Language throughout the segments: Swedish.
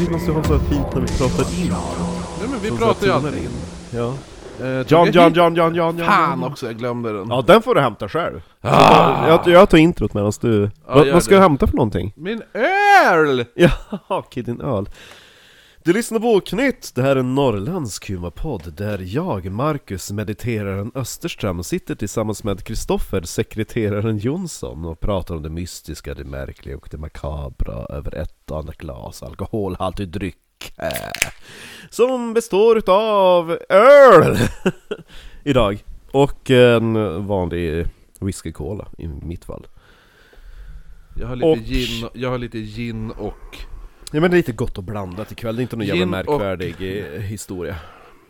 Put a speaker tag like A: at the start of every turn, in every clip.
A: vi måste ha så fint när vi pratar in.
B: Nej men vi
A: Så
B: pratar ju
A: jag
B: alltid.
A: tonar in. Ja.
B: Eh, tog
A: John,
B: jag
A: John,
B: hit-
A: John, John, John, John.
B: Fan också, jag glömde den.
A: Ja, den får du hämta själv. Jag, jag tar introt medan du...
B: Ja,
A: vad,
B: gör
A: vad ska
B: det.
A: du hämta för någonting?
B: Min öl!
A: Ja, Kidin Öl. Du lyssnar på Oknytt, det här är en norrländsk humorpodd där jag, Marcus, mediteraren Österström, sitter tillsammans med Kristoffer, sekreteraren Jonsson och pratar om det mystiska, det märkliga och det makabra över ett och annat glas alkoholhaltig dryck. eh, Som består utav öl! Idag. Och en vanlig whisky cola i mitt fall.
B: Jag har lite,
A: Och-
B: gin, jag har lite gin och...
A: Ja men det är lite gott och blandat ikväll, det är inte någon jävla
B: Gin och-
A: märkvärdig eh, historia.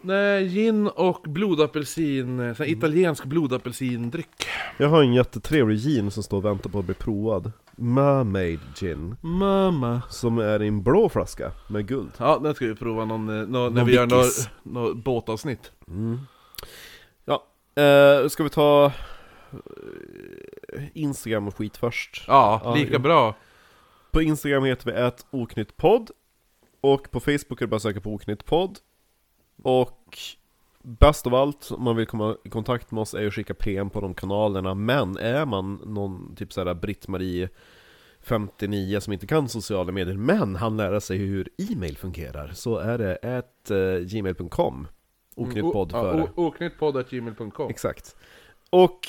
B: Nej, gin och blodapelsin, eh, sån här italiensk blodapelsindryck.
A: Jag har en jättetrevlig gin som står och väntar på att bli provad. Mermaid gin.
B: Mamma.
A: Som är i en blå flaska med guld.
B: Ja, den ska vi prova någon, eh, någon, när
A: Någon
B: vi gör
A: Vickis.
B: något nå båtavsnitt.
A: Mm. Ja, eh, ska vi ta eh, Instagram och skit först?
B: Ja,
A: Ja,
B: lika
A: jo.
B: bra.
A: På Instagram heter vi ett oknytt podd. Och på Facebook är det bara att söka på oknytt podd. Och bäst av allt, om man vill komma i kontakt med oss, är ju att skicka PM på de kanalerna. Men är man någon typ såhär Britt-Marie 59 som inte kan sociala medier, men han lära sig hur e-mail fungerar, så är det ett eh, gmail.com. Oknytt podd
B: Mm, o-
A: före.
B: ja, o- Oknyttpodd.gmail.com
A: Exakt. Och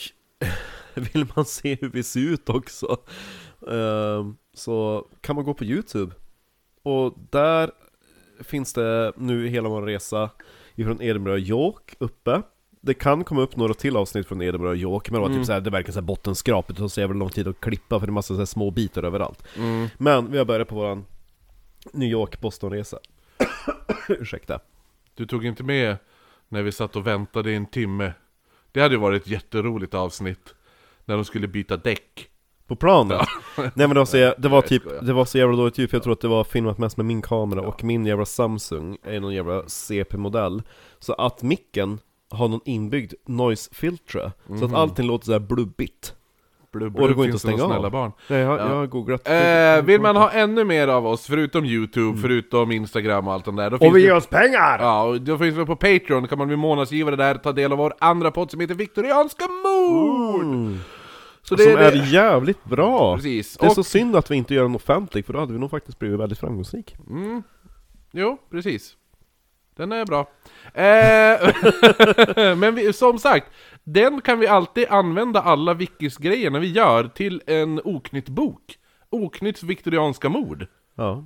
A: vill man se hur vi ser ut också ehm, så kan man gå på YouTube. Och där finns det nu hela vår resa ifrån Edinburgh och York uppe. Det kan komma upp några till avsnitt från Edinburgh och York, men det, var
B: Mm.
A: typ såhär, det verkar såhär bottenskrapet och så jävla lång tid att klippa för det är massa såhär små bitar överallt.
B: Mm.
A: Men vi har börjat på våran New York-Boston-resa. Ursäkta.
B: Du tog inte med när vi satt och väntade i en timme. Det hade ju varit ett jätteroligt avsnitt. När de skulle byta däck.
A: På planet? Nej men det var, så, jä- det var
B: Nej,
A: typ,
B: skojar.
A: det var så jävla dåligt ljud, för jag tror att det var filmat mest med min kamera och min jävla Samsung är någon jävla CP-modell Så att micken har någon inbyggd noise filter, så
B: Mhm.
A: att allting låter såhär blubbigt
B: Blub,
A: Och det går inte
B: finns
A: att stänga
B: några
A: av.
B: snälla barn.
A: Nej jag,
B: Ja.
A: jag har googlat
B: Eh, vill man ha ännu mer av oss, förutom Youtube, förutom Instagram och allt det där, då finns
A: Mm. Och vi
B: det-
A: ger oss pengar!
B: Ja, och då finns vi på Patreon, kan man bli månadsgivare där, ta del av vår andra podd som heter Viktorianska mord! Så det
A: Mm. Som
B: är det...
A: är jävligt bra!
B: Precis,
A: Det är
B: och...
A: så synd att vi inte gör den offentlig, för då hade vi nog faktiskt blivit väldigt framgångsrik
B: Mm. Jo, precis. Den är bra. Eh, men vi, som sagt, den kan vi alltid använda alla Vickis-grejerna vi gör till en oknytt bok. Oknytts viktorianska mord.
A: Ja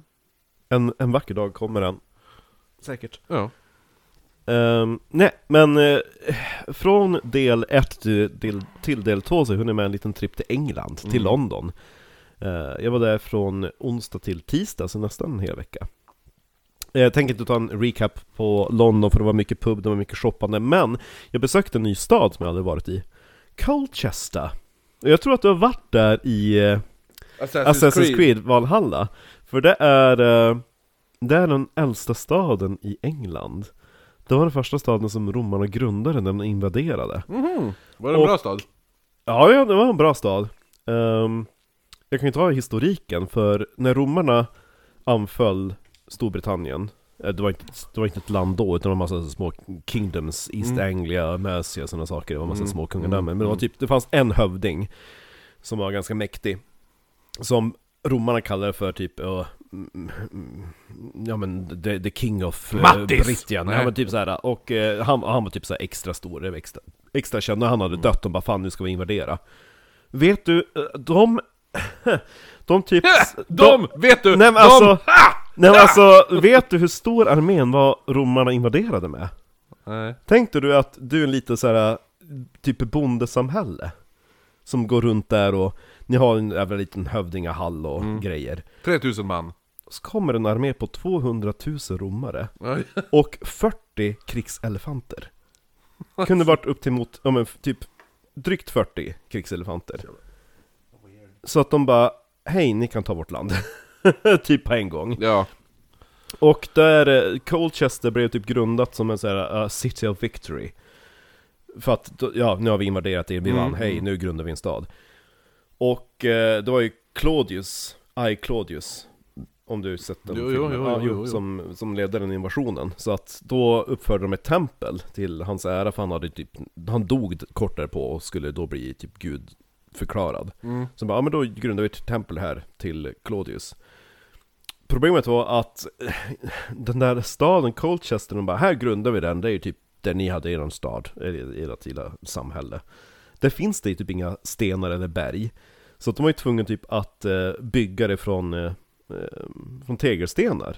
A: En, en vacker dag kommer den Säkert
B: Ja.
A: Ehm, nej, men eh, från del 1 till, till, till del 2 så hann jag med en liten tripp till England, till
B: Mm.
A: London. Eh, jag var där från onsdag till tisdag, så nästan en hel vecka. Eh, Jag tänker inte ta en recap på London, för det var mycket pub, det var mycket shoppande, men jag besökte en ny stad som jag aldrig varit i. Colchester. Och Jag tror att du har varit där i eh,
B: Assassin's,
A: Assassin's Creed Valhalla. För det är, eh, det är den äldsta staden i England. Det var den första staden som romarna grundade när de invaderade.
B: Mhm. Var det en
A: Och-
B: bra stad?
A: Ja, ja, det var en bra stad. Ehm, jag kan ju ta historiken, för när romarna anföll Storbritannien, eh, det var, inte, det var inte ett land då, utan det var massa små kingdoms, East Anglia, Mercia och sådana saker, det var massa
B: Mm,
A: små
B: mm,
A: kungadömen. Men det, var
B: mm.
A: typ, det fanns en hövding som var ganska mäktig, som romarna kallade för typ ja, mm, mm, Ja men the, the king of eh,
B: Mattis!
A: Brittien,
B: Nej.
A: han var typ såhär, och eh, han, han var typ såhär extra stor, det var extra, extra känd, när han
B: Mm.
A: hade dött, de bara 'Fan nu ska vi invadera' Vet du, eh, de... De typ...
B: De! Vet du!
A: Nej men
B: de,
A: alltså...
B: Ah!
A: Nej men alltså, vet du hur stor armén var romarna invaderade med?
B: Nej.
A: Tänkte du att du är en liten så här typ bondesamhälle? Som går runt där och ni har en jävla liten hövdingahall och
B: Mm.
A: grejer.
B: 3000 man.
A: Så kommer en armé på 200 000 romare
B: Oj.
A: och 40 krigselefanter. Kunde varit upp till mot, ja men typ drygt 40 krigselefanter. Så att de bara, hej ni kan ta vårt land. typ på en gång.
B: Ja.
A: Och där eh, Colchester blev typ grundat som en sån här eh, City of Victory. För att, då- ja nu har vi invaderat er, vi
B: Mm.
A: vann, hej nu grundar vi en stad. Och eh, det var ju Claudius, I Claudius, Om du sett den
B: Jo, jo,
A: filmen.
B: jo,
A: ja,
B: jo, jo, jo.
A: Som, som ledde den invasionen. Så att då uppförde de ett tempel till hans ära för han hade typ, han dog kort därpå och skulle då bli typ gud förklarad.
B: Mm.
A: Så bara, ja men då grundar vi ett tempel här till Claudius. Problemet var att eh, den där staden Colchester, de bara, här grundar vi den, det är ju typ där ni hade er stad, eller ert lilla samhälle. Där finns det ju typ inga stenar eller berg. Så att de var ju tvungna typ att eh, bygga det från, eh, eh, från tegelstenar.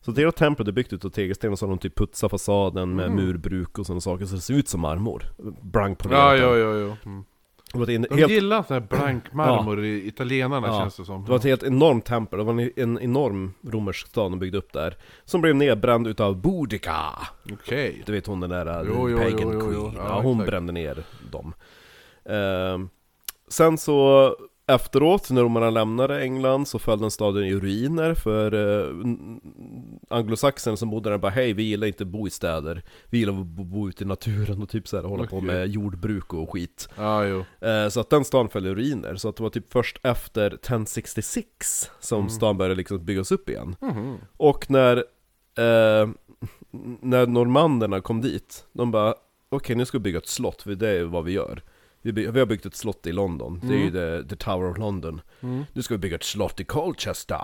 A: Så deras tempel är byggt ut av tegelstenar, så har de typ putsat fasaden med
B: Mm.
A: murbruk och sådana saker, så det ser ut som marmor. Blank på
B: Ja, ja, ja, ja. Mm.
A: Det var en
B: De
A: helt
B: gillar sån här blank marmor i italienarna
A: Ja.
B: känns det som.
A: Det var ett helt enormt tempel, det var en, en enorm romersk stad de byggde upp där Som blev nedbränd utav Boudica
B: Okej.
A: Du vet hon den där äh,
B: Jo, jo,
A: pagan
B: jo, jo, jo.
A: queen
B: Ja,
A: Ja, Hon
B: exakt.
A: brände ner dem Ehm, Sen så efteråt, när romarna lämnade England så föll den staden i ruiner för eh, n- anglosaxerna som bodde där bara Hej, vi gillar inte att bo i städer Vi gillar att bo, bo ute i naturen och typ så här, hålla på
B: Okej.
A: med jordbruk och skit
B: Ja, jo.
A: Eh, Så att den stan föll i ruiner, så att det var typ först efter 1066 som stan började liksom byggas upp igen.
B: Mhm.
A: Och när, eh, när normanderna kom dit, de bara Okej nu ska vi bygga ett slott, för det är vad vi gör. Vi, by- vi har byggt ett slott i London, det är ju the, the Tower of London.
B: Mm.
A: Nu ska vi bygga ett slott i Colchester.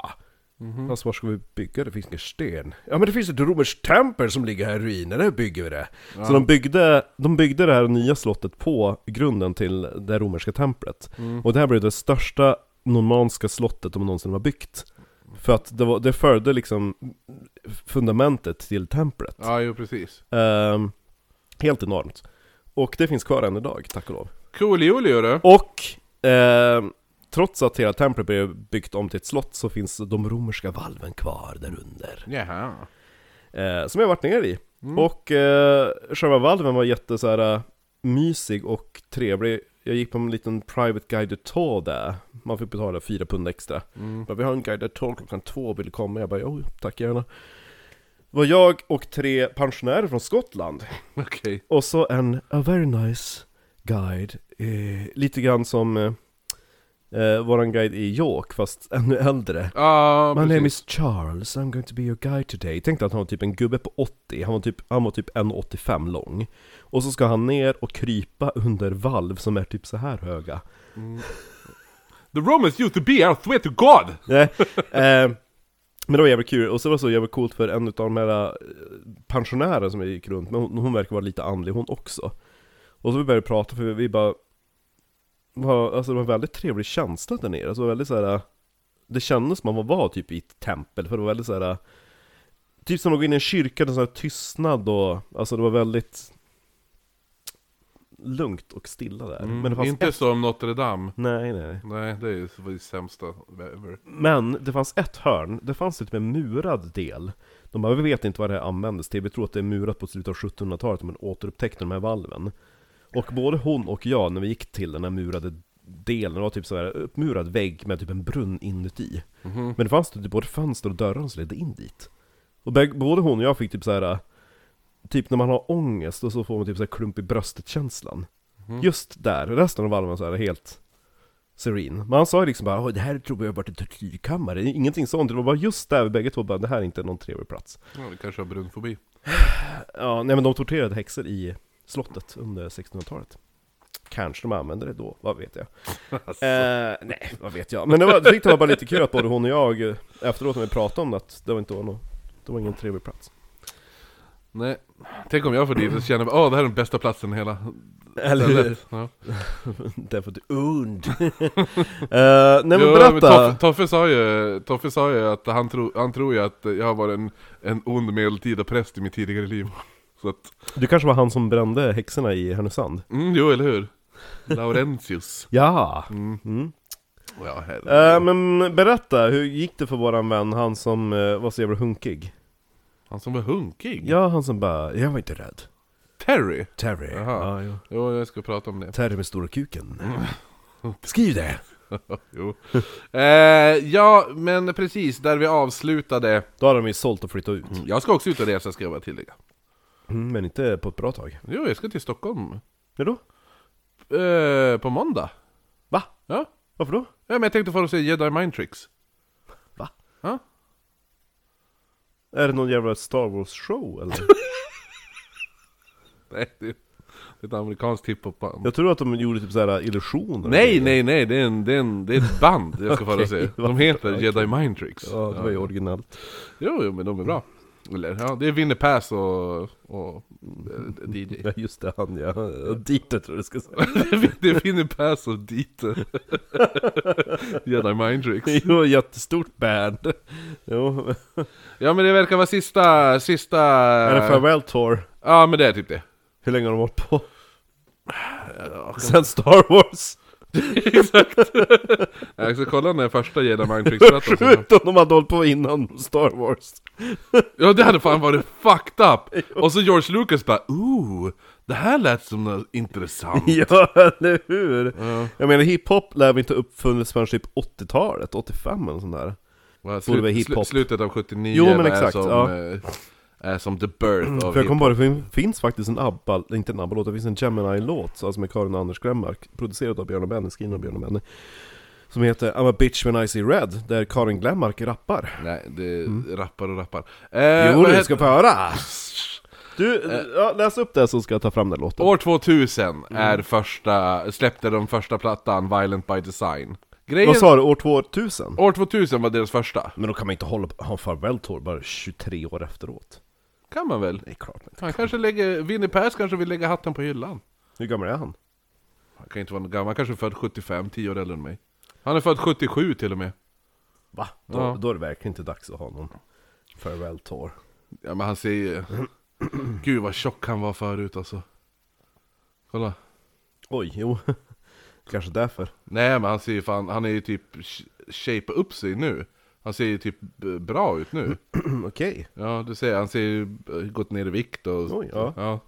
A: Fast var ska vi bygga? Det finns ingen sten. Ja men det finns ett romerskt tempel som ligger här i ruiner, där bygger vi det. Så de byggde, de byggde det här nya slottet på grunden till det romerska templet. Och det här blev det största normanska slottet de någonsin har byggt. För att det, var, det förde liksom fundamentet till templet.
B: Ja, jo, precis.
A: Ehm, helt enormt. Och det finns kvar än idag, tack och lov.
B: Coolio du.
A: Och ehm, trots att hela templet blev byggt om till ett slott så finns de romerska valven kvar där under.
B: Jaha.
A: Eh, som jag varit nere i.
B: Mm.
A: Och eh, själva valven var jätte så här, eh, mysig och trevlig. Jag gick på en liten private guided tour där. Man fick betala fyra pund extra.
B: Mm.
A: Bara, vi har en guided tour klockan två, vill du komma? Jag bara, jo, tack gärna. Det var jag och tre pensionärer från Skottland.
B: Okej.
A: Och så en a very nice guide. Eh, lite grann som eh, eh, våran guide i York, fast ännu äldre.
B: Ja,
A: My
B: precis.
A: name is Charles, I'm going to be your guide today. Tänk dig att han var typ en gubbe på 80, han var typ, han var typ 1,85 lång. Och så ska han ner och krypa under valv som är typ så här höga.
B: Mm. The Romans used to be, I swear to God!
A: Nej, eh, men det var jävligt kul, och så var det så jävligt coolt för en av de här eh, pensionärerna som jag gick runt med, hon, hon verkar vara lite andlig hon också. Och så vi började prata, för vi, vi bara... Var, alltså det var en väldigt trevlig känsla där nere, alltså det var väldigt så här. Det kändes som man var typ i ett tempel, för det var väldigt så här. eh, Typ som att gå in i en kyrka, en sån här tystnad och, alltså det var väldigt lugnt och stilla där.
B: Mm.
A: Men det fanns
B: Inte som Notre Dame.
A: Nej, nej.
B: Nej, det är ju det sämsta ever.
A: Men det fanns ett hörn, det fanns typ en murad del. De bara, vi vet inte vad det här användes till, vi tror att det är murat på slutet av 1700-talet, men återupptäckte de här valven. Och både hon och jag, när vi gick till den här murade delen, det var typ så här uppmurad vägg med typ en brunn inuti.
B: Mhm.
A: Men det fanns typ både fönster och dörrar som ledde in dit. Och bäg- både hon och jag fick typ så här. typ när man har ångest och så får man typ så här klump i bröstet-känslan.
B: Mhm.
A: Just där, resten av valven var så här helt serin. Men han sa ju liksom bara "Oj, det här tror jag har varit en tortyrkammare, ingenting sånt. Det var bara just där vi bägge två bara, det här är inte någon trevlig plats.
B: Ja, vi kanske har brunfobi.
A: Ja, nej men de torterade häxor i slottet under 1600-talet. Kanske de använde det då, vad vet jag? Eh, nej, vad vet jag. Men det var, jag tyckte det var bara lite kul att både hon och jag eh, efteråt när vi pratade om det, att det var inte någon, det var ingen trevlig plats.
B: Nej. Tänk om jag får dit och känner åh det här är den bästa platsen i hela
A: Eller hur?
B: stället. Ja.
A: Därför att du är ond. Eh, nej men
B: Jo,
A: berätta!
B: Toffe, Toffe, sa ju, Toffe sa ju att han, tro, han tror ju att jag har varit en, en ond medeltida präst i mitt tidigare liv. Så att,
A: Du kanske var han som brände häxorna i Härnösand?
B: mm, jo eller hur? Laurentius.
A: Ja!
B: Mm.
A: Mm.
B: Ja, herregud.
A: Eh, men berätta, hur gick det för våran vän, han som eh, var så jävla hunkig?
B: Han som var hunkig?
A: Ja, han som bara, jag var inte rädd.
B: Terry?
A: Terry.
B: Jaha.
A: Ja, ja.
B: Jo, jag ska prata om det.
A: Terry med stora kuken. Mm. Skriv det!
B: Jo. Eh, ja, men precis, där vi avslutade.
A: Då har de ju sålt och flyttat ut.
B: Jag ska också ut och resa ska jag bara tillägga.
A: Mm, men inte på ett bra tag.
B: Jo, jag ska till Stockholm.
A: När då?
B: Eh, på måndag.
A: Va?
B: Ja.
A: Varför då?
B: ja, men jag tänkte få och se Jedi Mind Tricks.
A: Va?
B: Ja.
A: Är det någon jävla Star Wars-show eller?
B: Nej, det är ett amerikanskt hiphopband.
A: Jag tror att de gjorde typ såhär illusioner
B: Nej, nej, nej, det är, en, det, är en, det är ett band jag ska fara och se.
A: Okej,
B: De heter Jedi Mind Tricks.
A: Ja, det var ju originellt
B: Jo, jo, men de är bra. Eller, ja, det är Winnie Pass och, och eh, DJ.
A: Ja just det, han ja, Dieter tror jag du ska säga
B: det är Winnie Pass och Dieter. Jedi Mind Tricks.
A: Jo, jättestort band Jo,
B: Ja, men det verkar vara sista, sista...
A: är det farewell tour?
B: Ja, men det är typ det.
A: Hur länge har de hållit på? Sen Star Wars!
B: Exakt. Jag ska kolla när första Jedi Mind Tricks-plattan som
A: Sjukt om de hade hållit på innan Star Wars
B: Ja det hade fan varit fucked up! Och så George Lucas bara ooh, det här lät som något intressant
A: Ja, eller hur? Jag menar hiphop lär vi inte ha uppfunnits förrän typ 80-talet, 85 eller sånt där
B: Va,
A: Borde
B: slu-
A: vara hiphop.
B: slu- Slutet av 79
A: Jo, men
B: är
A: exakt,
B: som,
A: ja. Mm,
B: eh, är som the birth of
A: För jag
B: hiphop
A: kom på det, för det finns faktiskt en ABBA, inte en ABBA-låt, det finns en Gemini-låt, alltså med Karin och Anders Glenmark, producerad av Björn och Benny, skriven av Björn och Benny. Som heter I'm a bitch when I see red, där Karin Glenmark rappar.
B: Nej, det rappar och rappar eh,
A: Mm. jo,
B: vad
A: du
B: heter-
A: ska få höra! Du, ja, läs upp det så ska jag ta fram den låten.
B: År 2000 är
A: Mm.
B: första, släppte de första plattan Violent by Design Grejen,
A: Vad sa du, år 2000?
B: år 2000 var deras första
A: Men då kan man inte hålla på, ha en farväl-tour bara 23 år efteråt.
B: Kan man väl?
A: Det är klart man inte.
B: Han kanske lägger, Winnie Pass kanske vill lägga hatten på hyllan
A: Hur gammal är han?
B: Han kan inte vara någon gammal, han kanske är född 75, 10 år äldre än mig Han är född 77 till och med
A: Va? Då,
B: Ja.
A: då är det verkligen inte dags att ha någon farväl-tour.
B: Ja men han ser ju... Gud vad tjock han var förut alltså. Kolla.
A: Oj, jo. Kanske därför.
B: Nej men han ser ju fan, han är ju typ sh- shape upp sig nu. Han ser ju typ eh, bra ut nu.
A: Mm, Okej.
B: Ja du ser, han ser ju eh, gått ner i vikt och...
A: Oj, ja.
B: ja.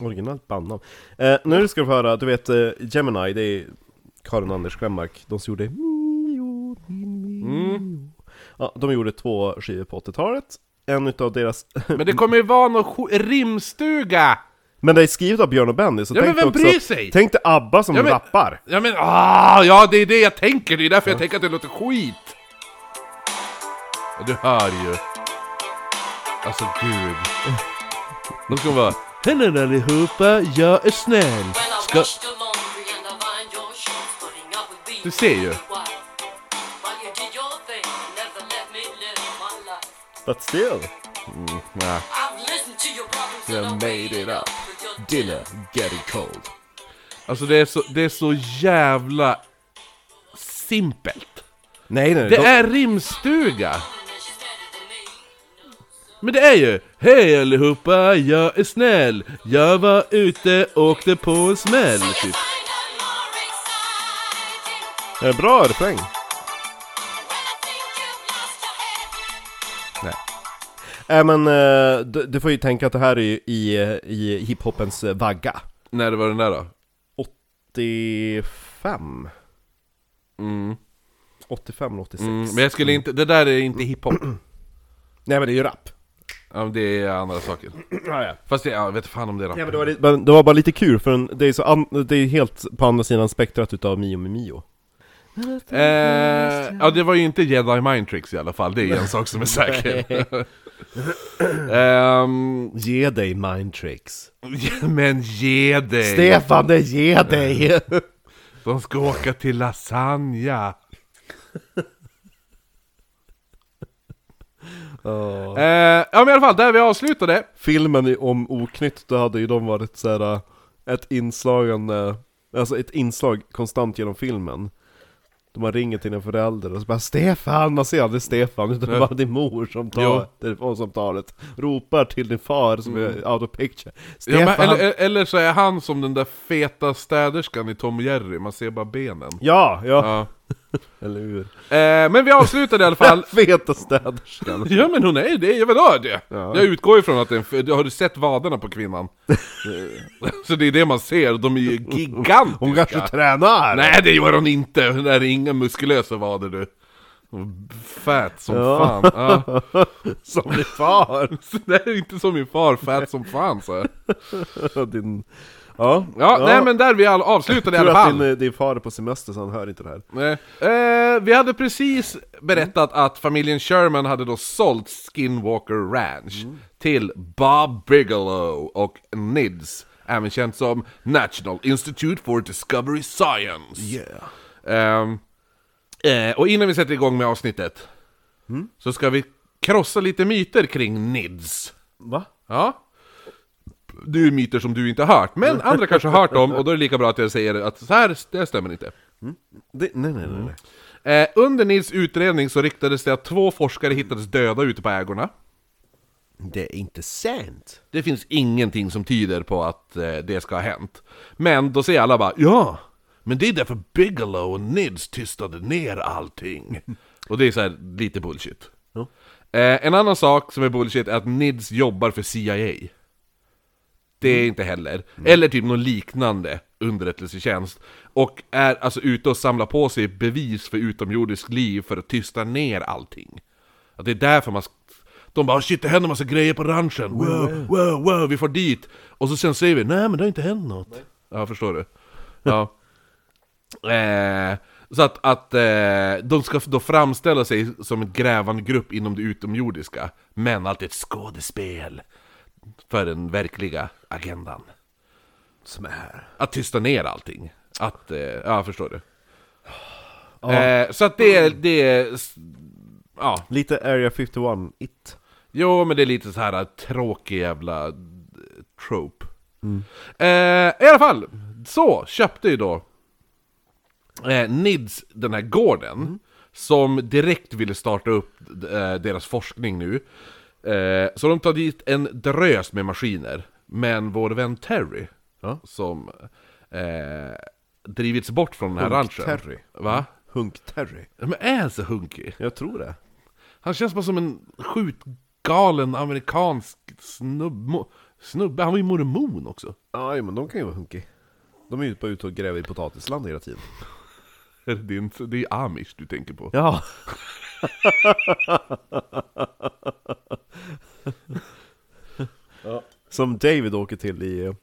A: Originalt bandnamn. Eh, nu ska du få höra, du vet eh, Gemini, det är Karin Anders Glenmark, de som gjorde Mio, min Mio.
B: Mm.
A: Ja, de gjorde två skivor på 80-talet, en utav deras...
B: Men det kommer ju vara någon sk- rimstuga!
A: men det är skrivet av Björn och Benny, så
B: Ja, men
A: tänk dig
B: vem
A: också...
B: bryr sig?
A: Tänk dig ABBA som
B: Ja, men-
A: rappar!
B: Ja men ah, ja det är det jag tänker, det är därför jag tänker att det låter skit! Ja, Du hör ju. Alltså gud. Då ska hon bara... Hej allihopa, jag är snäll. Ska...
C: Du ser ju.
A: But still!
B: Nej.
C: You made it up. Dinner.
B: getting cold. Alltså det är så, det är så jävla simpelt.
A: Nej nej,
B: Det
A: de,
B: är rimstuga. Men det är ju Hej allihopa, jag är snäll. Jag var ute och åkte på en smäll. Typ.
A: det är en bra refräng!
B: Nej.
A: Äh, men eh, du, du får ju tänka att det här är ju i, eh, i hiphopens eh, vagga.
B: När det var den där då? Mm,
A: 85? Mm. 85 eller 86?
B: Mm, men jag skulle inte, det där är inte hiphop.
A: Nej men det är ju rap!
B: Ja, men det är andra saker. Fast det, ja, vet fan om det är rap.
A: Nej, men det, var li- men det var bara lite kul för en, det, är så an, det är helt på andra sidan spektrat utav Mio med Mio
B: Eh, ja, det var ju inte Jedi Mind Tricks i alla fall, det är en sak som är säker. Ehm,
A: Ge dig mind tricks
B: men ge dig!
A: Stefan det ge dig!
B: De ska åka till lasagna!
A: Ja.
B: Eh, ja men i alla fall, där vi avslutade.
A: Filmen i- om Oknytt, då hade ju de varit såhär Ett inslagande, alltså ett inslag konstant genom filmen De har ringer till en förälder och så bara 'Stefan' Man ser aldrig Stefan utan det är bara din mor som
B: Jo.
A: tar telefonsamtalet Ropar till din far som är out of picture
B: Mm. Ja,
A: Stefan!
B: men, eller, eller så är han som den där feta städerskan i Tom och Jerry, man ser bara benen.
A: ja, ja,
B: Ja.
A: eller hur?
B: Eh, men vi avslutade i alla fall.
A: Feta städerskan!
B: Ja men hon är det, jag vill ha det! Jag utgår ifrån att det är en, f- har du sett vaderna på kvinnan? så det är det man ser, de är ju gigantiska!
A: Hon kanske tränar!
B: Nej det gör hon inte, hon är inga muskulösa vader du! Hon är Fät som
A: Ja.
B: fan! Ja.
A: Som din far!
B: Så det är inte som min far, fät som fan så.
A: Din... Ja,
B: Ja, nej men där vi all avslutade i
A: Tror
B: alla
A: att
B: fall.
A: din, eh, din far är på semester så han hör inte det här.
B: Nej. Eh, vi hade precis berättat att familjen Sherman hade då sålt Skinwalker Ranch
A: Mm.
B: till Bob Bigelow och NIDS, även känt som National Institute for Discovery Science. Ehm, eh, och innan vi sätter igång med avsnittet så ska vi krossa lite myter kring NIDS.
A: Va?
B: Ja. Det är ju myter som du inte har hört, men andra kanske har hört dem och då är det lika bra att jag säger att så här, det här stämmer inte.
A: Det, nej, nej, nej. nej.
B: Eh, under Nils utredning så ryktades det att två forskare hittades döda ute på ägorna.
A: Det är inte sant.
B: Det finns ingenting som tyder på att eh, det ska ha hänt. Men då säger alla bara ja, men det är därför Bigelow och Nids tystade ner allting. Och det är så här lite bullshit.
A: Ja.
B: Eh, en annan sak som är bullshit är att Nids jobbar för CIA. Det är inte heller. Eller typ någon liknande underrättelsetjänst. Och är alltså ute och samlar på sig bevis för utomjordiskt liv för att tysta ner allting. Att det är därför man... sk- De bara 'Shit, det händer massa grejer på ranchen! Wow, wow, wow, vi får dit!' Och så sen säger vi 'Nej men det har inte hänt något' Ja, förstår du? Ja. Eh, så att, att eh, de ska då framställa sig som en grävande grupp inom det utomjordiska, men allt är ett skådespel för den verkliga agendan.
A: Som är...
B: Att tysta ner allting. Att, eh, ja förstår du. Eh, så att det är, det är, s- ja.
A: Lite Area 51, it.
B: Jo, men det är lite så här äh, tråkig jävla eh, trope.
A: Mm.
B: Eh, I alla fall, så köpte ju då eh, Nids den här gården,
A: Mm.
B: som direkt ville starta upp eh, deras forskning nu. Eh, så de tar dit en drös med maskiner, men vår vän Terry,
A: Ja.
B: som eh, drivits bort från den här
A: Ung
B: ranchen.
A: Terry.
B: Va?
A: Hunk-Terry.
B: Men är han så hunkig?
A: Jag tror det.
B: Han känns bara som en skjutgalen amerikansk snubb, snubbe. Han var ju mormon också.
A: Ja, jo, men de kan ju vara hunky. De är ju bara ute och gräver i potatisland hela tiden.
B: Är det, din, det är amish du tänker på.
A: Ja. Som David åker till i eh,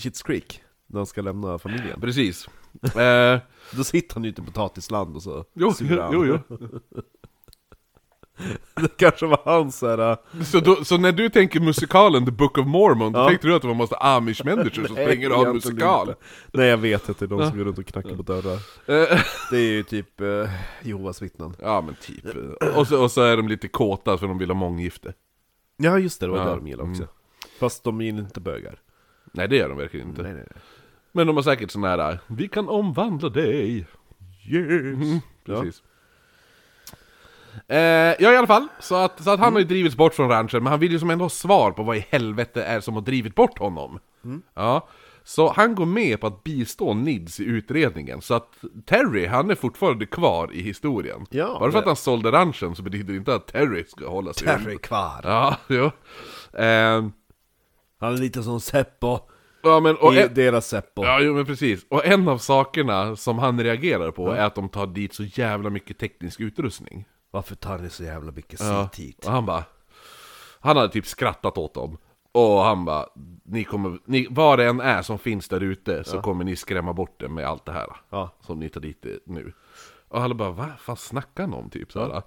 A: Schitt's Creek, när han ska lämna familjen.
B: Precis. eh,
A: Då sitter han ju ute i potatisland och så
B: jo,
A: surar han.
B: jo, jo.
A: Det kanske var hans såhär... eh,
B: Så, då, så när du tänker musikalen The Book of Mormon, då
A: Ja.
B: tänkte du att det var en massa amish-människor som
A: Nej,
B: springer och har en
A: egentligen
B: musikal?
A: inte. Nej jag vet att det är de som går runt och knackar på dörrar.
B: Eh,
A: Det är ju typ eh, Jehovas vittnen.
B: ja men typ. Och så, och så är de lite kåta för de vill ha månggifte.
A: Ja just det, det var
B: Ja.
A: det de gillade också. Fast de gillar inte bögar.
B: Nej det gör de verkligen inte.
A: Nej, nej, nej.
B: Men de har säkert sån här, vi kan omvandla dig.
A: Yes! Mm. Ja.
B: Precis. Eh, ja i alla fall, så att, så att han har
A: Mm.
B: ju drivits bort från ranchen, men han vill ju som ändå ha svar på vad i helvete är som har drivit bort honom.
A: Mm.
B: Ja, så han går med på att bistå Nids i utredningen, så att Terry, han är fortfarande kvar i historien.
A: Ja,
B: Bara för att
A: det-
B: han sålde ranchen så betyder det inte att Terry ska hålla sig
A: Terry kvar.
B: Ja, jo. Ehm,
A: Han är lite som Seppo.
B: ja, men, och
A: I
B: en,
A: deras Seppo.
B: ja, jo, men precis. Och en av sakerna som han reagerar på är att de tar dit så jävla mycket teknisk utrustning.
A: Varför tar ni så jävla mycket
B: Ja.
A: sitt hit?
B: Och han bara... Han hade typ skrattat åt dem. Och han bara, ni kommer, ni, vad det än är som finns där ute så kommer ni skrämma bort det med allt det här.
A: Ja.
B: Som ni tar dit eh, nu. Och han bara, vad fan snackar han om? Typ, såhär.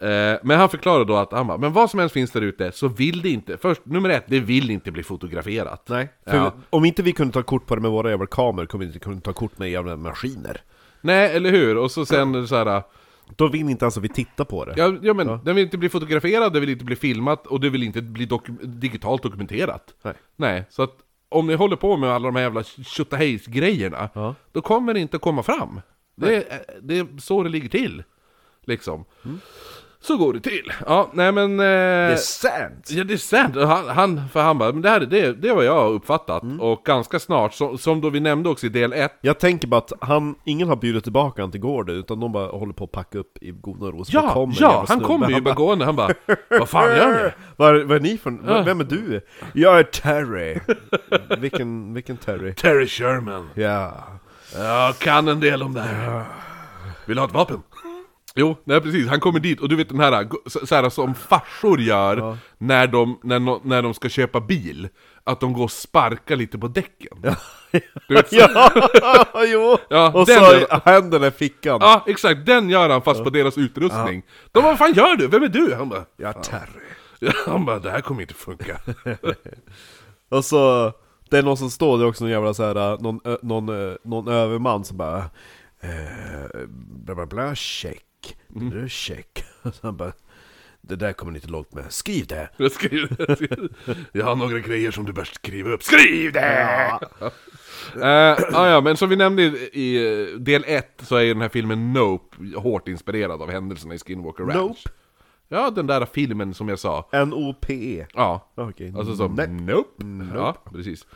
B: Eh, men han förklarade då att, han bara, men vad som helst finns där ute så vill det inte, först, nummer ett, det vill inte bli fotograferat.
A: Nej, för
B: Ja.
A: om inte vi kunde ta kort på det med våra jävla kameror kommer vi inte kunna ta kort med jävla maskiner.
B: Nej, eller hur? Och så sen så här.
A: Då vill inte ens att vi tittar på det.
B: Ja, ja men den vill inte bli fotograferad, den vill inte bli filmat och det vill inte bli doku- digitalt dokumenterat.
A: Nej.
B: så att om ni håller på med alla de här jävla tjottahejs-grejerna,
A: Ja.
B: då kommer det inte komma fram. Det är, eh, det är så det ligger till. Liksom.
A: Mm.
B: Så går det till. Ja, nej men...
A: Det är
B: Eh,
A: sant!
B: Ja det är sant, han, han, för han bara, men det här är det, det är vad jag har uppfattat.
A: Mm.
B: Och ganska snart, som, som då vi nämnde också i del 1,
A: Jag tänker bara att han, ingen har bjudit tillbaka han till gården utan de bara håller på att packa upp i goda ro. så bara
B: ja,
A: kommer en
B: ja,
A: jävla
B: han
A: snubbe.
B: kommer ju
A: Han "Äh,
B: bara gående, han bara, vad fan gör ni?
A: Vad är, vad är ni för vad- Vem är du? Jag är Terry. vilken, vilken Terry?
B: Terry Sherman.
A: Ja.
B: Ja, kan en del om det här. Vill du ha ett vapen? Jo, nej precis, han kommer dit och du vet den här, så, så här som farsor gör när, de, när, nå- när de ska köpa bil. att de går och sparkar lite på däcken. Ja,
A: ja, jo!
B: Ja,
A: och
B: den
A: så
B: är-
A: händerna i fickan.
B: exakt, den gör han fast på deras utrustning. De bara 'Vad fan gör du? Vem är du?' Han bara,
A: Ja, Terry.
B: han bara 'Det här kommer inte funka'
A: Och så, det är någon som står där också, någon jävla så här, äh, någon, ö, någon, ö, någon överman som bara eh, bla bla bla, check,
B: Mm.
A: det är check. Och så han bara, det där kommer ni inte långt med, skriv det!
B: Jag, skriver, jag har några grejer som du bör skriva upp. Skriv det! Ja. ah, ja, men som vi nämnde i, i eh, del 1 så är ju den här filmen Nope hårt inspirerad av händelserna i Skinwalker Ranch.
A: Nope.
B: Ja, den där filmen som jag sa.
A: N-O-P-E.
B: Ja,
A: E. Ah, Okej,
B: alltså som
A: nej.
B: Nope. Ja, precis.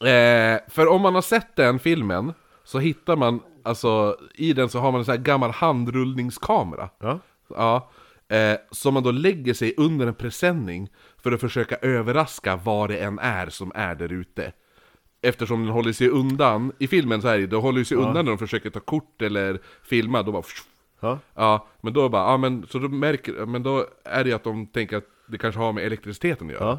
B: Eh, för om man har sett den filmen så hittar man, alltså i den så har man en sån här gammal handrullningskamera.
A: Ja.
B: Ja. Eh, som man då lägger sig under en presenning för att försöka överraska vad det än är som är där ute. Eftersom den håller sig undan, i filmen så här, då håller sig undan när de försöker ta kort eller filma, då bara...
A: Ja.
B: Ja, men då bara, ja men så då märker, men då är det ju att de tänker att det kanske har med elektriciteten att göra.
A: Ja.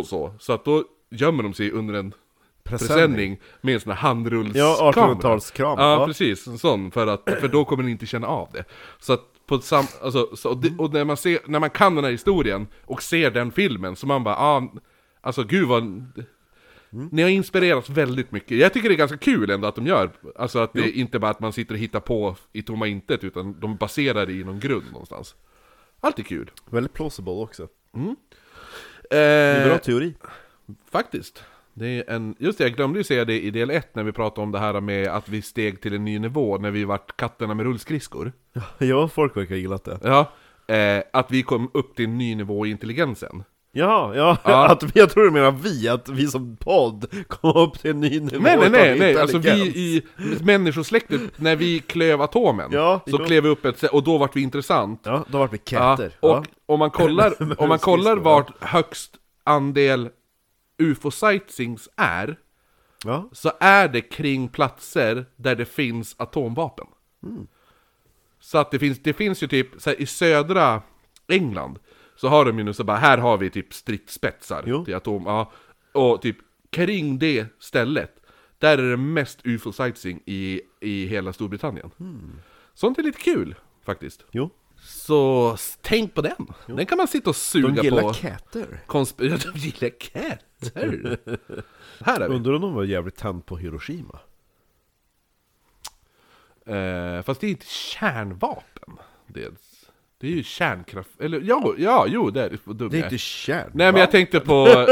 B: Och så. Så att då gömmer de sig under en
A: Presenning.
B: presenning, med en sån här handrullskamera.
A: Ja, 1800-talskamera.
B: Ja,
A: Ja.
B: precis. En sån, för, att, för då kommer ni inte känna av det. Så att på ett sam, alltså, så, och, det, och när man ser, när man kan den här historien och ser den filmen så man bara, ah, alltså gud vad... Ni har inspirerats väldigt mycket. Jag tycker det är ganska kul ändå att de gör, alltså att det är inte bara att man sitter och hittar på i tomma intet, utan de baserar det i någon grund någonstans. Allt är kul.
A: Väldigt plausible också.
B: Eh,
A: Bra teori.
B: Faktiskt. Det är en, just det, jag glömde ju säga det i del 1 när vi pratade om det här med att vi steg till en ny nivå när vi vart katterna med rullskridskor.
A: Ja, folk verkar ha gillat det.
B: Ja. Eh, att vi kom upp till en ny nivå i intelligensen.
A: Ja, ja,
B: Ja.
A: Att, jag tror du menar vi, att vi som podd kom upp till en ny nivå
B: Nej, nej,
A: av
B: nej, nej. alltså vi
A: intelligens.
B: i människosläktet, när vi klöv atomen,
A: Ja,
B: så
A: jo.
B: klev vi upp ett sä- och då vart vi intressant.
A: Ja, då vart vi
B: Ja,
A: katter. Ja,
B: och om man kollar, om man kollar vart högst andel ufo-sightings är,
A: ja.
B: så är det kring platser där det finns atomvapen.
A: Mm.
B: Så att det finns, det finns ju typ, så här, i södra England så har de ju nu så bara, här har vi typ stridsspetsar
A: Jo.
B: till atom, ja, och typ kring det stället, där är det mest ufo-sightseeing i, i hela Storbritannien.
A: Hmm.
B: Sånt är lite kul, faktiskt.
A: Jo.
B: Så s- tänk på den! Den kan man sitta och suga
A: De gillar
B: på.
A: katter.
B: Konsp- ja, de gillar katter! här är vi!
A: Undrar om de var jävligt tänd på Hiroshima?
B: Eh, fast det är inte kärnvapen. Dels. Det är ju kärnkraft... Eller ja, ja jo det är det. Vad dum
A: Det är
B: jag
A: inte kärn.
B: Nej men jag tänkte på...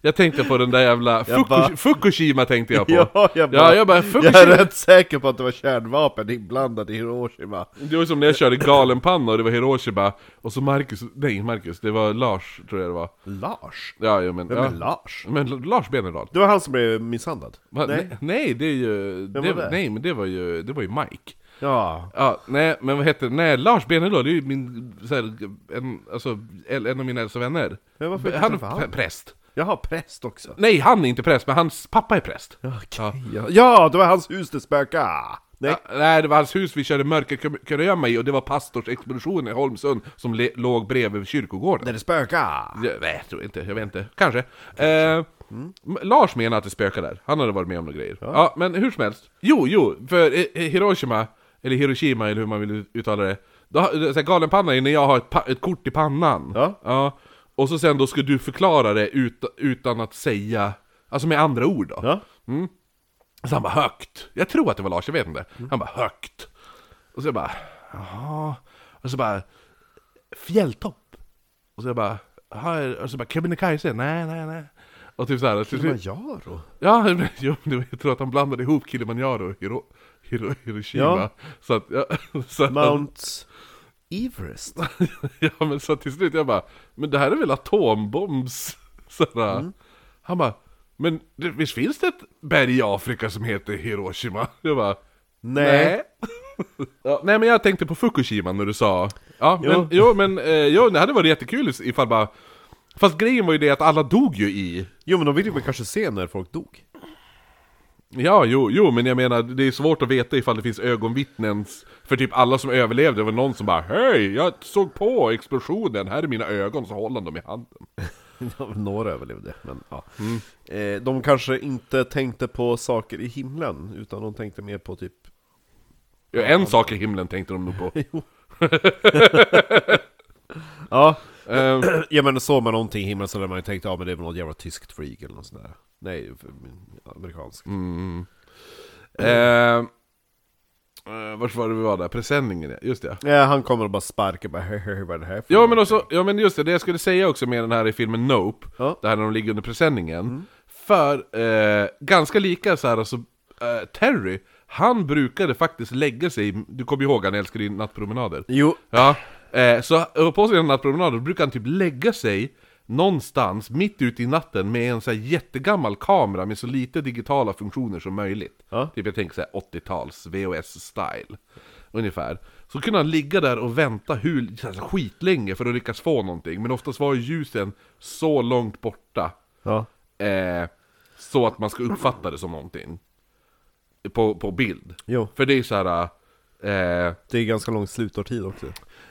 B: jag tänkte på den där jävla...
A: Jag
B: Fukush-
A: bara-
B: Fukushima tänkte jag på.
A: Ja, jag bara,
B: ja, jag bara
A: jag är
B: Fukushima.
A: rätt säker på att det var kärnvapen inblandat i Hiroshima.
B: Det var som när jag körde galenpanna och det var Hiroshima. Och så Marcus... Nej, Marcus. Det var Lars, tror jag det var.
A: Lars?
B: Ja, ja men...
A: Vem
B: ja.
A: är Lars?
B: Men Lars Benerdal.
A: Det var han som blev misshandlad?
B: Va, nej. nej, det är ju... Det,
A: var det?
B: nej, men det var ju... Det var ju Mike.
A: Ja.
B: Ja, nej, men vad heter det? Nej, Lars Benelå, det är ju min, så här, en, alltså, en en av mina äldsta vänner.
A: Men varför
B: B-
A: inte
B: han är
A: träffa han?
B: pr- präst.
A: Jag har präst också.
B: Nej, han är inte präst, men hans pappa är präst. Ja.
A: Ja, ja det var hans hus det spökade! Nej.
B: Ja, nej, det var hans hus vi körde mörkerkurragömma i och det var pastorsexpeditionen i Holmsund som le- låg bredvid kyrkogården.
A: När det spökade!
B: Jag, nej, jag tror inte, jag vet inte. Kanske. Eh,
A: Mm.
B: M- Lars menar att det spökar där. Han hade varit med om några grejer. Ja. men hur som helst. Jo, jo, för eh, eh, Hiroshima, eller Hiroshima eller hur man vill uttala det. Då, har- eh, så här, galenpanna är när jag har ett, pa- ett kort i pannan.
A: Ja.
B: Och så sen då ska du förklara det ut, utan att säga, alltså med andra ord då.
A: Ja.
B: Så han bara högt. Jag tror att det var Lars, jag vet inte. Han bara högt. Och så jag bara, jaha. Och så bara, fjälltopp. Och så jag bara, "Jaha." och så bara, Kebnekaise, nej, nej, nej. Och typ såhär, till slut,
A: Kilimanjaro?
B: ja, men- jo, men det var- jag tror att han blandade ihop Kilimanjaro och Hiro, Hiro, Hiroshima.
A: Ja.
B: Så att, ja, så att,
A: Mount Everest?
B: ja, men så att till slut jag bara, men det här är väl atombombs? Sådär. Han bara, men det, visst finns det ett berg i Afrika som heter Hiroshima? Jag bara,
A: Nej.
B: ja, nej men jag tänkte på Fukushima när du sa... Ja,
A: Jo.
B: men, jo men eh, jo, det hade varit jättekul ifall bara... Fast grejen var ju det att alla dog ju i...
A: Jo men de ville väl kanske se när folk dog?
B: Ja, jo, jo, men jag menar det är svårt att veta ifall det finns ögonvittnens... För typ alla som överlevde, det var någon som bara Hej, jag såg på explosionen, här är mina ögon, så håller de dem i handen.
A: Några överlevde, men ja. Eh, de kanske inte tänkte på saker i himlen, utan de tänkte mer på typ...
B: Ja, en sak i himlen tänkte de nog på.
A: Ja,
B: Eh,
A: ja men såg man någonting i himlen så hade man ju tänkt ja men det är väl något jävla tyskt flyg eller något sånt där. Nej, för- amerikanskt.
B: eh, eh, vart var det vi var där? Presenningen, ja. just det.
A: Ja, han kommer och bara sparkar bara "Hehe, vad är det här för
B: Ja
A: något?"
B: men, också, ja men just det, det jag skulle säga också med den här i filmen Nope,
A: Ja. Mm.
B: det här när de ligger under presenningen. För, eh, ganska lika så här alltså, eh, Terry, han brukade faktiskt lägga sig, du kommer ihåg han älskade ju nattpromenader.
A: Jo,
B: Ja, eh, så och på sina nattpromenader brukar han typ lägga sig någonstans mitt ute i natten med en så här jättegammal kamera med så lite digitala funktioner som möjligt.
A: Ja.
B: Typ jag tänker så här 80-tals VHS-style. Ungefär. Så kunde han ligga där och vänta hur, så här, skitlänge för att lyckas få någonting. Men oftast var ju ljusen så långt borta
A: ja.
B: eh, så att man ska uppfatta det som någonting. På, på bild.
A: Jo.
B: För det är så här... Eh,
A: Det är ganska lång slutårtid också.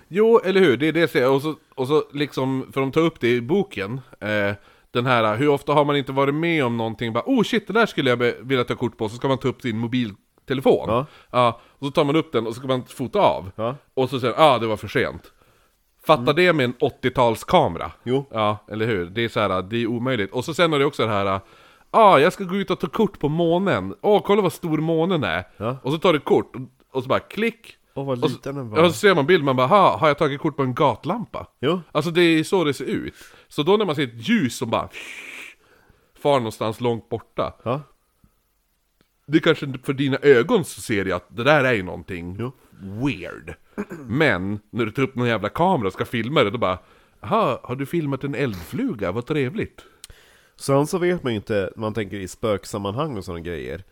B: Jo, eller hur? Det är det jag säger. Och så, och så liksom, för de tar upp det i boken. Eh, den här, hur ofta har man inte varit med om någonting? Bara, oh shit, det där skulle jag be- vilja ta kort på. Så ska man ta upp sin mobiltelefon.
A: Ja.
B: och så tar man upp den och så ska man fota av.
A: Ja. Mm.
B: Och så säger ah det var för sent. Fatta det med en 80-talskamera.
A: Jo.
B: Ja, eller hur? Det är så här, det är omöjligt. Och så sen är det också det här, ah jag ska gå ut och ta kort på månen. Åh, kolla vad stor månen är.
A: Ja.
B: Och så tar du kort, och, och så bara klick.
A: Åh, vad
B: Och så-
A: liten den var.
B: Ja, så ser man bild, man bara ha, har jag tagit kort på en gatlampa?
A: Jo.
B: Alltså det är så det ser ut. Så då när man ser ett ljus som bara far någonstans långt borta.
A: Ja.
B: Det kanske inte- för dina ögon så ser jag att det där är ju någonting
A: Jo.
B: weird. Men när du tar upp någon jävla kamera och ska filma det, då bara Jaha, har du filmat en eldfluga? Vad trevligt.
A: Sen så vet man ju inte, när man tänker i spöksammanhang och sådana grejer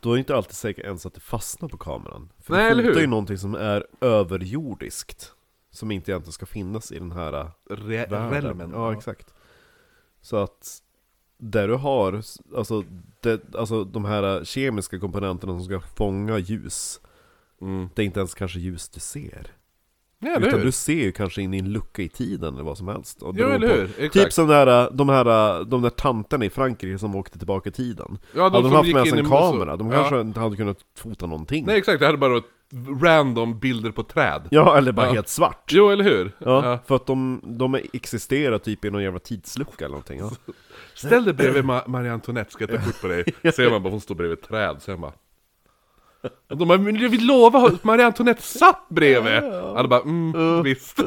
A: Då är det inte alltid säkert ens att det fastnar på kameran För
B: Nej,
A: det
B: eller hur?
A: fotar ju någonting som är överjordiskt Som inte egentligen ska finnas i den här äh,
B: Re-
A: världen
B: Relmen.
A: Ja, exakt Så att där du har, s- alltså, det, alltså de här äh, kemiska komponenterna som ska fånga ljus Det är inte ens kanske ljus du ser
B: Ja, eller
A: Utan
B: hur?
A: du ser ju kanske in i en lucka i tiden eller vad som helst och
B: Jo,
A: beror
B: eller
A: på-
B: hur? Exakt.
A: Typ som där, de här, de där tanterna i Frankrike som åkte tillbaka i tiden
B: Ja, de
A: Hade de
B: som
A: haft
B: gick
A: med sig
B: in
A: en
B: i mosor.
A: kamera, de
B: Ja.
A: kanske inte hade kunnat fota någonting
B: Nej, exakt. Det hade bara varit random bilder på träd.
A: Ja, eller bara
B: Ja.
A: helt svart
B: Jo, eller hur?
A: Ja,
B: Ja.
A: för att de, de existerar typ i någon jävla tidslucka eller någonting ja.
B: Ställ dig bredvid Ma- Marie Antoinette, ska jag ta kort på dig? Ser man bara hon står bredvid ett träd, ser man bara... De bara, men vi lovar att Marie Antoinette satt bredvid! Alla bara, mm, visst.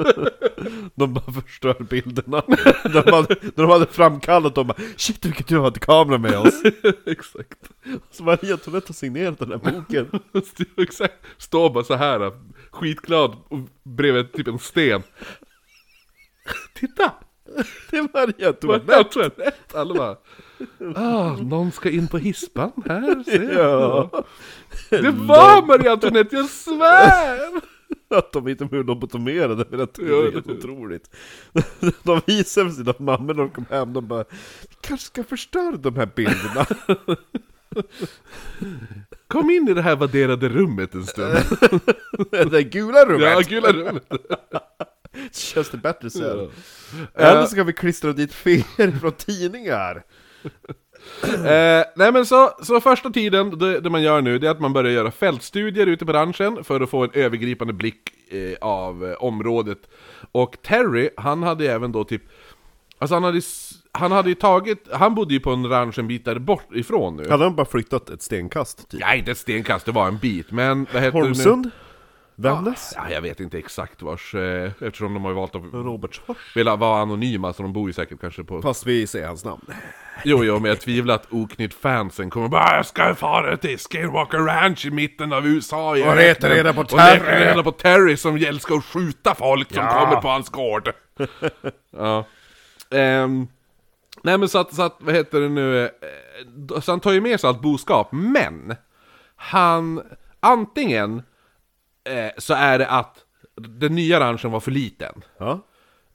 A: De bara förstör bilderna när, de hade, när de hade framkallat dem bara Shit vilken tur att vi hade kamera med oss!
B: Exakt.
A: Så Maria Antoinette har signerat den här boken
B: Stå- Exakt. Står bara så här skitglad, och bredvid typ en sten. Titta!
A: Det är Maria Antoinette!
B: Marie Antoinette! Alla bara, ah, någon ska in på hispan här, ser jag.
A: Ja,
B: Det var Marie Antoinette, jag svär!
A: att de inte blev lobotomerade men jag tror det är
B: Ja,
A: helt
B: det-
A: otroligt De visar för sina mammor när de kom hem, de bara Vi kanske ska förstöra de här bilderna
B: Kom in i det här värderade rummet en stund.
A: Det där gula
B: Ja,
A: rummet,
B: gula rummet.
A: känns det bättre sen?
B: Ja.
A: Eller så kan vi klistra dit fel från tidningar
B: Eh, nej men så, så första tiden, det, det man gör nu, det är att man börjar göra fältstudier ute i branschen för att få en övergripande blick eh, av eh, området. Och Terry, han hade ju även då typ, alltså han hade, s- han hade ju tagit, han bodde ju på en ranch en bit där bort ifrån nu.
A: Hade de bara flyttat ett stenkast typ?
B: Ja, inte ett stenkast, det var en bit, men vad heter det nu?
A: Holmsund? Vännäs?
B: Ja, jag vet inte exakt vars, eh, eftersom de har ju valt att
A: Robertsfors?
B: vilja vara anonyma, så de bor ju säkert kanske på
A: Fast vi säger hans namn
B: Jo, jo, men jag tvivlar att Oknytt-fansen kommer bara Jag ska fara till Skinwalker Ranch i mitten av USA i
A: Och
B: öknen."
A: leta reda på
B: Och leta
A: Terry.
B: reda på Terry som älskar att skjuta folk som kommer på hans gård! ja. Ehm, nej men så att, så att, vad heter det nu? eh, då- Så han tar ju med sig allt boskap, men han, antingen eh, så är det att den nya ranchen var för liten.
A: Ja,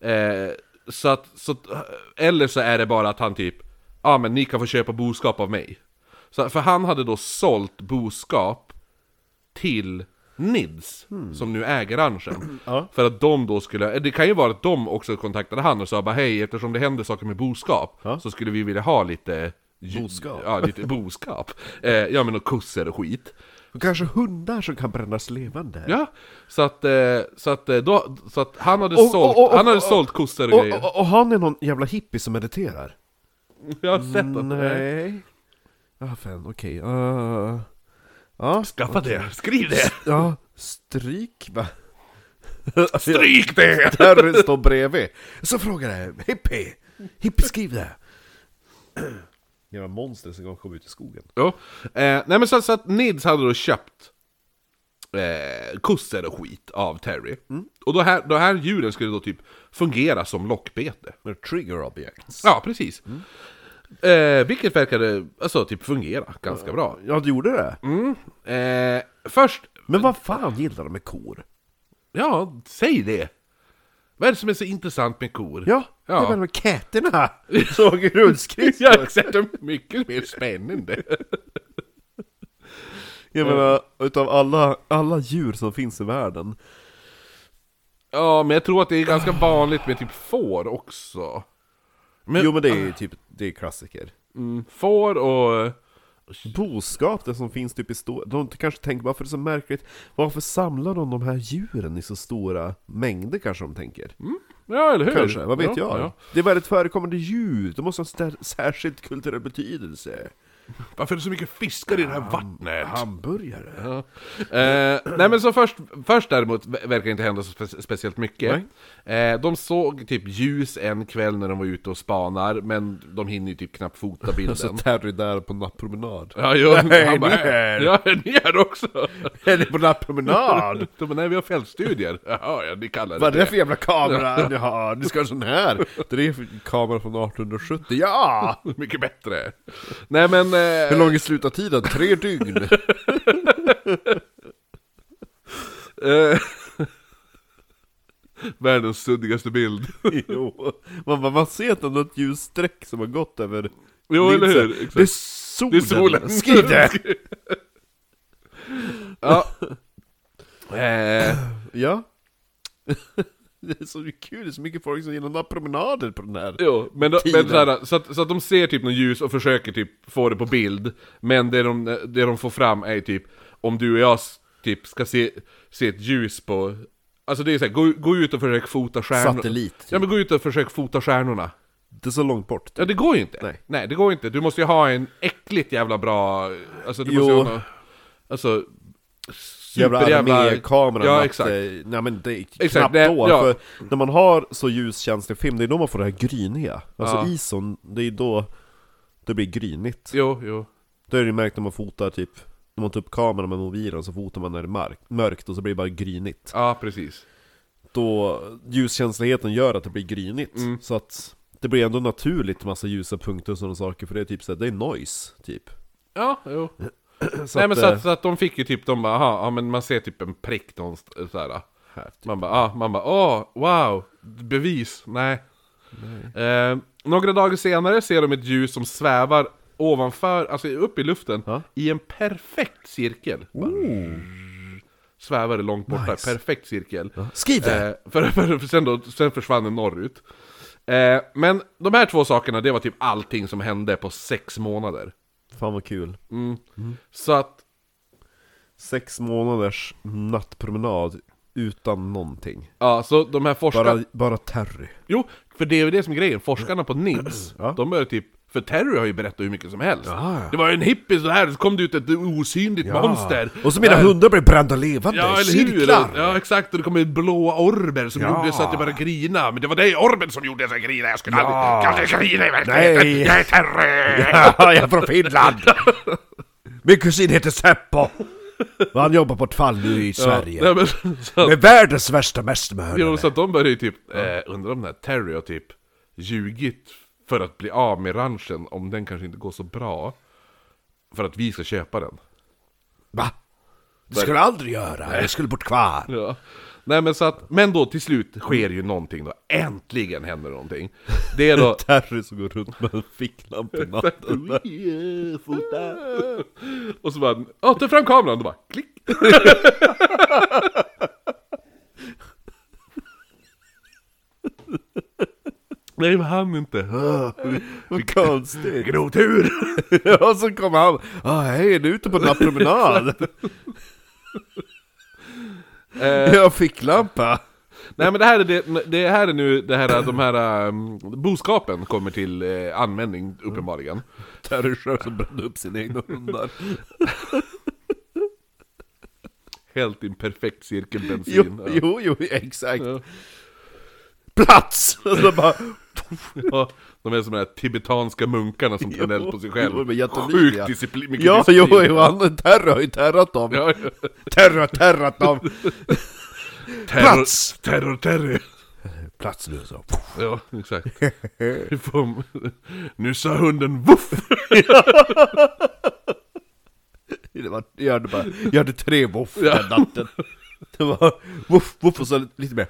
B: Eh, så att, så, att- eh, eller så är det bara att han typ, ja ah, men ni kan få köpa boskap av mig. Så, för han hade då sålt boskap till Nids, som nu äger ranchen.
A: Hmm. Ja.
B: För att de då skulle, eh, det kan ju vara att de också kontaktade han och sa bara hej, eftersom det händer saker med boskap,
A: Ja.
B: så skulle vi vilja ha lite ju-
A: Boskap.
B: Ja, lite boskap. eh, ja men och kusser och skit.
A: Och kanske hundar som kan brännas levande.
B: Ja, så att, eh, så att, eh, då, så att han hade
A: Och-
B: sålt,
A: och- och-
B: han hade
A: och-
B: sålt kossor och,
A: Och,
B: grejer.
A: och, och han är någon jävla hippie som mediterar?
B: Jag har sett att
A: Nej. Ja, fan, okej. Ah. ja,
B: Skaffa det, skriv det!
A: ja, stryk va?
B: Stryk det!
A: Harry står bredvid. Så frågar jag, hippie, hippie skriv det. Jävla monster som kom ut i skogen.
B: Jo. Eh, nej men så, så att Nids hade då köpt eh, kossor och skit av Terry.
A: Mm.
B: Och de här, de här djuren skulle då typ fungera som lockbete.
A: Med trigger objects. Mm.
B: Ja, precis. Eh, vilket verkade, alltså typ fungera ganska bra.
A: Ja, du gjorde det?
B: Mm. Eh, först,
A: Men vad fan gillar de med kor?
B: ja, säg det! Vad är det som är så intressant med kor?
A: Ja,
B: Ja.
A: det var de här käterna som åker rullskridskor.
B: Ja, exakt, de är mycket mer spännande.
A: Jag menar, utav alla, alla djur som finns i världen.
B: Ja, men jag tror att det är ganska vanligt med typ får också. Men,
A: Jo men det är ju typ, det är klassiker.
B: mm, får och...
A: Boskap, det som finns typ i stora, de kanske tänker varför är det så märkligt? Varför samlar de de här djuren i så stora mängder kanske de tänker?
B: Ja, eller hur?
A: Kanske, vad vet
B: Mm. ja,
A: jag?
B: Ja.
A: Det är väldigt förekommande djur, de måste ha en stä- särskild kulturell betydelse.
B: Varför är det så mycket fiskar i det här
A: Mm,
B: vattnet?
A: Hamburgare?
B: Ja. Eh, nej men så först, först däremot ver- verkar inte hända så spe- speciellt mycket. Eh, de såg typ ljus en kväll när de var ute och spanar, men de hinner ju typ knappt fota
A: Och så
B: bilden.
A: Terry där på nattpromenad.
B: Ja, jo,
A: Nej,
B: han bara,
A: ni är-
B: ja, ni är också!
A: Eller på nattpromenad!
B: De bara, nej vi har fältstudier. Jaha, ja, ni kallar det
A: Vad är det
B: det.
A: för jävla kamera ni har? Ni ska ha en sån här! Det är för- kamera från 1870, ja!
B: Mycket bättre. Nej men...
A: Hur
B: Eh,
A: lång är slutartiden? Tre dygn?
B: eh, världens suddigaste bild.
A: Jo, man, bara, man ser att det är något ljusstreck som har gått över
B: Jo, eller
A: linsen.
B: hur? Exakt.
A: Det är solen!
B: Det är solen.
A: Skriv det!
B: ja. Eh,
A: Ja. Det är så kul, det är så mycket folk som gillar nattpromenader på den här.
B: jo, men, då, men
A: Tiden.
B: såhär, så, att, så att de ser typ något ljus och försöker typ få det på bild, men det de, det de får fram är typ om du och jag s- typ ska se, se ett ljus på... Alltså det är såhär, gå, gå ut och försök fota stjärnorna.
A: Satellit, typ.
B: Ja men gå ut och försök fota stjärnorna.
A: Det är så långt bort.
B: Ja det går ju inte.
A: Nej.
B: det går ju inte. Du måste ju ha en äckligt jävla bra... Alltså du
A: Jo.
B: måste ju ha... nå- Alltså...
A: Jävla
B: superjävla-
A: armékamera.
B: Ja
A: att,
B: exakt.
A: eh, Nej men det är
B: Exakt,
A: knappt
B: det-
A: då,
B: ja.
A: för när man har så ljuskänslig film, det är då man får det här gryniga. Alltså
B: Ja.
A: ison, det är då det blir grynigt.
B: Jo, jo.
A: Det har du märkt när man fotar typ, när man tar upp kameran med mobilen så fotar man när det är mark- mörkt och så blir det bara grynigt.
B: Ja precis.
A: då ljuskänsligheten gör att det blir grynigt.
B: Mm.
A: Så att det blir ändå naturligt massa ljusa punkter och sådana saker, för det är typ såhär, det är noise, typ.
B: Ja, jo.
A: Så
B: Nej men så
A: eh,
B: att, så att de fick ju typ, de bara, aha, ja men man ser typ en prick någonstans såhär.
A: Här, typ.
B: Man bara, ah, man bara, åh, wow, bevis, nej. Eh, några dagar senare ser de ett ljus som svävar ovanför, alltså upp i luften,
A: Ja.
B: i en perfekt cirkel.
A: Oh.
B: Svävar det långt borta,
A: Nice.
B: perfekt cirkel.
A: Skriv det!
B: Eh, för, för, för sen, då, sen försvann den norrut. Eh, men de här två sakerna, det var typ allting som hände på sex månader.
A: Fan vad kul.
B: Mm. Så att
A: Sex månaders nattpromenad utan någonting.
B: Ja, så de här forskarna...
A: Bara, bara Terry.
B: Jo, för det är ju det som är grejen. Forskarna på NIDS,
A: Ja.
B: de börjar typ... För Terry har ju berättat hur mycket som helst.
A: Ja, ja.
B: Det var en hippie så här, så kom det ut ett osynligt monster.
A: Och så mina
B: Där-
A: hundar blev brända levande!
B: Ja, eller hur?
A: Cirklar!
B: Ja, exakt. Och det kom ut blåa orber som
A: Ja.
B: gjorde så att jag började grina. Men det var dig orben som gjorde att jag grinade. Jag skulle
A: Ja.
B: aldrig... Kan grina i verkligheten?
A: Nej.
B: Jag är Terry!
A: Ja, jag är från Finland! Min kusin heter Seppo! Och han jobbar på ett fall nu i Sverige.
B: Nej, men, så att,
A: Med världens värsta mästermördare.
B: jo, så att de började ju typ... Eh, undrar om den här Terry har typ ljugit för att bli av med ranchen om den kanske inte går så bra. För att vi ska köpa den.
A: Va? Det skulle jag aldrig göra, jag skulle bort kvar.
B: Ja. Nej men så att, men då till slut sker ju någonting då, äntligen händer någonting. Det är då...
A: Terry som går runt med en ficklampa i natten.
B: och så bara, ja ta fram kameran, då bara klick. Nej men han inte.
A: Vad konstigt.
B: Grotur!
A: Och så kommer han, ah, hej, är du ute på nattpromenad? jag har ficklampa.
B: Nej men det här är, det, det här är nu det här, de här um, boskapen kommer till eh, användning uppenbarligen.
A: Terry Sjö som brände upp sina egna hundar.
B: Helt i en perfekt cirkel bensin.
A: Jo,
B: ja.
A: jo, jo, exakt.
B: Ja.
A: Plats! Och så bara,
B: Ja, de är som de här tibetanska munkarna som tar eld på sig
A: Jo,
B: själv.
A: men jättelika.
B: Sjukt disciplin, mycket
A: ja,
B: disciplin.
A: jo, jo, han, Terry har ju terrat dem.
B: Ja,
A: Terry har terrat dem. Plats!
B: Terror, terror!
A: Plats nu så.
B: Ja, exakt. Nu får- nu sa hunden voff!
A: Det var, jag, hade bara, jag hade tre voff
B: Ja.
A: den natten. Det var voff, voff och så lite mer.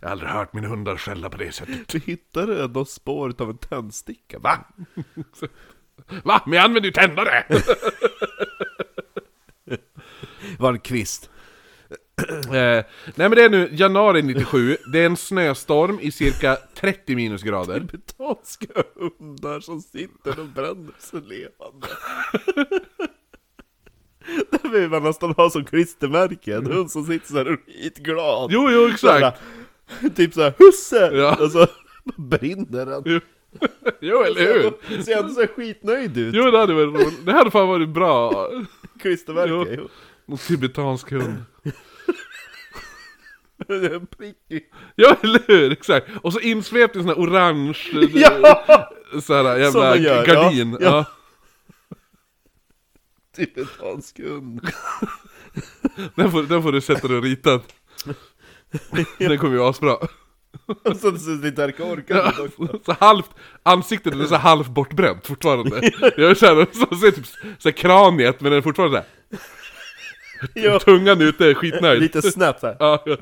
B: Jag har aldrig hört mina hundar skälla på det sättet.
A: Du hittade ändå spåret av en tändsticka, va?
B: Va? Men jag använder ju tändare!
A: Var en kvist.
B: Eh, nej men det är nu januari 97, det är en snöstorm i cirka 30 minusgrader.
A: Tibetanska hundar som sitter och bränner sig levande. Det vill man nästan ha som klistermärke, en hund som sitter såhär skitglad.
B: Jo, jo, exakt!
A: Såhär, typ såhär 'husse!'
B: Ja.
A: Och så brinner den.
B: Jo, eller hur?
A: Så ser ändå så här skitnöjd ut,
B: Jo, det hade varit roligt. Det hade fan varit bra.
A: klistermärke. Jo.
B: Någon tibetansk hund.
A: Det är en prick.
B: Ja, eller hur? Exakt! Och så insvept i sån här orange...
A: Ja!
B: Såhär jävla
A: Som man gör,
B: gardin.
A: ja.
B: Ja.
A: Ja. Typ Tibetansk hund.
B: Den, får, den får du sätta dig och rita. Den kommer ju asbra.
A: Och så sitter Terka orkar
B: Ja,
A: inte också.
B: så halvt, ansiktet är så halvt bortbränt fortfarande. Jag är såhär, så ser typ såhär kraniet men den är fortfarande
A: Ja.
B: såhär. Tungan ute är skitnöjd.
A: Lite snabbt såhär.
B: Ja, ja.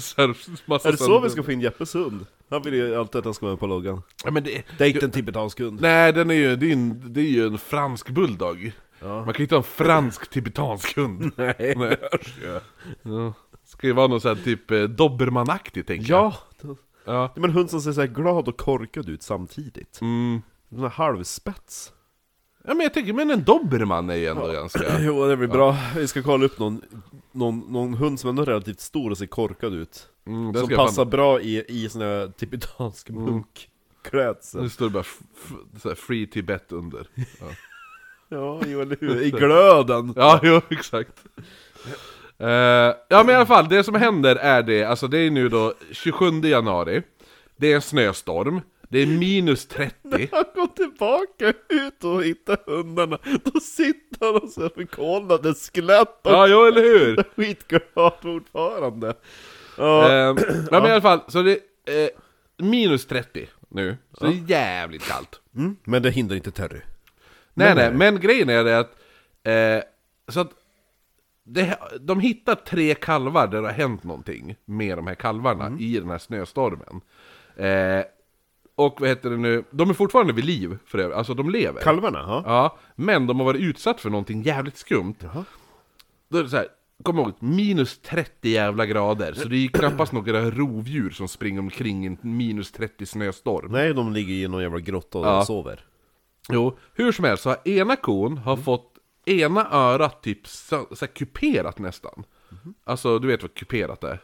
B: Så här, massa
A: Är det så
B: sönder-
A: vi ska få in Jeppes hund? Han vill ju alltid att han ska vara med på loggan. typ
B: ja, men det,
A: Det är inte en tibetansk hund.
B: Nej, den är ju, det, är ju en, det är ju en fransk bulldog. Man kan ju inte ha en fransk tibetansk hund.
A: Nej.
B: Nej. Ja. Ska ju vara någon sån här typ eh, dobermanaktig tänker jag.
A: Ja.
B: Ja.
A: Men en hund som ser så här glad och korkad ut samtidigt.
B: Mm.
A: Den har halvspets.
B: Ja men jag tänker, men en doberman är ju ändå ganska...
A: Jo, det blir bra. Vi ska kolla upp någon, någon, någon hund som ändå är relativt stor och ser korkad ut.
B: Mm, den
A: Som
B: ska jag fan- Mm.
A: passar bra i, i sån här tibetansk munkklädsel.
B: Nu står det bara f- f- så här, Free Tibet under. Ja,
A: Ja, jo eller hur. I glöden.
B: ja jo, exakt. Eh, ja men i alla fall, det som händer är det, alltså det är nu då 27 januari, det är en snöstorm, det är minus 30.
A: Han kom tillbaka ut och hittade hundarna. Då sitter han och så här förkolnade skelett och
B: Ja, jo eller hur?
A: skitglad fortfarande. Ja.
B: Eh, ja, men i alla fall, så det är eh, minus 30 nu, så det är jävligt kallt.
A: Mm, men det hindrar inte Terry.
B: Nej, nej, men grejen är det att... Eh, så att det, de hittar tre kalvar där det har hänt någonting med de här kalvarna i den här snöstormen. Eh, och vad heter det nu? De är fortfarande vid liv för övrigt, alltså de lever.
A: Kalvarna, ja.
B: ja, men de har varit utsatt för någonting jävligt skumt. Då är det så här, kom ihåg, minus 30 jävla grader, så det är ju knappast några rovdjur som springer omkring i en minus 30 snöstorm.
A: Nej, de ligger i någon jävla grotta och
B: Ja.
A: sover.
B: Jo, hur som helst så har ena kon
A: Mm.
B: har fått ena örat typ så, så här kuperat nästan.
A: Mhm.
B: Alltså du vet vad kuperat är?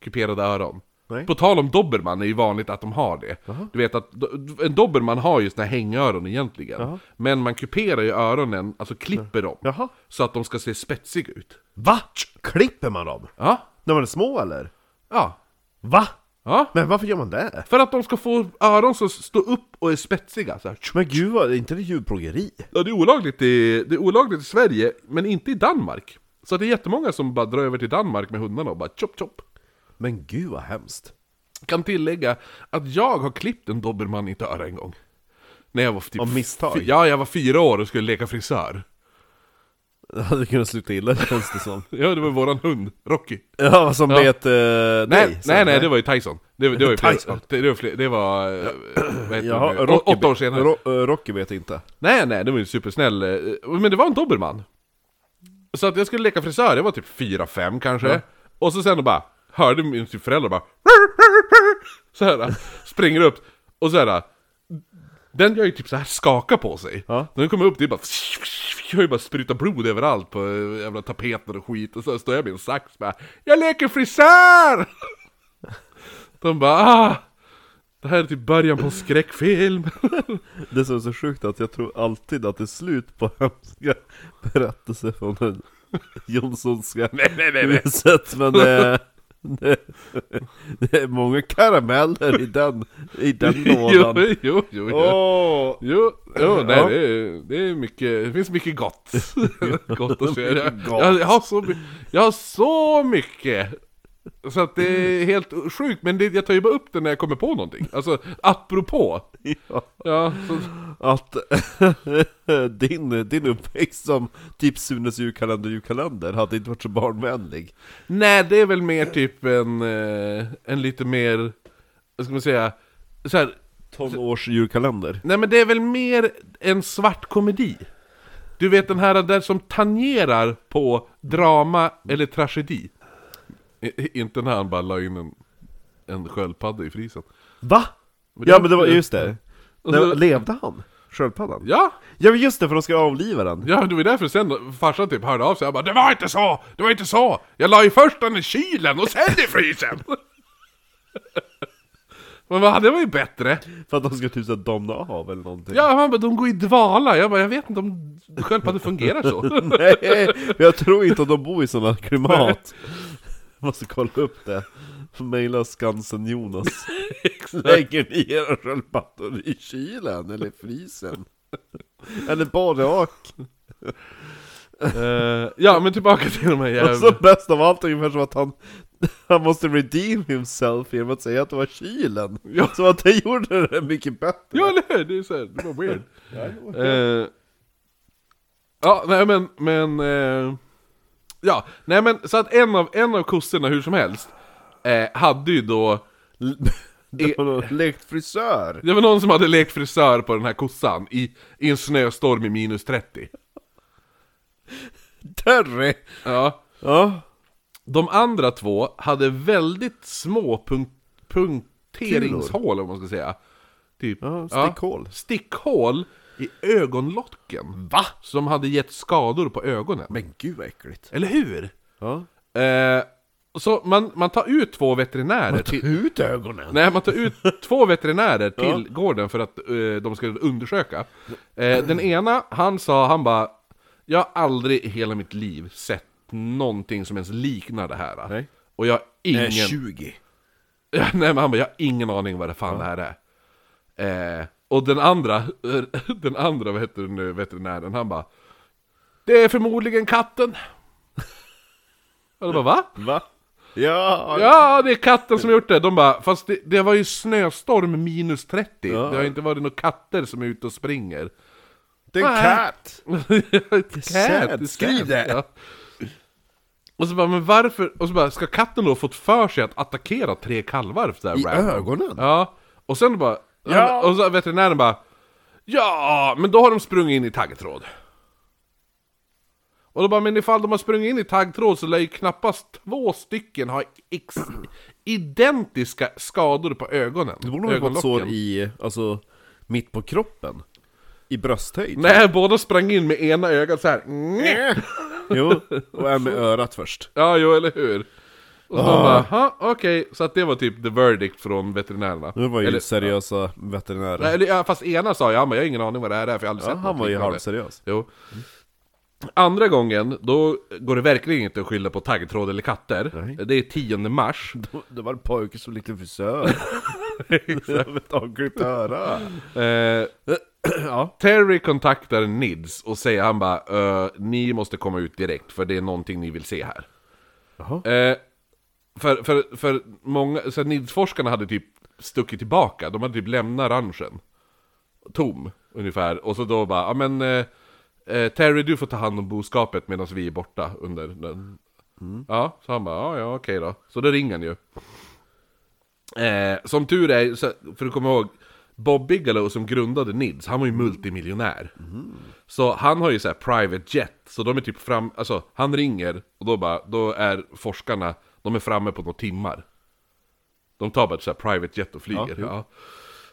B: Kuperade öron.
A: Nej.
B: På tal om doberman är ju vanligt att de har det. Du vet att do- en doberman har ju såna här hängöron egentligen. Men man kuperar ju öronen, alltså klipper dem.
A: Jaha.
B: Så att de ska se spetsiga ut.
A: Va? Klipper man dem?
B: Ja,
A: När man är små eller?
B: ja,
A: Va?
B: ja.
A: Men varför gör man det?
B: För att de ska få öron som står upp och är spetsiga. Så här.
A: Men gud, vad- är inte det djurplågeri?
B: Ja, det är olagligt i, det är olagligt i Sverige, men inte i Danmark. Så det är jättemånga som bara drar över till Danmark med hundarna och bara chop chop.
A: Men gud vad hemskt.
B: Kan tillägga att jag har klippt en dobermann i ett öra en gång. När jag var typ...
A: Av misstag?
B: fy- Ja, jag var fyra år och skulle leka frisör.
A: Det hade kunnat sluta illa känns det som.
B: Ja, det var våran hund, Rocky.
A: Ja, som
B: Ja.
A: bet eh,
B: Nej,
A: dig?
B: nej, nej, det var ju Tyson. Det, det var ju fler,
A: Tyson.
B: Det, det var, fler, det var eh, vad heter
A: Jaha,
B: Jaha,
A: Rocky
B: åtta år
A: bet-
B: senare.
A: Ro, eh, Rocky vet inte.
B: Nej, nej, det var ju en supersnäll, eh, men det var en dobermann. Så att jag skulle leka frisör, jag var typ 4-5 kanske. Och så sen bara, hörde min typ föräldrar bara så här, springer upp och så här. Den gör ju typ så här skaka på sig.
A: Ja.
B: När den kommer upp, det är bara jag har ju bara sprutat blod överallt på eh, jävla tapeter och skit. Och så står jag med en sax bara, jag leker frisör! De bara, ah! Det här är typ början på en skräckfilm.
A: Det som är så sjukt är att jag tror alltid att det är slut på hemska berättelser från den Jonssonska
B: nej, nej, nej.
A: huset men det, det, det är många karameller i den, i den
B: jo,
A: lådan.
B: jo, jo, jo.
A: Åh!
B: Jo, jo nej,
A: Ja.
B: det, är, det är mycket, det finns mycket gott. gott att säga. Jag,
A: Mycket gott.
B: jag, jag, har så, my- jag har så mycket! Så att det är helt sjukt, men det, jag tar ju bara upp det när jag kommer på någonting. Alltså, apropå.
A: Ja.
B: Ja, så,
A: Att din, din uppväxt som typ Sunes julkalender julkalender hade inte varit så barnvänlig.
B: nej, det är väl mer typ en, eh, en lite mer, vad ska man säga, så här,
A: Tonårs julkalender.
B: Nej men det är väl mer en svart komedi? Du vet den här där som tangerar på drama eller tragedi. I- i- Inte när han bara la in en, en sköldpadda i frysen.
A: Va?
B: Men
A: Ja
B: det-
A: men det var just det.
B: Och så-
A: Nej, levde han? Sköldpaddan?
B: Ja!
A: Ja men just det, för de ska avliva den.
B: Ja, det var därför sen då farsan typ hörde av sig han bara Det var inte så! Det var inte så! Jag la ju först den i kylen och sen i frysen! Men vad, det var ju bättre!
A: För att de ska typ så här domna av eller någonting.
B: Ja, han bara de går i dvala! Jag bara jag vet inte om sköldpaddor fungerar så.
A: Nej, jag tror inte att de bor i sådana klimat. Måste kolla upp det. Maila Skansen-Jonas. Lägger ni era sköldpaddor i kylen eller i frysen? Eller både och?
B: Eh, ja, men tillbaka till de här
A: Och så
B: jävla...
A: Alltså, bäst av allt ungefär som att han, han måste redeem himself genom att säga att det var kylen.
B: Ja.
A: Så att det gjorde det mycket bättre.
B: Ja, eller hur? Det är så här, det var weird. Eh, ja, nej men, men... eh, ja, nej men så att en av, en av kossorna hur som helst eh, hade ju då...
A: Det var nog lekt frisör.
B: Det var någon som hade lekt frisör på den här kossan i, i en snöstorm i minus 30.
A: Terry!
B: Ja.
A: Ja.
B: De andra två hade väldigt små punk punkteringshål om man ska säga. Typ,
A: Ja, stickhål.
B: Stickhål i ögonlocken. Va? Som hade gett skador på ögonen.
A: Men gud vad äckligt.
B: Eller hur?
A: Ja.
B: Eh, så man, man tar ut två veterinärer till...
A: Ut ögonen!
B: Nej, man tar ut två veterinärer till gården för att eh, de ska undersöka. Eh, den ena, han sa, han bara Jag har aldrig i hela mitt liv sett någonting som ens liknar det här.
A: Nej.
B: Och jag har ingen...
A: Nej, 20.
B: Ja, nej men han bara, jag har ingen aning vad det fan det här är. Eh, och den andra, den andra vad heter det nu, veterinären, han bara Det är förmodligen katten. Och de bara va?
A: Va? Ja!
B: Ja, det är katten som har gjort det. De bara, fast det, det var ju snöstorm minus 30. Det har inte varit några katter som är ute och springer.
A: Det är en
B: Nej.
A: katt!
B: Cat,
A: Cat, skriv det.
B: Ja. Och så bara, men varför? Och så bara, ska katten då ha fått för sig att attackera tre kalvar? Så där,
A: I
B: random?
A: ögonen?
B: Ja, och sen bara... Ja. Och så veterinären bara... Ja, men då har de sprungit in i taggtråd. Och då bara, men ifall de har sprungit in i taggtråd så lär ju knappast två stycken ha ex- identiska skador på ögonen.
A: Det borde ha fått
B: ögonlocken.
A: sår i, alltså, mitt på kroppen. I brösthöjd.
B: Nej, båda sprang in med ena ögat så här.
A: Eh.
B: "Nä."
A: Jo, och en med örat först.
B: Ja, jo, eller hur? Och så
A: Ah.
B: bara, "Ha, okej, så att det var typ the verdict från veterinärerna.
A: Det var ju
B: eller,
A: seriösa veterinärer.
B: Nej, eller, ja, fast ena sa jag, han bara, jag har ingen aning vad det här är för jag har aldrig
A: ja,
B: sett
A: han
B: något
A: var ju
B: liknande."
A: halvseriös. Mm.
B: Jo. Andra gången, då går det verkligen inte att skylla på taggtråd eller katter. Det är 10 mars.
A: Det var en pojke som lekte frisör. Med ett avklippt öra.
B: Eh, Terry kontaktar Nids och säger han bara "Eh, Ni måste komma ut direkt för det är någonting ni vill se här.
A: Jaha.
B: Eh, för, för, för många, så här, Nids-forskarna hade typ stuckit tillbaka. De hade typ lämnat ranchen. Tom. Ungefär, och så då bara, ja men eh, eh, Terry du får ta hand om boskapet medan vi är borta under den Ja, så han bara, ja ja okej då Så då ringer han ju eh, Som tur är, så- för du kommer ihåg Bob Bigelow som grundade NIDS, han var ju multimiljonär Så han har ju så här private jet, så de är typ fram, alltså han ringer och då bara, då är forskarna, de är framme på några timmar De tar bara ett så här private jet och flyger,
A: jo.
B: ja,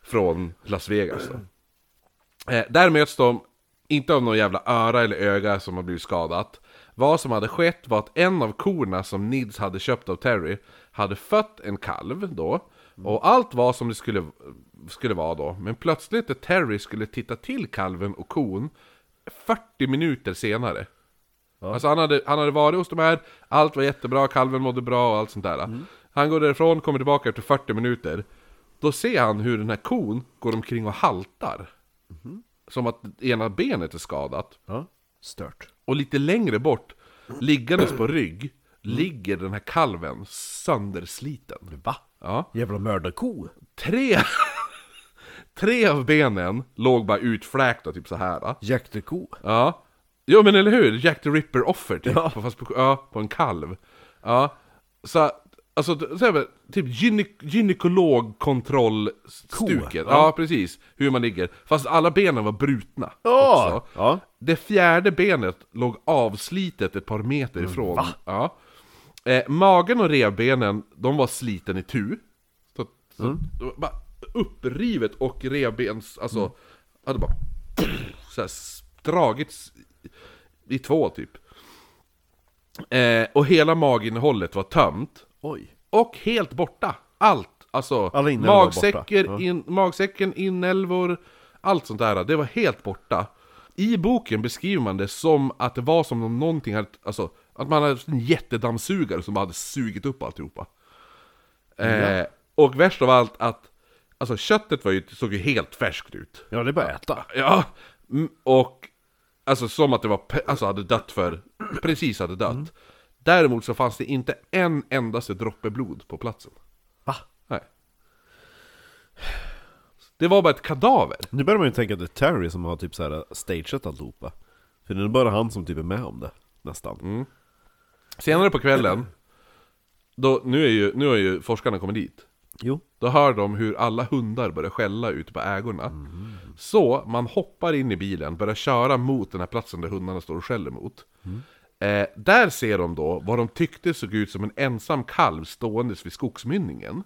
B: Från Las Vegas då. Eh, där möts de, inte av någon jävla öra eller öga som har blivit skadat. Vad som hade skett var att en av korna som Nids hade köpt av Terry hade fött en kalv då. Och allt var som det skulle, skulle vara då. Men plötsligt när Terry skulle titta till kalven och kon 40 minuter senare. Alltså han hade, han hade varit hos de här, allt var jättebra, kalven mådde bra och allt sånt där. Han går därifrån, kommer tillbaka efter 40 minuter. Då ser han hur den här kon går omkring och haltar. Som att ena benet är skadat.
A: Ja. Stört.
B: Och lite längre bort, liggandes på rygg, ligger den här kalven söndersliten.
A: Va?
B: Ja.
A: Jävla mördarko.
B: Tre... Tre av benen låg bara utfläkta, typ så här.
A: Jäkterko.
B: Ja. Jo men eller hur? Jack the Ripper-offer typ.
A: Ja.
B: På, fast på, ja, på en kalv. Ja. Så, alltså, så här, med, typ gyne- gynekologkontrollstuket. Ja. ja, precis. Hur man ligger. Fast alla benen var brutna
A: Ja.
B: också.
A: Ja.
B: Det fjärde benet låg avslitet ett par meter ifrån. Ja. Eh, magen och revbenen, de var sliten i tu. Så, så,
A: Mm.
B: det var bara upprivet och revbens, alltså,
A: Mm.
B: hade bara så här, s- dragits i två typ. Eh, och hela maginnehållet var tömt.
A: Oj.
B: Och helt borta! Allt! Alltså,
A: Alla inälvor var
B: magsäcker,
A: borta.
B: in, magsäcken, inälvor, allt sånt där, det var helt borta. I boken beskriver man det som att det var som om någonting hade, alltså, att man hade en jättedammsugare som hade sugit upp alltihopa. Eh, och värst av allt att, alltså köttet var ju, såg ju helt färskt ut.
A: Ja, det är bara att äta.
B: Ja, mm, och alltså som att det var, pe- alltså hade dött för, precis hade dött. Däremot så fanns det inte en endaste droppe blod på platsen.
A: Va?
B: Nej. Det var bara ett kadaver.
A: Nu börjar man ju tänka att det är Terry som har typ så här stageat allihopa. För det är bara han som typ är med om det. Nästan.
B: Senare på kvällen, då, nu, är ju, nu har ju forskarna kommit dit.
A: Jo.
B: Då hör de hur alla hundar börjar skälla ute på ägorna. Så man hoppar in i bilen, börjar köra mot den här platsen där hundarna står och skäller mot. Eh, där ser de då vad de tyckte såg ut som en ensam kalv ståendes vid skogsmynningen.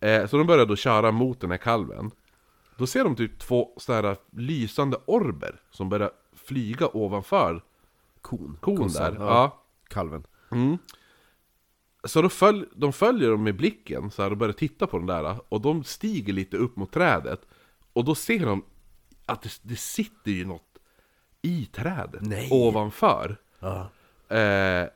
B: Eh, så de börjar då köra mot den här kalven. Då ser de typ två sådana här lysande orber som börjar flyga ovanför
A: Kon.
B: kon
A: Kossan,
B: där. Ja.
A: Kalven.
B: Så då följ, de följer dem med blicken så här, och börjar titta på den där och de stiger lite upp mot trädet och då ser de att det, det sitter ju något i trädet
A: Nej.
B: ovanför.
A: Ja.
B: Eh,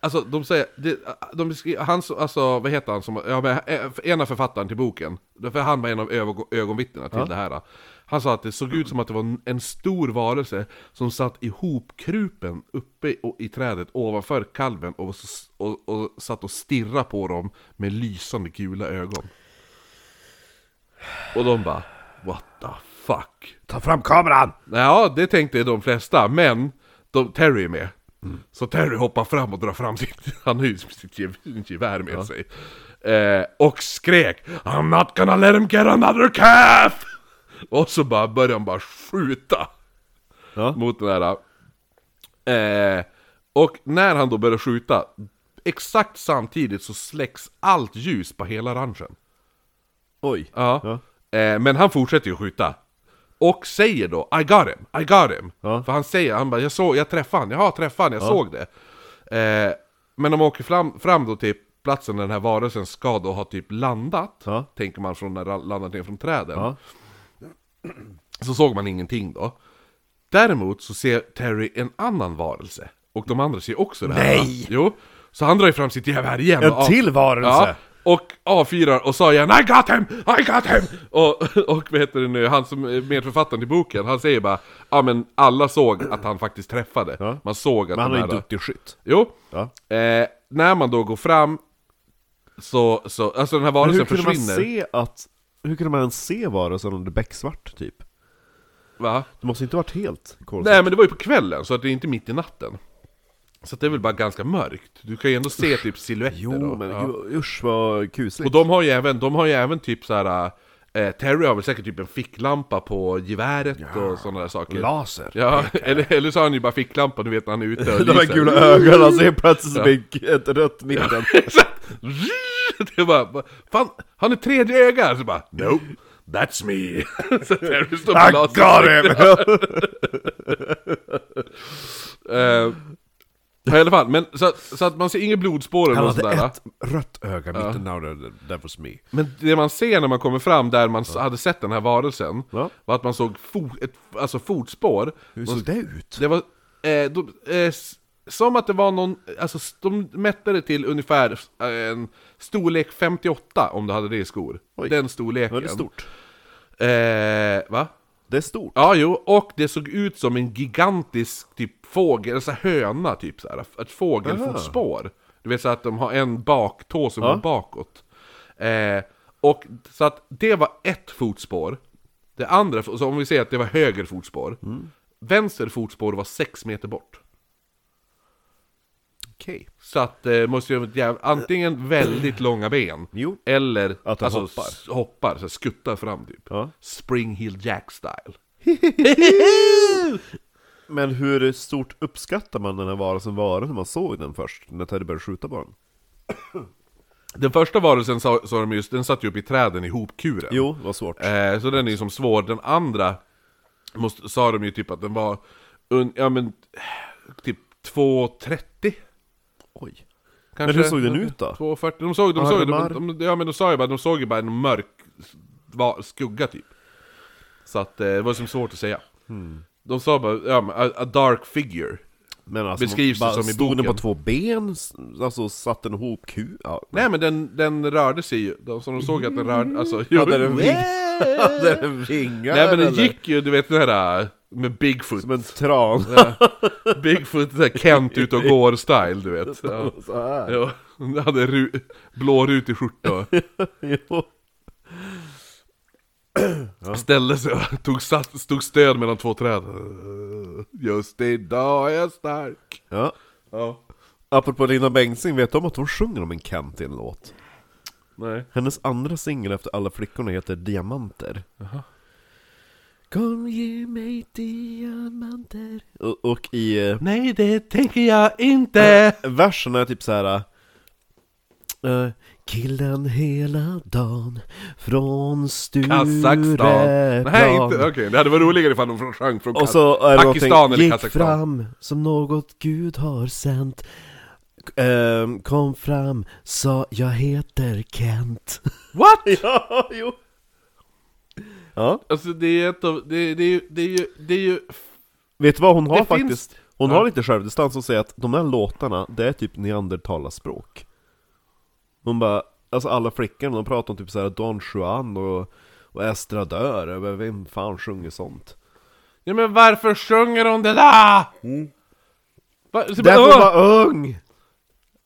B: alltså de säger, det, de beskriver, han, så- alltså vad heter han som, ja, men, eh, ena författaren till boken, för han var en av ögon, ögonvittnena till det här. Han sa att det såg ut som att det var en- en stor varelse som satt ihopkrupen uppe i, och, i trädet ovanför kalven och, s- och, och satt och stirrade på dem med lysande gula ögon. Och de bara, what the fuck?
A: Ta fram kameran!
B: Ja, det tänkte de flesta, men de, Terry är med. Så Terry hoppar fram och drar fram sitt, han har ju sitt gev- gevär med sig. Eh, och skrek I'm not gonna let him get another calf! Och så bara började han bara skjuta
A: Ja.
B: mot den där. Eh, och när han då börjar skjuta, exakt samtidigt så släcks allt ljus på hela ranchen.
A: Oj.
B: Ja.
A: Ja.
B: Eh, men han fortsätter ju att skjuta. Och säger då I got him, I got him.
A: Ja.
B: För han säger, han bara jag, såg, jag träffade han, jaha träffade han, jag såg det. Eh, men de åker fram, fram då till platsen där den här varelsen ska då ha typ landat.
A: Ja.
B: Tänker man från när den landat ner från träden.
A: Ja.
B: Så såg man ingenting då. Däremot så ser Terry en annan varelse. Och de andra ser också det här.
A: Nej!
B: va? Jo. Så han drar ju fram sitt gevär igen.
A: En
B: och av-
A: till varelse!
B: Ja, och avfyrar och sa igen I got him! I got him! Och, och vad heter det nu, han som är medförfattaren till boken, han säger bara Ja men alla såg att han faktiskt träffade.
A: Ja.
B: Man såg att
A: Men han
B: de
A: är ju
B: här-
A: duktig skytt.
B: Jo.
A: Ja.
B: Eh, när man då går fram så, så alltså den här
A: Men
B: varelsen
A: hur kunde man
B: försvinner.
A: se att... Hur kunde man ens se varelsen om det är becksvart typ?
B: Va?
A: Det måste inte varit helt kolsvart.
B: Nej men det var ju på kvällen, så att det är inte mitt i natten. Så att det är väl bara ganska mörkt. Du kan ju ändå se typ silhuetter
A: Jo
B: då.
A: men
B: Ja.
A: gud, usch vad kusligt.
B: Och de har ju även, de har ju även typ så här. Eh, Terry har väl säkert typ en ficklampa på geväret och sådana där saker.
A: Laser.
B: Ja, eller, eller så har han ju bara ficklampa, du vet när han är ute och
A: De här
B: lyser.
A: gula ögonen, alltså helt plötsligt så blir ett rött mitten.
B: Exakt! Det bara, bara, fan, han är tredje öga! Så bara, nope, that's me! Så Terry står
A: I
B: på
A: got
B: laser.
A: him!
B: Eh, ja, I alla fall, men så, så att man ser inget blodspår eller
A: Han
B: något
A: hade
B: sådär.
A: ett rött öga mitten, now that, that was me.
B: Men det man ser när man kommer fram där man s- hade sett den här varelsen,
A: Ja.
B: var att man såg fo- ett, alltså fotspår.
A: Hur
B: De-
A: såg det ut?
B: Det var... Eh, de, eh, s- som att det var någon... Alltså s- de mätte det till ungefär eh, en storlek 58 om du hade det i skor.
A: Oj.
B: Den storleken.
A: Väldigt stort.
B: Eh, va?
A: Det är stort.
B: Ja, jo, och det såg ut som en gigantisk typ fågel, alltså höna typ så här, ett fågelfotspår. Du vet så att de har en baktå som går bakåt. Eh, och så att det var ett fotspår. Det andra, så om vi säger att det var höger fotspår.
A: Mm.
B: Vänster fotspår var sex meter bort.
A: Okej.
B: Så att eh, måste ju ha ett jäv- antingen väldigt långa ben.
A: Jo.
B: Eller
A: Att de
B: alltså,
A: hoppar.
B: s- hoppar så här, skuttar fram typ.
A: Ja.
B: Spring Hill Jack style.
A: Men hur stort uppskattar man den här varelsen vara när man såg den först? När Teddy började skjuta på den?
B: Den första varelsen sa, sa de just, den satt ju upp i träden i hopkuren.
A: Jo, det var svårt.
B: Eh, så den är ju som svår. Den andra måste, sa de ju typ att den var, un, ja men, eh, typ 2,30
A: Oj.
B: kanske.
A: hur såg den ut då?
B: 2,40. De såg, de såg, de,
A: Armar?
B: de, ja men de sa ju bara, de såg ju bara en mörk va, skugga typ. Så att eh, det var som svårt att säga.
A: Hmm.
B: De sa bara, ja men, a, a dark figure.
A: Men alltså,
B: Beskrivs det
A: bara
B: som i
A: stod den
B: boken?
A: på två ben? S- Alltså satt den ihop ku? Ja.
B: Nej men den, den rörde sig ju, de, som de såg att den rörde, alltså gjorde
A: Mm. Hade den ving- Hade den vingar?
B: Nej men den
A: eller?
B: gick ju, du vet den här äh, med Bigfoot,
A: Som en tran.
B: Bigfoot såhär Kent ut och går style du vet ja.
A: Så här.
B: Ja, den hade ru- blå rutig skjorta
A: Jo.
B: och ställde sig och tog, satt, stod stöd mellan två träd Just idag är jag stark
A: Ja.
B: Ja,
A: Apropå Lina Bengtzing, vet du om att hon sjunger om en Kent i en låt?
B: nej
A: Hennes andra singel efter Alla flickorna heter Diamanter. Kom ge mig diamanter. Och, och i eh,
B: Nej det tänker jag inte!
A: versen är typ så här. eh, killen hela dagen från
B: Kazakstan!
A: Stureplan.
B: Nej inte, okej det hade varit roligare ifall de sjöng från
A: Och
B: Kaz-
A: så är det
B: Pakistan
A: någonting,
B: eller
A: gick
B: Kazakstan
A: fram som något Gud har sänt Ehm, Kom fram, sa jag heter Kent
B: What?
A: Ja, jo Ja,
B: Alltså det är ett av, det, det, är ju- det är ju, det är ju
A: vet du vad hon har
B: Det finns-
A: faktiskt? Hon
B: Ja.
A: har lite självdistans och säger att de där låtarna, det är typ neandertalarspråk Hon bara, alltså alla flickorna, de pratar om typ såhär Don Juan och, och Estradör, Jag bara, vem fan sjunger sånt?
B: Ja men varför sjunger hon det där? Va, så bara,
A: Mm. Därför hon
B: "Åh!"
A: var ung!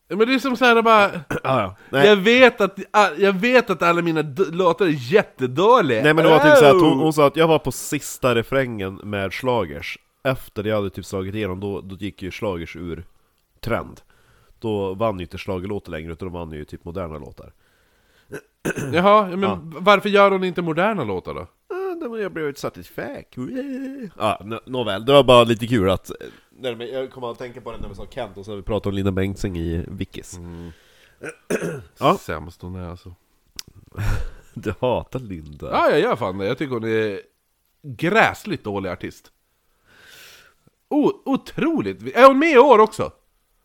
B: Ja, Men det är som såhär bara...
A: Ah, ja. Nej.
B: Jag vet, att, ah, jag vet att alla mina d- låtar är jättedåliga!
A: Nej men det var typ så att
B: Oh!
A: hon, hon sa att jag var på sista refrängen med slagers Efter jag hade typ slagit igenom, då, då gick ju slagers ur trend Då vann ju inte schlagerlåtar längre, utan då vann ju typ moderna låtar
B: Jaha, ja, men varför gör hon inte moderna låtar då?
A: Men Ah, jag blev ett satisfack Ja, nå- nåväl, det var bara lite kul att Nej, men jag kommer att tänka på det när vi sa Kent och så har vi pratat om Linda Bengtzing i Vickis
B: Mm.
A: Ja.
B: Sämst hon är alltså.
A: Du hatar Linda
B: Ja, jag gör fan det. Jag tycker hon är gräsligt dålig artist. O- otroligt! Är hon med i år också?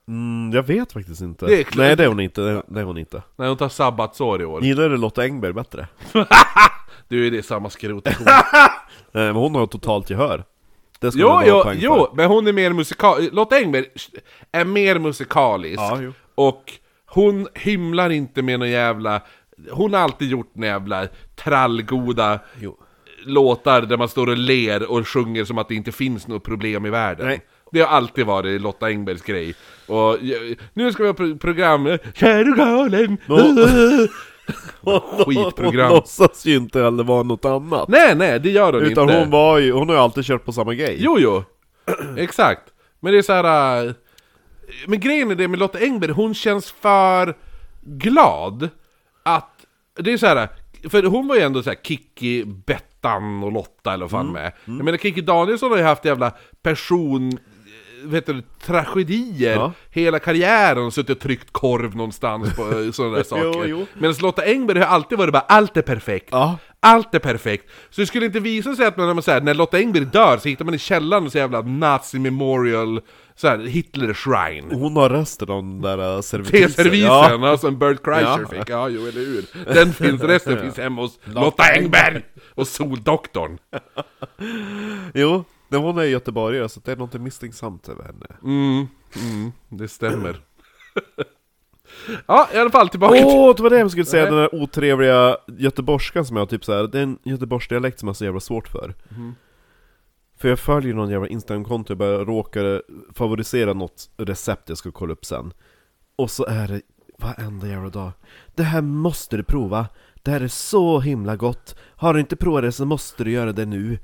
A: mm, Jag vet faktiskt inte
B: Det är klart.
A: Nej det är hon inte, det är- det är hon inte
B: Nej, hon tar sabbatsår i år.
A: Gillar du Lotta Engberg bättre?
B: Du, det är samma skrot.
A: Nej, Eh, men hon har totalt gehör. Det ska
B: Jo,
A: man
B: jo,
A: ha poäng
B: jo,
A: för.
B: men hon är mer musikal... Lotta Engberg är mer musikalisk.
A: Ja, jo.
B: Och hon hymlar inte med någon jävla... Hon har alltid gjort några jävla trallgoda
A: Jo.
B: låtar där man står och ler och sjunger som att det inte finns något problem i världen.
A: Nej.
B: Det har alltid varit Lotta Engbergs grej. Och eh, nu ska vi ha pro program... Kär och galen!
A: Nå-
B: Skitprogram.
A: Hon låtsas ju inte heller vara något annat.
B: Nej, nej, det gör hon
A: Utan
B: inte.
A: hon var ju, hon har ju alltid kört på samma grej.
B: Jo, jo. Exakt. Men det är så här. äh, Men grejen är det med Lotta Engberg, hon känns för glad att... Det är så här. För hon var ju ändå så här Kikki, Bettan och Lotta eller vad
A: Mm,
B: fan med. Jag menar Kikki Danielsson har ju haft jävla person... äh, Vet du, tragedier
A: Ja.
B: hela karriären och suttit och tryckt korv någonstans på äh, sådana där saker.
A: jo.
B: Medan Lotta Engberg har alltid varit bara allt är perfekt.
A: Ja.
B: Allt är perfekt. Så det skulle inte visa sig att man, när, man, så här, när Lotta Engberg dör så hittar man i källaren och så jävla nazi memorial, så här, Hitler shrine.
A: Hon har resten av den där äh, servitrisen.
B: T-servisen, ja. som alltså Bert Kreischer
A: Ja.
B: fick. Ja, jo, eller hur. Den finns, resten finns hemma hos Lotta Engberg och Soldoktorn.
A: Jo, men hon är göteborgare så det är något misstänksamt över henne.
B: Det stämmer. Ja, i alla fall tillbaka till...
A: Åh, det var det jag skulle säga,
B: Nej.
A: den där otrevliga göteborgskan som jag har typ så här. det är en göteborgsdialekt som jag har så jävla svårt för.
B: Mhm.
A: För jag följer någon jävla Instagramkonto, jag bara råkar favorisera något recept jag ska kolla upp sen. Och så är det varenda jävla dag. Det här måste du prova! Det här är så himla gott! Har du inte provat det så måste du göra det nu!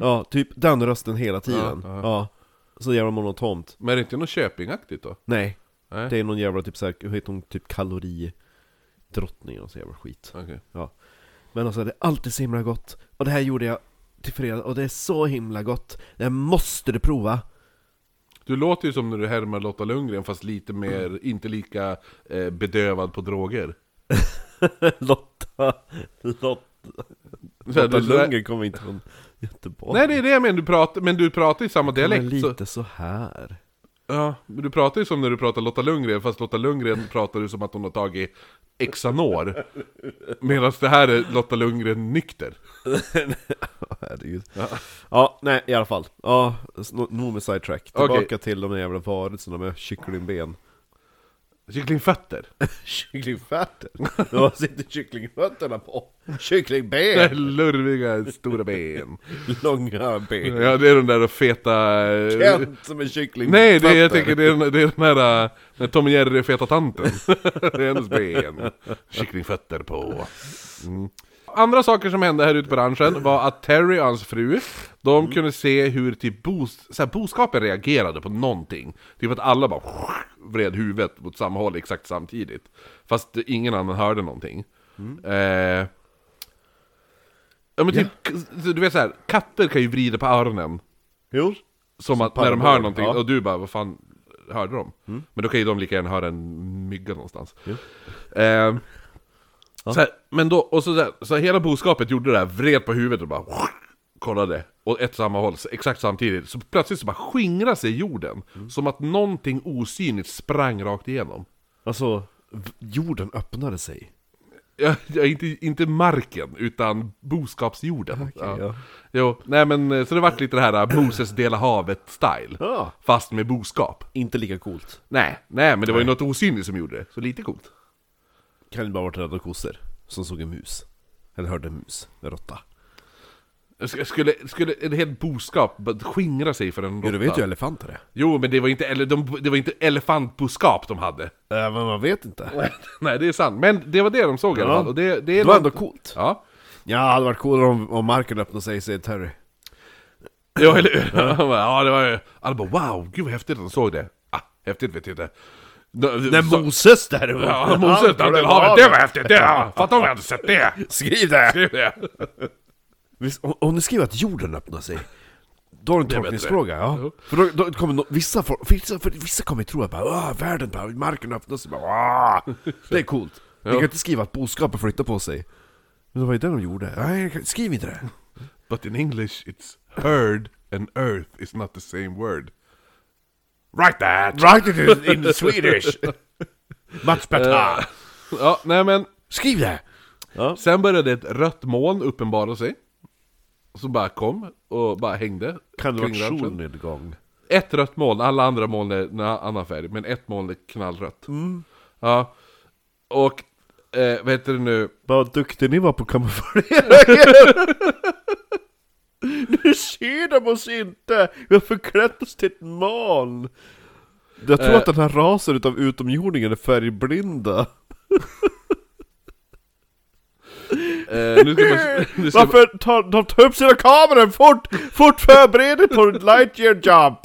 A: Ja, typ den rösten hela tiden.
B: Mhm. Ja,
A: Ja,
B: ja.
A: Så jävla monotont.
B: Men är det inte något Köpingaktigt då?
A: Nej.
B: Nej.
A: Det är någon jävla typ såhär, hur heter hon, typ kaloridrottning och så jävla skit.
B: Okej.
A: Ja. Men alltså det är alltid så himla gott. Och det här gjorde jag till fredag och det är så himla gott. Det här måste du prova!
B: Du låter ju som när du härmar Lotta Lundgren fast lite mer, inte lika eh, bedövad på droger.
A: Lotta, Lotta,
B: Så här,
A: Lotta
B: du- så här-
A: Lundgren kommer inte från Göteborg.
B: Nej det är det jag menar, du pratar, men du pratar ju samma
A: Hon är
B: dialekt så,
A: lite så här.
B: ja, men Du pratar ju som när du pratar Lotta Lundgren, fast Lotta Lundgren pratar du som att hon har tagit Xanor Medan det här är Lotta Lundgren nykter
A: Herregud. Ja. ja, nej i alla fall. Ja, s- no- nog med sidetrack.
B: Okej.
A: Tillbaka till de där jävla varelserna med kycklingben.
B: Kycklingfötter!
A: Kycklingfötter? Vad sitter kycklingfötterna på?
B: Det här
A: Kycklingben!
B: Lurviga, stora ben
A: Långa ben.
B: Ja det är de där feta... eh,
A: Kent som en kyckling
B: Nej, det är, jag tänker det är, den- det är den här, äh, när Tom och Jerry är feta tanten. det är hennes ben. Kycklingfötter på. Mm. Andra saker som hände här ute på ranchen var att Terry och hans fru, de kunde se hur typ bos, så här, boskapen reagerade på någonting. Typ att alla bara vred huvudet mot samma håll exakt samtidigt. Fast ingen annan hörde någonting. Eh, ja men typ, du vet så här, katter kan ju vrida på öronen.
A: Jo,
B: Som att när de
A: palmblad,
B: hör någonting,
A: ja. Mm.
B: och du bara vad fan hörde de? Men då kan ju de lika gärna höra en mygga någonstans. Ehm, så här, men då, och så, där, så här, hela boskapet gjorde det här, vred på huvudet och bara kollade. Och ett samma håll, så exakt samtidigt. Så plötsligt så bara skingrade sig jorden.
A: Mm.
B: Som att någonting osynligt sprang rakt igenom.
A: alltså v- jorden öppnade sig
B: Ja, ja, inte, inte marken, utan boskapsjorden.
A: ja.
B: Jo, nej men eh, så det vart lite det här eh, Moses dela havet-style.
A: Ja.
B: Fast med boskap.
A: Inte lika coolt
B: Nej, nej men det var ju något osynligt som gjorde det, så lite coolt.
A: Kan det bara varit rädda kossor som såg en mus Eller hörde en mus, en råtta
B: Sk- Skulle, skulle en helt boskap bara skingra sig för en råtta?
A: Jo du vet ju elefanter det
B: Jo, men det var inte, ele, de, det var inte elefantboskap de hade.
A: äh, Men man vet inte
B: nej, det är sant. Men det var det de såg i alla
A: Ja.
B: fall. Och det, det, är
A: Det var
B: något-
A: ändå coolt
B: Ja.
A: Ja, det hade varit coolare om, om marken öppnade sig, säger Terry
B: Jo, eller hur? ja, det var ju... Alla bara wow, gud vad häftigt att de såg det. Ah, häftigt vet jag inte. eh,
A: Nej, Moses däremot!
B: Ja, Moses
A: Han
B: där till
A: blev
B: havet,
A: av
B: det var häftigt! Det, ja. Fatta om vi hade sett det!
A: Skriv det!
B: Skriv det!
A: Visst, om- Om ni skriver att jorden öppnar sig då har du
B: är
A: en
B: bättre.
A: tolkningsfråga, ja.
B: Jo.
A: För då, då kommer no- vissa, folk- vissa, för vissa kommer tro att bara, "Åh, världen bara, marken öppnas, bara, "Åh." det är coolt. Ni kan inte skriva att boskapen flyttar på sig. Men det var ju det de gjorde. Nej, jag kan- skriv inte det.
B: But in English it's heard and earth is not the same word. Right that!
A: Write it in Swedish! Much better!
B: Ja, nej men.
A: Skriv det!
B: Sen började ett rött moln uppenbara sig. Som bara kom och bara hängde.
A: Kan det vara
B: kring ranchen.
A: solnedgång?
B: Ett rött moln, alla andra moln är en annan färg, men ett moln är knallrött.
A: Mm.
B: Ja. Och, eh, vad heter det nu?
A: Vad duktig ni var på att kamouflera Nu ser de oss inte! Vi har förklätt oss till ett moln! Jag tror
B: Eh.
A: att den här rasen utav utomjordingar är färgblinda
B: Eh, nu ska man, nu ska man,
A: Varför tar de tar upp sina kameror fort? Fort förbered er på Lightyear Jump!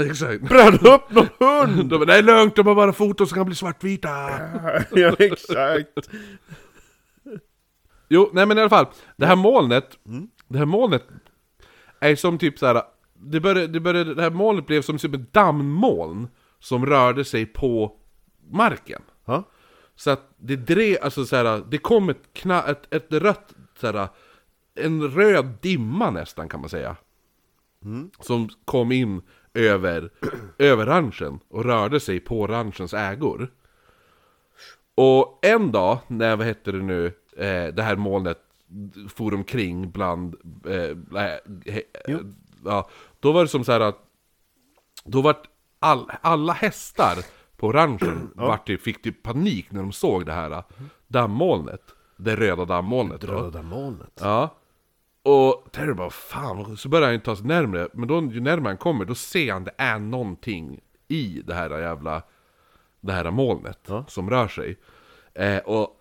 B: exakt.
A: Bränn upp någon hund!
B: De bara, det är lugnt, de har bara foton som kan bli svartvita.
A: ja, exakt.
B: Jo, nej men i alla fall. Det här molnet, det här molnet är som typ så här. Det, började, det, började, det här molnet blev som typ ett dammmoln som rörde sig på marken.
A: Ja.
B: Så att det drev, alltså så här, det kom ett, kna, ett, ett rött, så här, en röd dimma nästan kan man säga. Som kom in över, över ranchen och rörde sig på ranchens ägor. Och en dag, när vad heter det nu, eh, det här molnet for omkring bland, eh, nej, he, ja, då var det som så här att, då vart all, alla hästar på ranchen vart typ, fick typ panik när de såg det här eh, dammolnet. Det röda dammolnet då.
A: Röda molnet.
B: Ja. Och Terry bara fan, så börjar han ju ta sig närmre. Men då, ju närmare han kommer, då ser han det är någonting i det här jävla, det här molnet
A: Ja.
B: som rör sig. Eh, och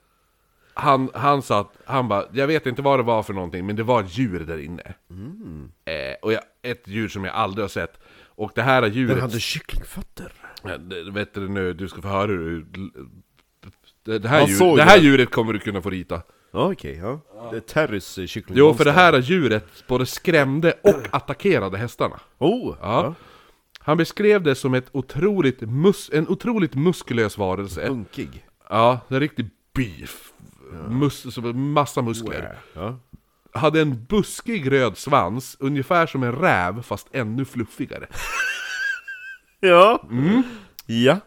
B: han, han sa att, han bara, jag vet inte vad det var för någonting, men det var ett djur där inne.
A: Mm.
B: Eh, och jag, ett djur som jag aldrig har sett. Och det här
A: Den
B: djuret
A: hade kycklingfötter.
B: Ja, det- Vet du nu, du ska få höra hur... Det, det, här,
A: Han
B: djur,
A: såg
B: det här
A: det.
B: djuret kommer du kunna få rita.
A: Ja, okej. ja. Det är Terrys eh, kycklingmonster.
B: Jo, för det här djuret både skrämde och attackerade hästarna.
A: Oh!
B: Ja. Han beskrev det som ett otroligt mus- en otroligt muskulös varelse.
A: Punkig.
B: Ja, en riktig beef. Mus- som en massa muskler.
A: Ja.
B: Hade en buskig röd svans, ungefär som en räv fast ännu fluffigare.
A: Ja. Mm. Ja.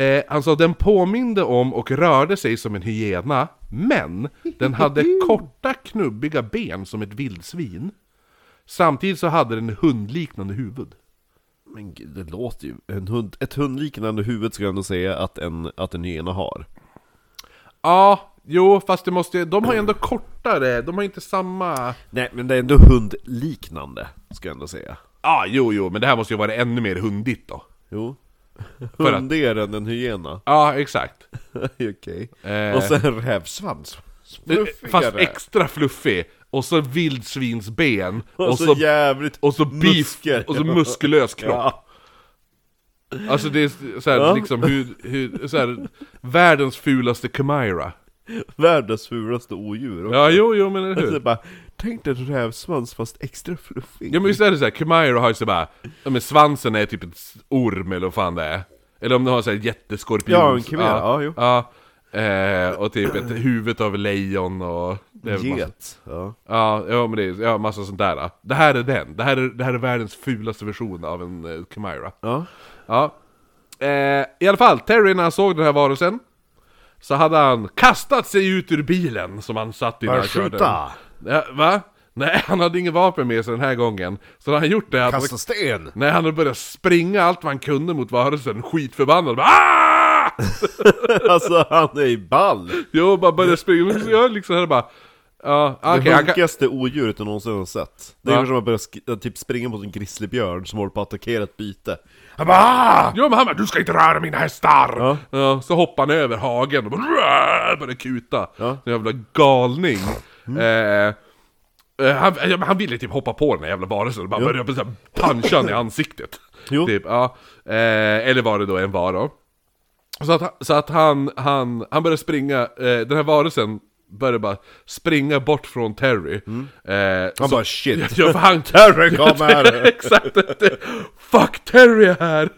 B: Eh, han sa den påminde om och rörde sig som en hyena, men den hade korta knubbiga ben som ett vildsvin. Samtidigt så hade den hundliknande huvud.
A: Men gud, det låter ju... En hund, ett hundliknande huvud skulle jag ändå säga att en, att en hyena har.
B: Ja, jo, fast det måste ju- de har ju ändå kortare, de har inte samma...
A: Nej, men det är ändå hundliknande, ska jag ändå säga.
B: Ja, jo, jo, men det här måste ju vara ännu mer hundigt då.
A: Jo.
B: att-
A: Hundigare än en hyena.
B: Ja, exakt.
A: Okej.
B: Eh.
A: Och sen rävsvans. Fluffigare.
B: Fast extra fluffig, och så vildsvinsben,
A: Och så jävligt
B: och så beef,
A: musker.
B: och så muskulös kropp.
A: Ja.
B: Alltså det är såhär,
A: Ja.
B: liksom hur, hur såhär, världens fulaste Chimera.
A: Världens fulaste odjur.
B: Ja, jo, jo, men eller
A: Så
B: hur?
A: bara, tänk dig en rävsvans fast extra fluffig.
B: Ja, men visst är det såhär, Chimera har ju så bara, ja, men svansen är typ en orm eller vad fan det är. Eller om den har såhär jätteskorpion.
A: Ja, en chimera, ja, jo.
B: Ja, eh, och typ ett huvud av lejon och... det är väl massa-
A: Get. Ja.
B: Ja, ja, men det är ja, massa sånt där. Det här är den. Det här är, det här är världens fulaste version av en eh, Chimera.
A: Ja.
B: Ja. Eh, I alla fall, Terry när han såg den här varelsen Så hade han kastat sig ut ur bilen som han satt i när han
A: Bara
B: körde
A: skjuta!
B: den. Ja, Va? Nej, han hade ingen vapen med sig den här gången Så när han gjort det hade han,
A: Kasta sten!
B: Nej, han hade börjat springa allt vad han kunde mot varelsen Skitförbannad bara, "Ah!"
A: alltså han är ju ball!
B: Jo, bara började springa Så jag liksom hade bara Ja, okej
A: det
B: han kan...
A: hunkigaste odjuret jag någonsin har sett. Det är
B: Va?
A: ungefär som att börja sk- typ springa mot en grizzlybjörn som håller på att attackera ett byte. Han bara "Ah!"
B: Jo men han bara, du ska inte röra mina hästar!
A: Ja.
B: så hoppar han över hagen och bara, "Rrrr!" börjar kuta.
A: Ja. Mm.
B: En jävla galning. Eh, eh, han, ja, men han ville typ hoppa på den här jävla varelsen och bara började så här puncha den i ansiktet.
A: Jo.
B: Typ, ja. eh, eller var det då en var då. Så att, han- så att han, han, han började springa, eh, den här varelsen började bara springa bort från Terry. Eh,
A: Mm.
B: så-
A: Han bara shit!
B: Ja, för han,
A: Terry kommer!
B: Exakt! Det- Fuck Terry är här!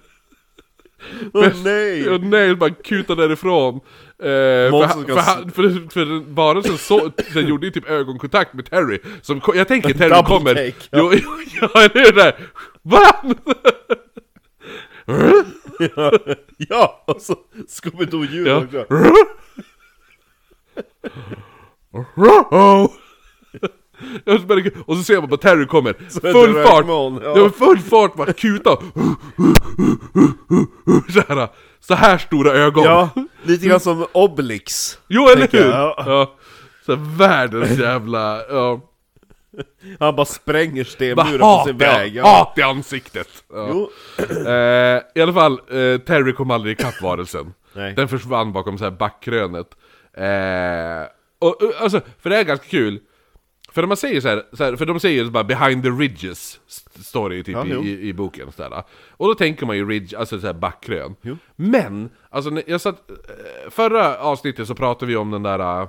A: Åh nej!
B: Och nej, bara kuta därifrån. Eh, för,
A: Monster
B: han-
A: ska
B: för, han- för, för varelsen så, den gjorde ju typ ögonkontakt med Terry. Som, ko- jag tänker Terry
A: Double
B: kommer...
A: take, ja.
B: Jo, jo, ja, eller hur? Där. Va?
A: Ja! Och så Scooby-Doo-djur
B: Ja.
A: också.
B: Ruh-oh. Och så börjar- Och så ser man bara Terry kommer,
A: är det
B: full fart!
A: rökmoln, ja.
B: Ja. men full fart bara kuta! Så här, så här stora ögon!
A: Ja, lite grann som Obelix.
B: Jo eller
A: Tänker
B: hur?
A: jag,
B: Ja.
A: ja.
B: Så här, världens jävla... Ja.
A: Han bara spränger
B: Bara
A: stenmuren på
B: hat,
A: sin väg.
B: ja.
A: Ja.
B: hat i ansiktet! Ja.
A: Jo.
B: Eh, I alla fall, eh, Terry kom aldrig ikapp varelsen.
A: Nej.
B: Den försvann bakom så här backkrönet. Eh, Och, och, alltså, för det är ganska kul. För när man säger så här, så här för de säger ju bara 'behind the ridges' st- står det ju typ
A: Ja, jo.
B: i, i, i boken. Så där. Och då tänker man ju ridge, alltså så här backkrön.
A: Jo.
B: Men, alltså när jag satt, eh, förra avsnittet så pratade vi om den där... eh,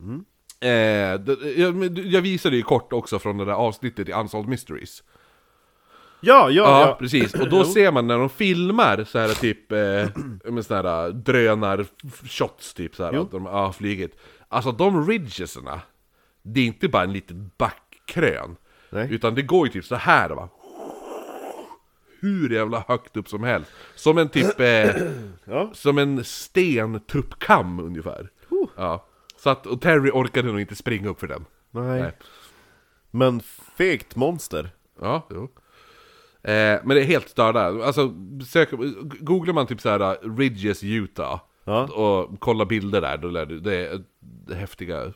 A: Mm.
B: Eh, d- jag, men du- jag visade ju kort också från det där avsnittet i Unsolved Mysteries.
A: Ja, ja,
B: Ja,
A: ja.
B: precis. Och då ser man när de filmar så här typ, eh, med såna här drönar-shots typ så här, att de, ja, flyget. Alltså de ridgesarna, det är inte bara en liten backkrön.
A: Nej.
B: Utan det går ju typ så här va. Hur jävla högt upp som helst. Som en typ, eh,
A: Ja.
B: som en stentuppkam ungefär. Ja. Så att, och Terry orkade nog inte springa upp för den.
A: Nej.
B: Nej.
A: Men fegt monster.
B: Ja, jo. Eh, men det är helt störda. Alltså, sök, googlar man typ så här uh, Ridges Utah
A: Ja.
B: och kollar bilder där, då lär du, det är eh, häftiga...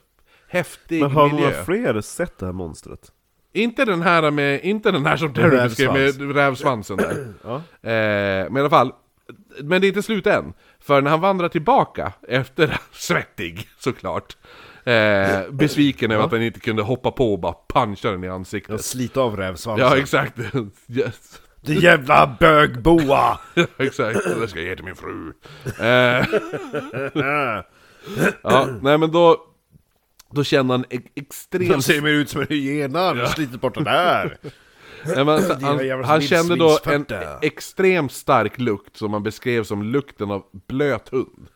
B: Häftig
A: Men har
B: miljö.
A: några fler sett det här monstret?
B: Inte den här med, inte den här som Terry
A: Rävsvans.
B: beskrev med rävsvansen där.
A: Ja.
B: eh, men i alla fall, men det är inte slut än. För när han vandrar tillbaka, efter svettig såklart, eh, besviken över att han inte kunde hoppa på och bara puncha den i
A: Jag
B: ansiktet.
A: sliter av rävsvansen.
B: Ja, exakt. Yes.
A: Det jävla bögboa!
B: Ja, Exakt, det där ska jag ge till min fru. Eh, ja, nej men då, då känner han e-
A: De
B: extremt...
A: ser mer ut som typ en hyena, ja. sliter bort den där!
B: Nej, men alltså,
A: jävla
B: han,
A: jävla
B: han kände då en
A: vildsvinsfötter.
B: extremt stark lukt som man beskrev som lukten av blöt hund.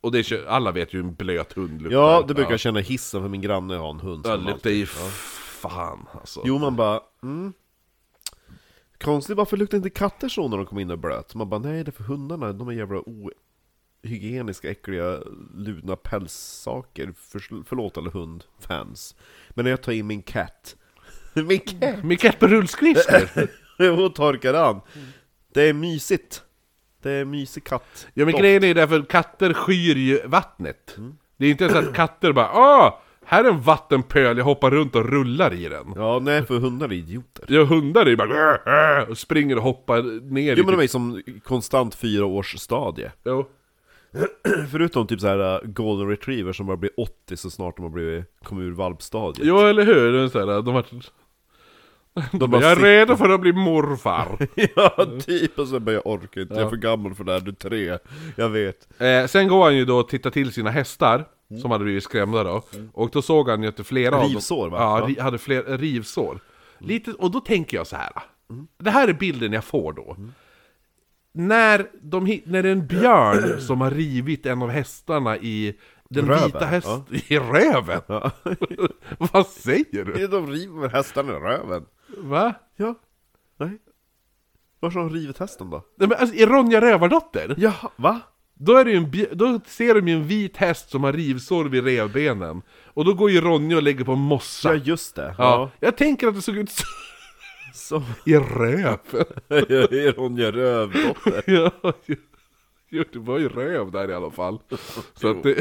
B: Och det är, ju- alla vet ju hur en blöt hund luktar.
A: Ja, det brukar jag känna i hissen för min granne har en hund
B: Ja,
A: som
B: det luktar ju f- fan alltså.
A: Jo, man bara, mm. Konstigt, varför luktar inte katter så när de kommer in och är blöt? Man bara, nej det är för hundarna, de är jävla ohygieniska, äckliga, ludna pälssaker. För, förlåt alla hundfans. Men när jag tar in min katt, min katt,
B: Mikael på rullskridskor!
A: och torkar an. Det är mysigt. Det är mysig katt.
B: Ja men
A: Doft.
B: grejen är ju därför att katter skyr ju vattnet.
A: Mm.
B: Det är inte så att katter bara Åh! Här är en vattenpöl, jag hoppar runt och rullar i den.
A: Ja, nej för hundar är idioter.
B: Ja, hundar är ju bara "Åh, åh", och springer och hoppar ner
A: Jo men
B: i typ-
A: de är som konstant fyraårsstadie.
B: Jo.
A: Förutom typ så här äh, golden retriever som bara blir 80 så snart de har blivit, kommit ur valpstadiet.
B: jo, eller hur? Det är så här, de har...
A: De
B: Jag är
A: sitter-
B: redo för att bli morfar.
A: Ja, typ. Och sen bara, jag orkar inte, jag är för gammal för det här, du är tre. Jag vet.
B: eh, sen går han ju då och tittar till sina hästar,
A: Mm.
B: som hade blivit skrämda då. Och då såg han ju att det flera av dem...
A: Rivsår, va?
B: Ja,
A: Ja. Mm.
B: ri, hade fler rivsår. Lite, och då tänker jag så här. Det här är bilden jag får då.
A: Mm.
B: När, de, hit- när det är en björn som har rivit en av hästarna i den
A: Röven,
B: vita hästen... I röven? Vad säger du?
A: De river hästarna i röven.
B: Va?
A: Ja. Nej. Varför har de rivit hästen då?
B: Nej, men alltså, i Ronja Rövardotter,
A: Jaha, va?
B: då, är det ju en, bj- då ser de ju en vit häst som har rivsår vid revbenen. Och då går ju Ronja och lägger på mossa.
A: Ja,
B: Ja,
A: just det.
B: Jag tänker att det såg ut så...
A: Så.
B: I röv!
A: Ronja Rövdotter.
B: ja, ju- jo, det var ju röv där i alla fall. Så att det...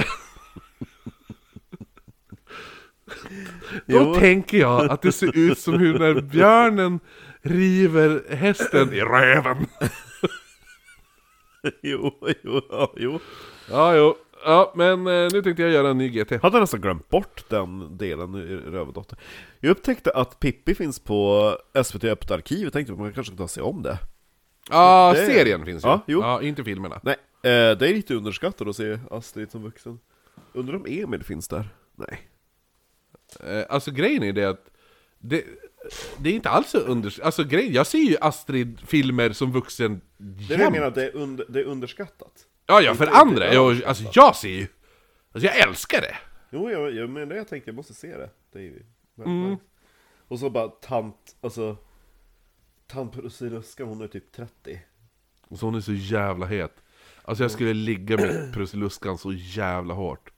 B: Då
A: Jo.
B: tänker jag att det ser ut som hur när björnen river hästen i röven.
A: Jo, jo, ja, jo.
B: Ja, jo. Ja, men eh, nu tänkte jag göra en ny GT.
A: Hade nästan glömt bort den delen i Rövdotter. Jag upptäckte att Pippi finns på SVT Öppet Arkiv, jag tänkte att man kanske kan ta sig om det.
B: Ja,
A: Det-
B: serien finns ju.
A: Ja,
B: Ja,
A: jo.
B: inte filmerna.
A: Nej, eh, det är lite underskattat att se Astrid som vuxen. Undrar om Emil finns där? Nej.
B: Eh, Alltså grejen är det att det, det är inte alls så under... Alltså grejen, jag ser ju Astrid-filmer som vuxen
A: Det är det jag
B: jämt.
A: menar, det är, under, det är underskattat.
B: Ja, ja, för
A: Inte- inte
B: andra.
A: överallt,
B: Jag, alltså jag ser ju... Alltså jag älskar det!
A: Jo, jag, jag menar jag tänkte jag måste se det. Det är ju väldigt nice. Och så bara tant, alltså Tant Prussiluskan, hon är typ 30.
B: Och så Alltså, hon är så jävla het. Alltså jag skulle ligga med Prussiluskan så jävla hårt.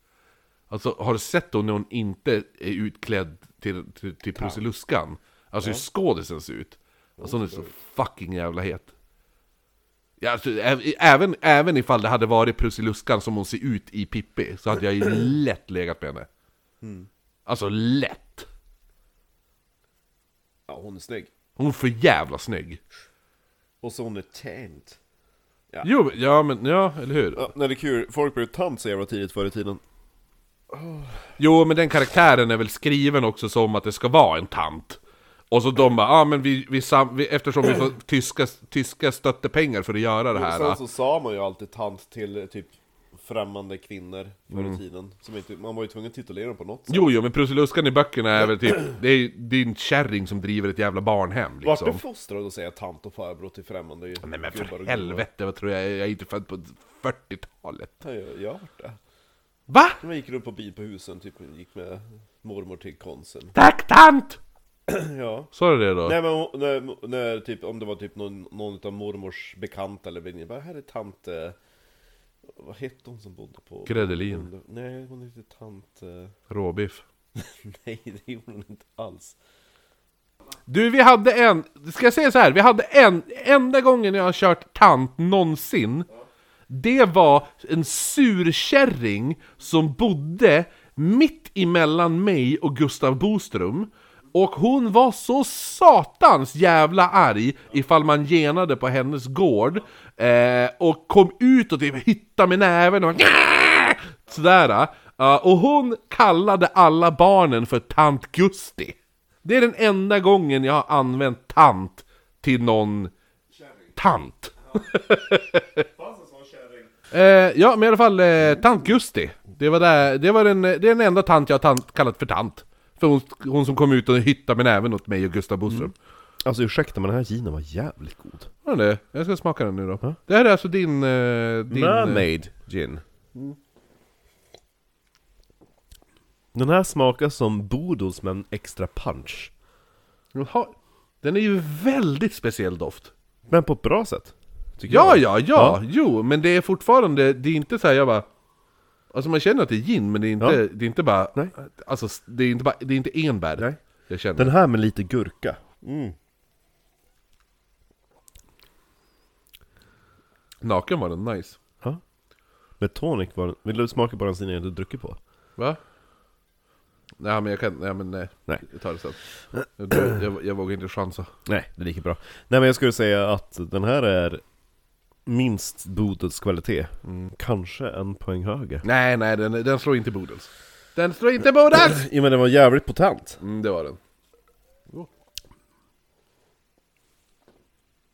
B: Alltså har du sett hon när hon inte är utklädd till, till, till Prussiluskan? Alltså hur skådisen ser ut. Alltså hon är så fucking jävla het. Ja, alltså, ä- även, även ifall det hade varit Prussiluskan som hon ser ut i Pippi så hade jag ju lätt legat med henne. Alltså lätt!
A: Ja, hon är snygg.
B: Hon är för jävla snygg.
A: Och så hon är tant.
B: Jo, ja men ja, eller hur?
A: Ja, nej det är kul, folk blev tant så jävla tidigt förr i tiden.
B: Jo, men den karaktären är väl skriven också som att det ska vara en tant. Och så de bara, ah, men vi, vi, sam- vi, eftersom vi får tyska, tyska stöttepengar för att göra det här.
A: Sen
B: ah."
A: Mm, så sa man ju alltid tant till eh, typ främmande kvinnor förr i tiden. Som inte, man var ju tvungen att titulera dem på något sätt.
B: Mm. Jo, jo, men Prussiluskan i böckerna är väl typ, det är din kärring som driver ett jävla barnhem
A: Vart
B: liksom.
A: du fostrad att säga tant och farbror till främmande
B: Nej men
A: gubbar och
B: för
A: gummor?
B: helvete, vad tror jag, jag är inte född på 40-talet.
A: Ja, Jag jag har varit det.
B: Va?
A: Jag gick runt på bil på husen, typ gick med mormor till konsen.
B: Tack tant!
A: Ja.
B: Sa du det då?
A: Nej men hon- när, när, typ, om det var typ någon, någon av mormors bekanta eller väninnor, bara här är tant... eh, Vad hette hon som bodde på...
B: Gräddelin,
A: Nej hon hette tant... eh,
B: råbiff.
A: Nej det gjorde hon inte alls.
B: Du, vi hade en, ska jag säga så här, vi hade en, enda gången jag har kört tant någonsin, det var en surkärring som bodde mitt emellan mig och Gustav Boström, och hon var så satans jävla arg ifall man genade på hennes gård, eh, och kom ut och typ hittade med näven och sådär. ja, och hon kallade alla barnen för tant Gusti. Det är den enda gången jag har använt tant till någon tant.
A: Fanns en sån kärring?
B: Eh, ja, men i alla fall eh, tant Gusti. Det var, där, det var den, det är den enda tant jag har tant, kallat för tant. För hon, hon som kom ut och hyttade med näven åt mig och Gustav Boström.
A: Alltså ursäkta men den här ginen var jävligt god.
B: Var det? Jag ska smaka den nu då. Det här är alltså din... Eh, din eh,
A: gin. Den här smakar som Boodles med en extra punch.
B: Jaha. Den är ju väldigt speciell doft.
A: Men på ett bra sätt. tycker
B: Ja,
A: jag.
B: ja, ja, jo, men det är fortfarande, det är inte så här, jag bara... Alltså man känner att det är gin, men det är inte,
A: Ja.
B: det är inte bara...
A: Nej.
B: Alltså det är inte, bara, det är inte enbär.
A: Nej.
B: Jag känner.
A: Den här med lite gurka.
B: Naken var den nice.
A: Ja. Med tonic var den... Vill du smaka på den sen innan du dricker på?
B: Va? Nej men jag kan, nej men nej.
A: Nej.
B: Jag tar det sen. Jag, jag, jag vågar inte chansa.
A: Nej, det är lika bra. Nej men jag skulle säga att den här är minst Boodles kvalitet. Kanske en poäng högre.
B: Nej, nej, den, den slår inte Bodens. Den slår inte Bodens!
A: Ja men den var jävligt potent.
B: Mm, det var den.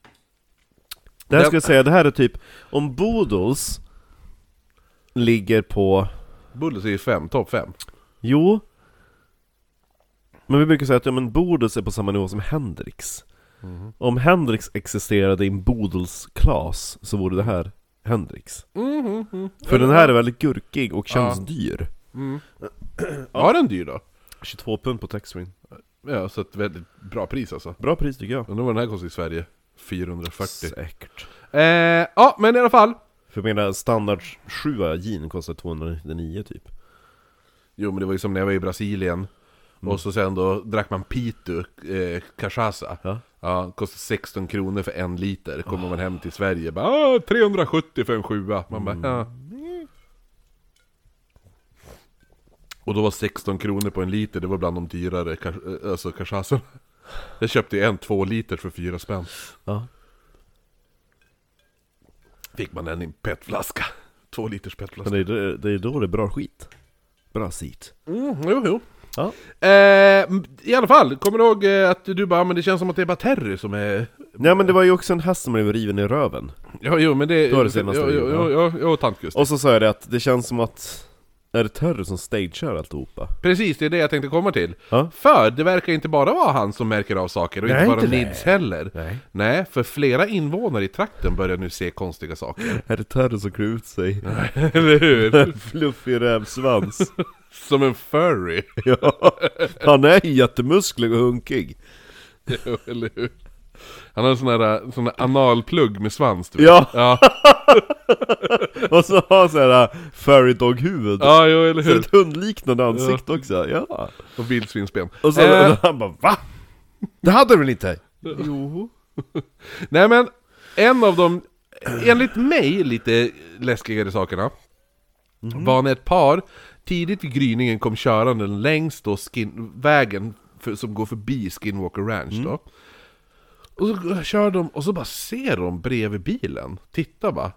A: Det här
B: Den-
A: skulle jag säga, det här är typ... Om Boodles ligger på...
B: Bodens är ju fem, topp fem.
A: Jo. Men vi brukar säga att ja, men Bodils är på samma nivå som Hendrix. Om Hendrix existerade i en Bodils-klas så vore det här Hendrix. För den här är väldigt gurkig och känns dyr.
B: Var den dyr då?
A: 22 pund på taxfree.
B: Ja, så ett väldigt bra pris alltså.
A: Bra pris tycker jag.
B: Undrar vad den här kostar i Sverige? 440.
A: Säkert.
B: Eh, ja, men i alla fall.
A: För jag menar, standard 7 gin kostar 299 typ.
B: Jo men det var ju som när jag var i Brasilien
A: Mm.
B: Och så sen då drack man pitu, eh, cachaça
A: Ja. Ah.
B: kostade 16 kronor för en liter Kommer man hem till Sverige bara "Ah, 370 för en sjua Man bara
A: Mm.
B: ja. Och då var 16 kronor på en liter, det var bland de dyrare ca- eh, alltså cachaça Jag köpte ju en två liter för fyra spänn
A: Ja.
B: Fick man en i en petflaska Två liters petflaska
A: Men det är, det är då det är bra skit. Bra sit.
B: mm, Jo jo
A: Ja.
B: Eh, I alla fall, kommer du ihåg eh, att du bara men det känns som att det är bara Terry som är...
A: Nej men det var ju också en häst som blev riven i röven.
B: Ja, jo men det...
A: Det var det senaste
B: Ja,
A: vi
B: ja,
A: gjorde,
B: ja,
A: ja.
B: ja, ja, tant Gustav.
A: Och så sa jag det att det känns som att Är det Terry som stagear alltihopa?
B: Precis, det är det jag tänkte komma till.
A: Ja.
B: För det verkar inte bara vara han som märker av saker och
A: Nej,
B: inte bara
A: inte det.
B: Nids heller.
A: Nej.
B: Nej, för flera invånare i trakten börjar nu se konstiga saker.
A: Är det Terry som klär ut sig?
B: Eller hur?
A: Fluffig rävsvans
B: Som en furry.
A: Ja, han är jättemusklig och hunkig
B: Jo, Eller hur? Han har en sån här, sån här analplugg med svans du vet.
A: Ja,
B: Ja,
A: och så har han såhär furry dog huvud
B: ja jo, eller
A: Så
B: hur?
A: ett hundliknande ansikte också, ja
B: Och vildsvinsben.
A: Och så
B: Eh,
A: han bara va? Det hade du väl inte?
B: Jo. Nej men, en av de, enligt mig, lite läskigare sakerna Mm. var när ett par tidigt vid gryningen kom körande längs då skin, vägen för, som går förbi Skinwalker Ranch då. Och så kör de och så bara ser de bredvid bilen, titta bara.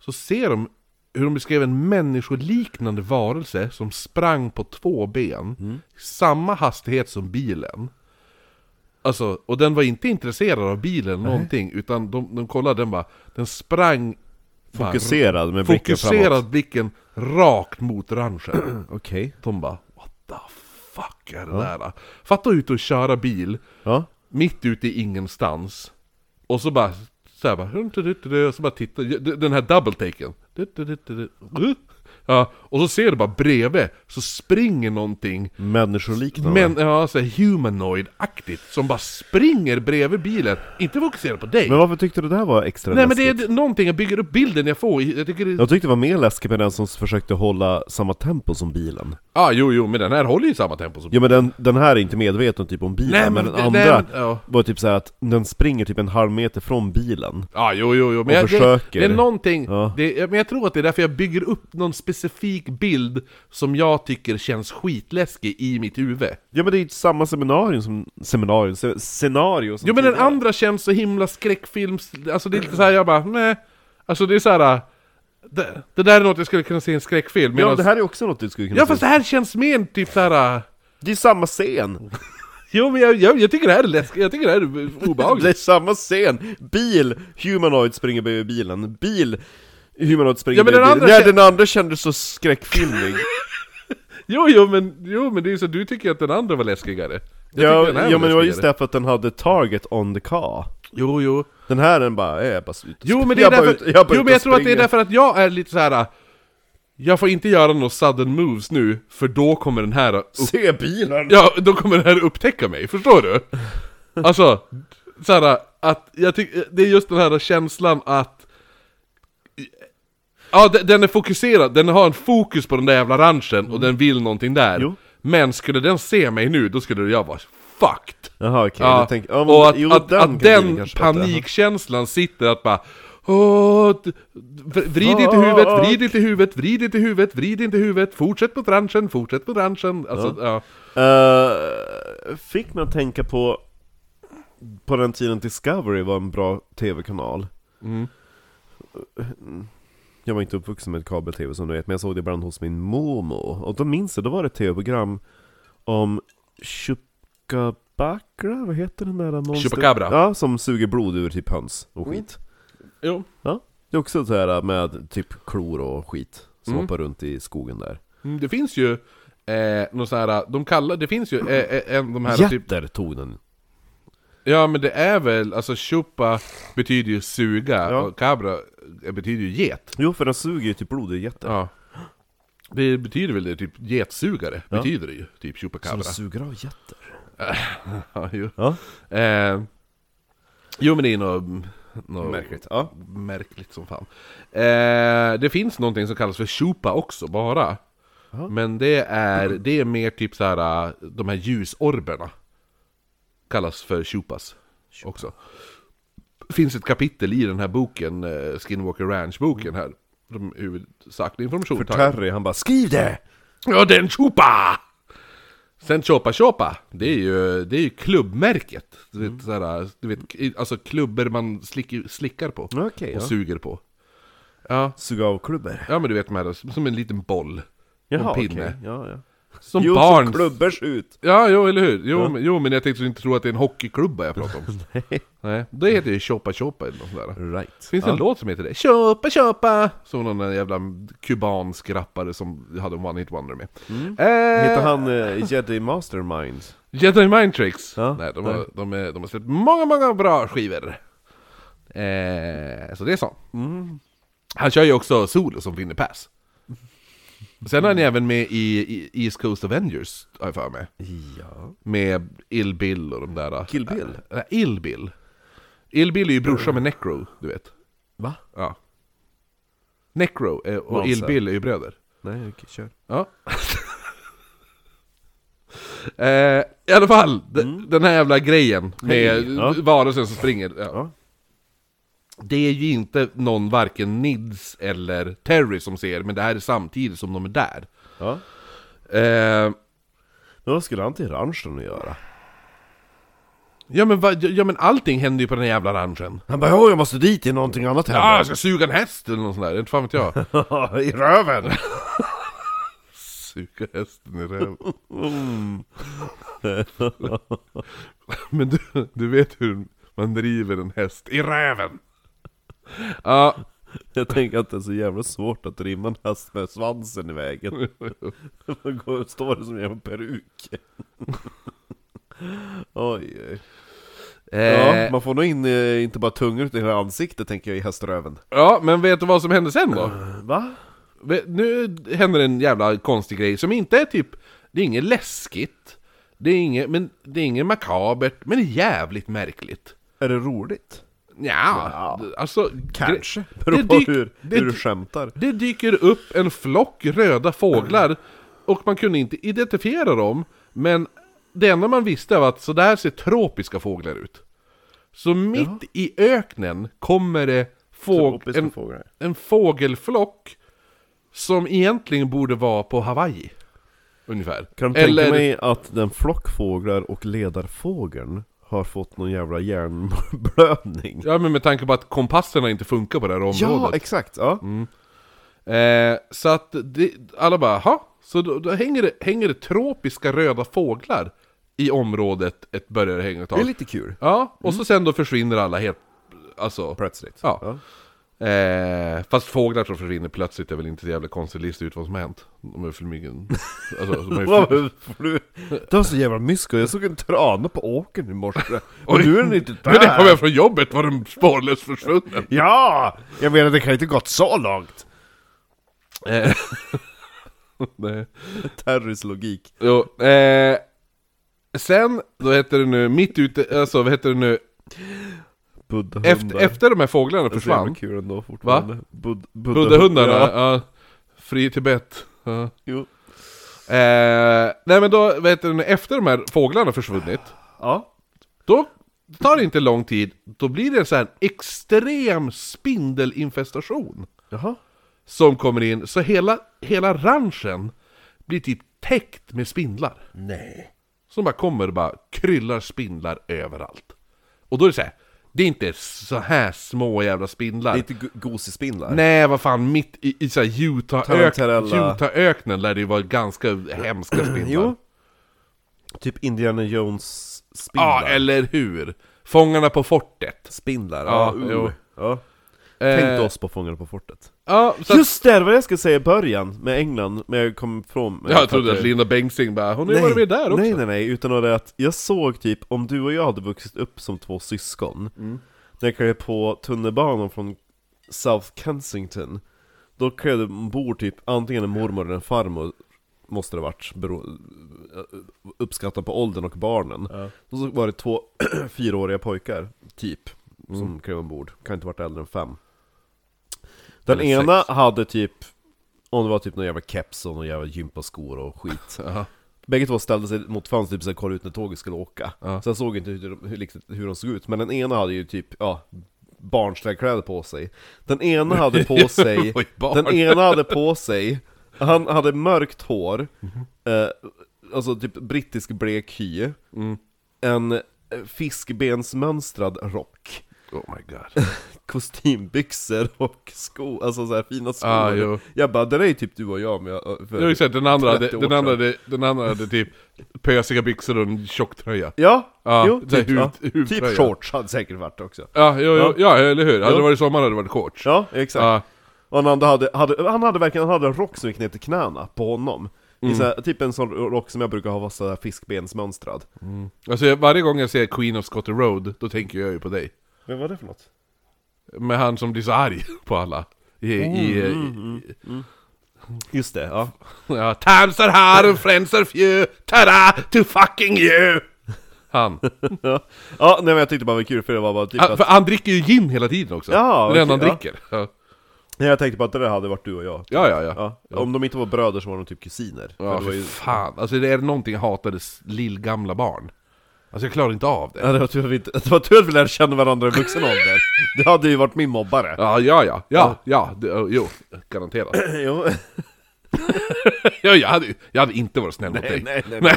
B: Så ser de hur de beskrev en människoliknande varelse som sprang på två ben. Samma hastighet som bilen. Alltså, och den var inte intresserad av bilen någonting, utan de, de kollade den bara, den sprang bara-
A: Fokuserad med blicken framåt.
B: Fokuserad blicken rakt mot ranchen.
A: Okej.
B: De bara What the fuck är det där? Fatta ut och köra bil
A: Ja.
B: mitt ute i ingenstans. Och så bara så här bara, "Hum, tu, tu, tu, tu", och så bara titta, den här double taken. Du, tu, tu, tu, tu, uh. Ja, och så ser du bara bredvid, så springer någonting
A: Människoliknande.
B: men, ja, så här humanoid-aktigt som bara springer bredvid bilen, inte fokuserad på dig.
A: Men varför tyckte du det här var extra
B: Nej men
A: läskigt?
B: det är någonting, jag bygger upp bilden jag får, jag tycker det... Ja,
A: Jag tyckte det var mer läskigt med den som försökte hålla samma tempo som bilen.
B: ah, jo jo, men den här håller ju samma tempo som
A: Ja men den, den här är inte medveten typ om bilen,
B: Nej, men
A: men,
B: det-
A: den andra
B: nej, men- ja.
A: var typ så här att den springer typ en halv meter från bilen.
B: Ja, ah, jo, jo, jo. Men
A: Och
B: jag, det,
A: försöker.
B: det är någonting,
A: Ja.
B: det, men jag tror att det är därför jag bygger upp någon specifik bild som jag tycker känns skitläskig i mitt huvud.
A: Ja men det är ju samma seminarium som... Seminarium? Se, scenario som
B: Jo men den
A: tidigare.
B: andra känns så himla skräckfilms... Alltså det är lite såhär, jag bara nej. Alltså det är såhär... Det, det där är något jag skulle kunna se i en skräckfilm.
A: Ja
B: medans-
A: det här är också något du skulle kunna
B: ja
A: säga.
B: fast det här känns mer typ såhär...
A: Det är samma scen!
B: Jo men jag, jag, jag tycker det här är läskigt, jag tycker det här är
A: Det är
B: obehagligt.
A: samma scen! Bil, humanoid springer bredvid bilen, bil, humanoid springer
B: Ja, men den
A: bredvid bilen.
B: andra
A: Nej
B: kän-
A: den andra kändes så skräckfilmig.
B: Jo jo men, jo men det är ju så, du tycker att den andra var läskigare. Jag tycker den här
A: ja,
B: var
A: ja men det var just
B: läskigare.
A: därför att den hade target on the car.
B: Jo jo.
A: Den här den bara, är jag är bara ute och
B: Jo men det är
A: jag bara
B: därför,
A: ut- jag bara
B: jo,
A: ut
B: men jag
A: och
B: tror att det är
A: springer.
B: därför att jag är lite så här. äh, Jag får inte göra några sudden moves nu, för då kommer den här upp,
A: Se bilen!
B: Ja, då kommer den här upptäcka mig, förstår du? Alltså, så här, att jag tycker, det är just den här känslan att Ja, de- den är fokuserad, den har en fokus på den där jävla ranchen och den vill någonting där
A: Mm. Jo.
B: Men skulle den se mig nu, då skulle jag vara fucked
A: Jaha okej,
B: Ja,
A: jag tänkte, ja, men,
B: och att,
A: jo,
B: att
A: den,
B: den,
A: kan
B: att
A: bilen
B: den
A: kanske vara.
B: panikkänslan sitter att bara Åh, d- v- vrid inte huvudet, vrid inte huvudet, vrid inte huvudet, vrid inte huvudet, fortsätt mot ranchen, fortsätt mot ranchen. Alltså, ja.
A: Eh, Fick man tänka på, på den tiden Discovery var en bra tv-kanal
B: Mm.
A: Jag var inte uppvuxen med kabel-tv som du vet, men jag såg det ibland hos min mormor Och då minns jag, då var det ett tv-program om Chupacabra, vad heter den där monster...
B: Chupacabra.
A: Ja, som suger blod ur typ höns och skit
B: Jo.
A: Ja, det är också så här med typ klor och skit som hoppar runt i skogen där
B: Mm, det finns ju eh, någon sån här, de kallar, det finns ju eh, eh, en, de här typ
A: Jätter tog den!
B: Ja men det är väl, alltså chupa betyder ju suga
A: Ja.
B: och cabra eh, betyder ju get
A: Jo, för den suger ju typ blod ur jätter
B: Ja Det betyder väl det, typ getsugare betyder det ju, typ chupa cabra
A: suger av jätter?
B: ja, jo.
A: Ja,
B: Eh, jo men det är något, något
A: märkligt. Ja.
B: märkligt som fan. Eh, det finns någonting som kallas för chupa också, bara. Men det är, det är mer typ så här, eh, de här ljusorberna. Kallas för chupas också. Det finns ett kapitel i den här boken, eh, Skinwalker Ranch-boken här. De huvudsakliga information.
A: För Terry, han bara 'Skriv det!'
B: Ja, den Chopa! Sen Chopa Chopa, det är ju, det är ju klubbmärket. Du vet, såhär, du vet i- alltså klubbor man slick, slickar på
A: Ja, okej,
B: och
A: ja.
B: suger på. Ja,
A: Suga av klubbor.
B: ja men du vet de här, som en liten boll.
A: Jaha,
B: och en pinne.
A: okej. Ja, ja.
B: Som
A: jo,
B: barn.
A: som klubbors ut!
B: Ja, jo, eller hur? Jo, men, jo, men jag tänkte inte tro att det är en hockeyklubba jag pratar om. Nej. Det heter ju Chopa Chopa eller något sånt där.
A: Right.
B: Finns det en låt som heter det? Köpa, köpa! Som någon jävla kubansk rappare som hade en one-hit wonder med. Eh,
A: Mm. Heter han eh, Jedi Mastermind?
B: Jedi Mind Tricks!
A: Ja,
B: nej, de,
A: nej.
B: Har, de, är, de har släppt många, många bra skivor. Eh, så det är så.
A: Mm.
B: Han kör ju också solo som vinner pass. Sen är han även med i, i East Coast Avengers, har jag för mig.
A: Ja.
B: Med Ill Bill och de där... eh,
A: Kill Bill?
B: Nej, Ill Bill. Ill Bill är ju brorsan med Necro, du vet.
A: Va?
B: Ja. Necro eh, och
A: Monster.
B: Ill Bill är ju bröder.
A: Nej, okej, kör.
B: Ja. eh, I alla fall, d- den här jävla grejen med
A: Mm. Hej, ja.
B: varelsen som springer. Ja.
A: Ja.
B: Det är ju inte någon, varken Nids eller Terry som ser, men det här är samtidigt som de är där.
A: Ja.
B: Eh,
A: Men vad skulle han till ranchen att göra?
B: Ja men, vad- ja men allting händer ju på den här jävla ranchen.
A: Han bara "Ja, jag måste dit i någonting annat
B: Ja, jag
A: händer.
B: ska suga en häst eller något sånt där, inte fan vet jag.
A: I röven!
B: Suga hästen i röven. Men du, du vet hur man driver en häst i röven. Ja,
A: Jag tänker att det är så jävla svårt att rimma en häst med svansen i vägen. Då går- står det som en peruk. Oj, oj. Ja,
B: eh,
A: man får nog in eh, inte bara tungor utan hela ansiktet tänker jag i häströven.
B: ja, men vet du vad som hände sen då?
A: Va?
B: Ve- Nu händer en jävla konstig grej som inte är typ, det är inget läskigt, det är inget, men det är inget makabert, men det är jävligt märkligt.
A: Är det roligt?
B: Ja,
A: Ja.
B: alltså...
A: Kanske.
B: gre-
A: Beror på
B: dyk-
A: hur,
B: det
A: hur du
B: dy-
A: skämtar.
B: Det dyker upp en flock röda fåglar och man kunde inte identifiera dem, men det enda man visste var att så där ser tropiska fåglar ut. Så mitt i öknen kommer det fåg
A: Tropiska
B: en,
A: fåglar.
B: en fågelflock som egentligen borde vara på Hawaii. Ungefär.
A: Kan du tänka mig att den flock fåglar och ledarfågeln har fått någon jävla hjärnblödning?
B: Ja men med tanke på att kompasserna inte funkar på det här området.
A: Ja, exakt! Ja.
B: Eh, så att det, alla bara, ha? Så då, då hänger, det, hänger det tropiska röda fåglar i området ett börjar hänga ett
A: Det är
B: tag.
A: lite kul.
B: Ja, och så sen då försvinner alla helt, alltså.
A: Plötsligt.
B: Ja. Eh, fast fåglar som försvinner plötsligt är väl inte så jävla konstigt lista ut vad som har hänt. De är flygande. Alltså, de är
A: Vad
B: fly-
A: får du- Det var så jävla mysko, jag såg en trana på åkern i morse Och
B: Oj.
A: nu är den inte
B: Men det kom
A: där!
B: jag från jobbet, var den spårlöst försvunnen.
A: Ja! Jag menar det kan inte gått så långt!
B: Eh, nej.
A: Terrys logik
B: Jo, eh, sen, då heter det nu, mitt ute, alltså vad heter det nu,
A: Buddhahundar
B: efter, efter de här fåglarna
A: Det är så jävla
B: försvann,
A: kul ändå fortfarande Bud-
B: Buddehundarna,
A: Ja,
B: ja. fri Tibet. Ja.
A: jo.
B: Eh, nej men då, vet du, efter de här fåglarna försvunnit,
A: ja.
B: då tar det inte lång tid, då blir det en så här extrem spindelinfestation
A: Jaha
B: som kommer in, så hela, hela ranchen blir typ täckt med spindlar.
A: Nej
B: Som bara kommer och bara kryllar spindlar överallt. Och då är det så här, det är inte så här små jävla spindlar.
A: Lite go- gosespindlar
B: Nej, vad fan, mitt i, i så här
A: Alltså. Tarantella.
B: Utah-öknen Utah lär det ju vara ganska hemska spindlar.
A: Jo Typ Indiana Jones spindlar
B: Ja, eller hur? Fångarna på fortet.
A: Spindlar,
B: Ja,
A: ja, uh.
B: jo.
A: ja.
B: Eh,
A: Tänk oss på Fångarna på fortet
B: Ja, så att,
A: Just det, det var det jag skulle säga i början med England, men jag kom ifrån
B: ja, jag trodde att Linda Bengtzing bara, hon har ju varit med där också.
A: Nej, nej, nej, utan av det att jag såg typ, om du och jag hade vuxit upp som två syskon När jag klev på tunnelbanan från South Kensington Då klev det ombord typ antingen en mormor eller en farmor Måste det ha varit, bero, uppskattat på åldern och barnen Och så var det två fyraåriga pojkar, typ, som klev ombord Kan inte varit äldre än fem Den
B: Eller
A: ena hade typ, om det var typ någon jävla keps och någon jävla gympaskor och skit
B: Jaha.
A: Bägge två ställde sig mot fönstret typ, så här, kollade ut när tåget skulle åka.
B: Ja.
A: Så jag såg inte hur, de- hur, liksom, hur de såg ut, men den ena hade ju typ, ja, barnställkläder på sig. Den ena hade på sig,
B: Oj, barn.
A: den ena hade på sig, han hade mörkt hår,
B: Mhm.
A: eh, alltså typ brittisk blek hy,
B: Mm.
A: en eh, fiskbensmönstrad rock,
B: Oh my god.
A: kostymbyxor och skor, alltså så här fina skor.
B: Ah, jo.
A: jag bara, det där är ju typ du och jag, men jag,
B: Jag har ju sett den andra, hade,
A: 30 år
B: den, andra
A: sedan.
B: hade, den andra hade typ pösiga byxor och en tjock tröja.
A: Ja,
B: Ja,
A: jo,
B: det är
A: typ, ja.
B: huvud- huvudtröja.
A: typ shorts hade säkert varit också.
B: Ja, jo, jo, ja eller hur? Hade
A: Jo.
B: det varit sommar hade det varit shorts.
A: Ja, exakt.
B: Ja.
A: Och den andra hade, hade, han hade verkligen han hade en rock som gick ner till knäna på honom. Det
B: Mm.
A: är Så här, typ en sån rock som jag brukar ha, var sådär fiskbensmönstrad.
B: Alltså jag- varje gång jag ser Queen of Scotty Road, då tänker jag ju på dig.
A: Vad var det för något?
B: Med han som blir så arg på alla. I,
A: Mm,
B: i, i,
A: Just det, ja.
B: Ja, times are hard and friends are few, tada to fucking you! Han.
A: ja. ja, nej men jag tyckte bara det var kul för det var bara typ
B: Han,
A: att,
B: för han dricker ju gin hela tiden också.
A: Ja,
B: det är det han
A: okej, ja.
B: dricker. Ja,
A: nej, jag tänkte bara att det där hade varit du och jag.
B: ja, ja. ja.
A: Ja. Om de inte var bröder så var de typ kusiner. För
B: ja
A: det var ju...
B: fan. Alltså det är någonting jag hatade s- lillgamla barn. Alltså jag klarar inte av det.
A: Ja, det var tur att vi, inte, det var tur att vi lärde känna varandra i vuxen ålder. Det hade ju varit min mobbare.
B: Ja, ja, ja, ja, ja, det, jo, garanterat.
A: Jo.
B: Ja, jag, hade, jag hade inte varit snäll mot dig.
A: nej, nej. nej.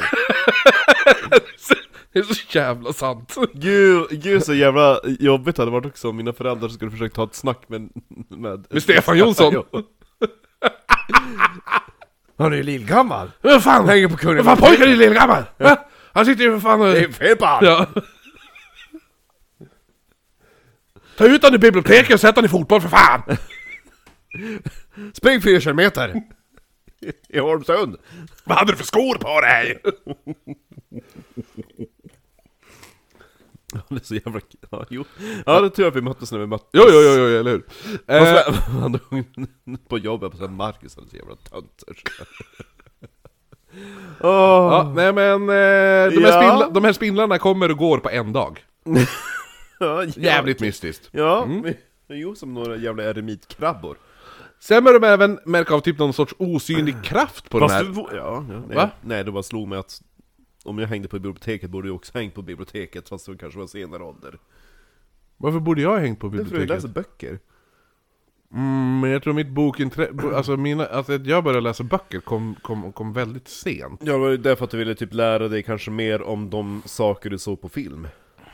B: Det är så jävla sant.
A: Gud, gud så jävla jobbigt hade det varit också om mina föräldrar skulle försöka ta ett snack med... Med,
B: Med Stefan Jonsson.
D: Han är ju lillgammal!
B: Vad fan,
D: Hänger på kungen!
B: vad fan pojkar är lillgammal! Va? Han sitter ju för fan och...
D: Det är fel på han!
B: Ja. Ta ut han ur biblioteket och sätt han i fotboll för fan!
D: Spring 4 kilometer! I Holmsund!
B: Vad hade du för skor på dig?
A: Det är så jävla... Ja, jo. Ja, det är tur att vi möttes när vi möttes.
B: Jo, jo, jo, jo eller hur? Eh,
A: Och så- han drog på jobbet på sån här Marcus, han är så jävla töntig. Åh,
B: ja, nej men, eh, de, här
A: Ja.
B: spindla, de här spindlarna kommer och går på en dag.
A: ja,
B: Jävligt Mm. mystiskt.
A: Ja, men- jo som några jävla eremitkrabbor.
B: Sen börjar de även märka av typ någon sorts osynlig kraft på de
A: Fast
B: här.
A: du, ja, ja, nej,
B: Va?
A: nej, det bara slog mig att om jag hängde på biblioteket borde jag också hängt på biblioteket, fast det kanske var senare ålder.
B: Varför borde jag ha hängt på
A: Det är för att jag
B: biblioteket?
A: läser böcker.
B: Mm, men jag tror mitt bokintresse, bo- alltså, mina, alltså att jag började läsa böcker kom, kom, kom väldigt sent.
A: Ja, det var ju därför att du ville typ lära dig kanske mer om de saker du såg på film.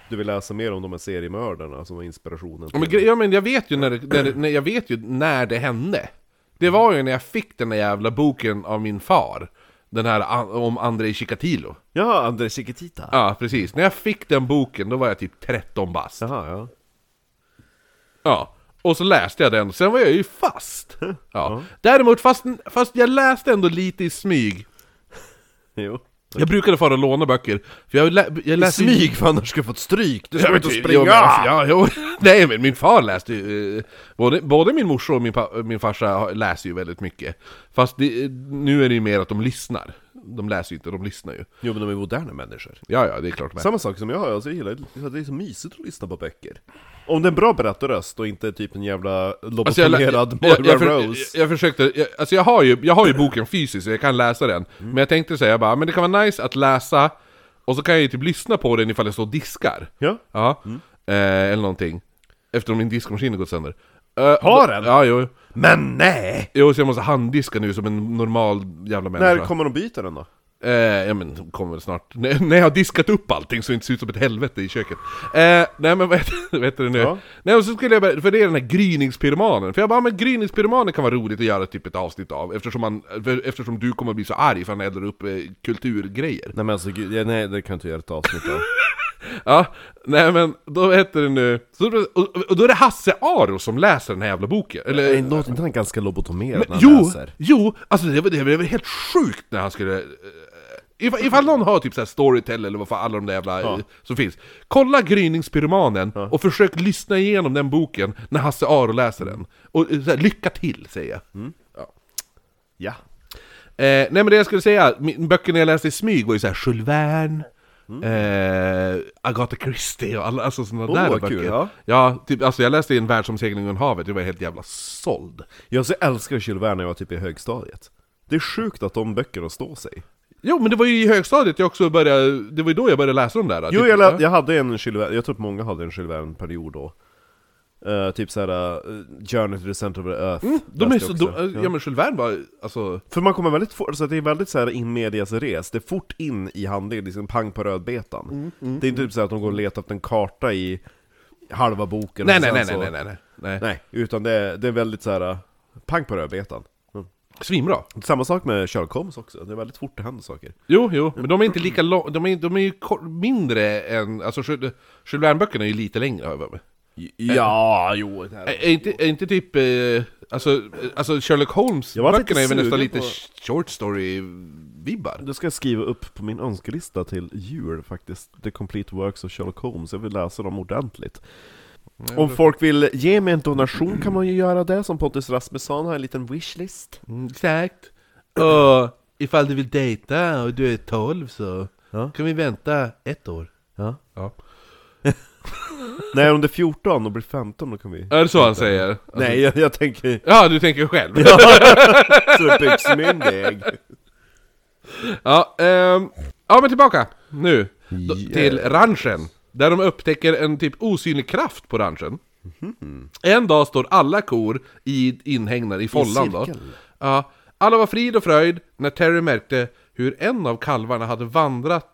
A: Du vill läsa mer om de här seriemördarna som var inspirationen
B: Ja, Men, gre- ja, men jag vet ju när det, när, det, när, jag vet ju när det hände. Det var ju när jag fick den där jävla boken av min far. Den här an- om Andrei Chikatilo.
A: Ja, André Chiquitita!
B: Ja, precis. När jag fick den boken, då var jag typ 13 bast.
A: Jaha, ja.
B: Ja, och så läste jag den, sen var jag ju fast. Ja. Däremot, fast, fast jag läste ändå lite i smyg.
A: Jo.
B: Jag brukade fara och låna böcker, för jag, lä- jag läste ju-
A: Smyg, för annars ska du fått stryk! Du ska
B: Ja,
A: ut och
B: men-
A: springa!
B: jo, men- alltså, Ja, jo. Nej men min far läste ju, eh, både, både min morsa och min, pa, min farsa har- läser ju väldigt mycket. Fast det, eh, nu är det ju mer att de lyssnar. De läser ju inte, de lyssnar ju.
A: Jo men de är moderna människor.
B: Ja, ja, det är klart med.
A: Samma sak som jag, alltså, jag gillar att det är så mysigt att lyssna på böcker. Om det är en bra berättarröst och inte typ en jävla
B: Alltså jag, lä-
A: lobotomerad
B: jag,
A: Moira
B: jag, för, jag,
A: Rose.
B: jag försökte, jag, alltså jag har, ju, jag har ju boken fysiskt, så jag kan läsa den.
A: Mm.
B: Men jag tänkte säga bara, men det kan vara nice att läsa, och så kan jag ju typ lyssna på den ifall jag står och diskar.
A: Ja. Mm.
B: Ja, eh, eller någonting. Eftersom min diskmaskin har gått sönder. Eh,
A: Har
B: då-
A: den?
B: Ja, jo.
A: Men nej!
B: Jo, så jag måste handdiska nu som en normal jävla
A: När
B: människa.
A: kommer de byta den då?
B: eh, ja men, kommer snart. När när jag har diskat upp allting så det inte ser ut som ett helvete i köket. Eh, nej men vad heter, vad heter det nu?
A: Ja.
B: Nej och så skulle jag börja, för det är den här gryningspyromanen. För jag bara, men gryningspyromanen kan vara roligt att göra typ ett avsnitt av. Eftersom, man, för, eftersom du kommer bli så arg för han eldar upp eh, kulturgrejer.
A: Nej men alltså gud, ja, nej det kan jag inte göra ett avsnitt av.
B: Ja, nej men då heter det nu... Så, och, och då är det Hasse Aro som läser den här jävla boken. Eller,
A: Nej, Låter Eh, inte han ganska lobotomerad när han
B: Jo,
A: läser?
B: jo, alltså det var, det var helt sjukt när han skulle... eh, Ifall, ifall någon har typ så här Storytel eller vad fan alla de där jävla eh, som finns. Kolla Gryningspyromanen och försök lyssna igenom den boken när Hasse Aro läser den. Och eh, så här, lycka till, säger jag.
A: Mm. Ja.
B: Eh, nej men det jag skulle säga, min, böckerna jag läste i smyg var ju såhär Jules Verne, eh, Agatha Christie och alla, alltså sådana
A: Mm. Åh,
B: där
A: vad
B: böcker.
A: kul, ja.
B: ja typ, alltså jag läste i En världsomsegling under havet, jag var helt jävla såld.
A: Jag så älskar Jules Verne när jag var typ i högstadiet. Det är sjukt att de böckerna står sig.
B: Jo men det var ju i högstadiet jag också började, det var ju då jag började läsa de där.
A: Jo,
B: typ,
A: jag,
B: ja.
A: lä- jag hade en Jules Verne, jag tror att många hade en Jules Verne-period då. Eh, typ såhär, uh, Journey to the Center of the Earth.
B: Mm, De är
A: läste
B: så, eh,
A: jag
B: de,
A: också.
B: ja. men Jules Verne var, alltså,
A: För man kommer väldigt fort, så att det är väldigt såhär in medias res, det är fort in i handlingen, liksom pang på rödbetan.
B: Mm,
A: det är inte typ så här att de går och letar efter en karta i halva boken
B: nej
A: och
B: nej
A: sen
B: nej, nej
A: så,
B: nej nej nej nej.
A: Nej, utan det är, det är väldigt såhär, pang på rödbetan. Mm.
B: Svinbra.
A: Samma sak med Sherlock Holmes också, det är väldigt fort det händer saker.
B: Jo, jo, men de är inte lika långa, de är, de är ju kor- mindre än, alltså Jules Jules Verne-böckerna är ju lite längre har jag för mig.
A: Ja, jo. Det här.
B: Är, är, inte, är inte typ, eh, alltså, eh, alltså Sherlock Holmes
A: Jag var lite
B: böckerna är väl nästan
A: sugen
B: lite
A: på-
B: sh- short story-vibbar?
A: Det ska jag skriva upp på min önskelista till jul faktiskt, The Complete Works of Sherlock Holmes, jag vill läsa dem ordentligt. Om folk vill ge mig en donation kan man ju göra det, som Pontus Rasmusson har en liten wishlist.
B: Mm, Exakt. Och ifall du vill dejta och du är 12 så
A: Ja.
B: kan vi vänta ett år.
A: Ja.
B: Ja.
A: Nej, om det är 14 och blir 15 då kan vi...
B: Är det så han säger? Alltså-
A: Nej, jag, jag tänker
B: Ja, du tänker själv?
A: så det byggs min väg.
B: Ja, ehm, ja men tillbaka nu Då- till ranchen. Där de upptäcker en typ osynlig kraft på ranchen. En dag står alla kor i inhägnad Mhm. i follan då.
A: cirkel.
B: Ja, alla var frid och fröjd när Terry märkte hur en av kalvarna hade vandrat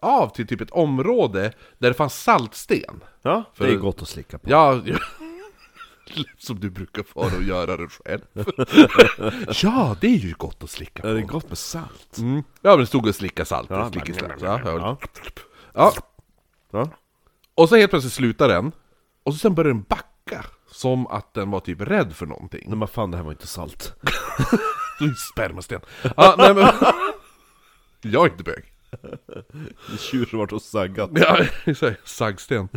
B: av till typ ett område där det fanns saltsten.
A: Ja, det är
B: För-
A: gott att slicka på.
B: Ja, ja. som du brukar vara och göra det själv. ja, det är ju gott att slicka på.
A: Är det gott med salt?
B: Mm. Ja, men det stod och slicka salt.
A: Ja,
B: Ja, slicka, slicka,
A: men-
B: ja, ja.
A: Ja.
B: ja,
A: Ja.
B: och så helt plötsligt slutar den. Och så sen börjar den backa. Som att den var typ rädd för någonting.
A: Nej men fan det här var inte salt.
B: Du är en spermasten. Ja, nej, men... Jag är inte bög.
A: En Tjur som varit och saggat.
B: Ja, exakt. Saggsten.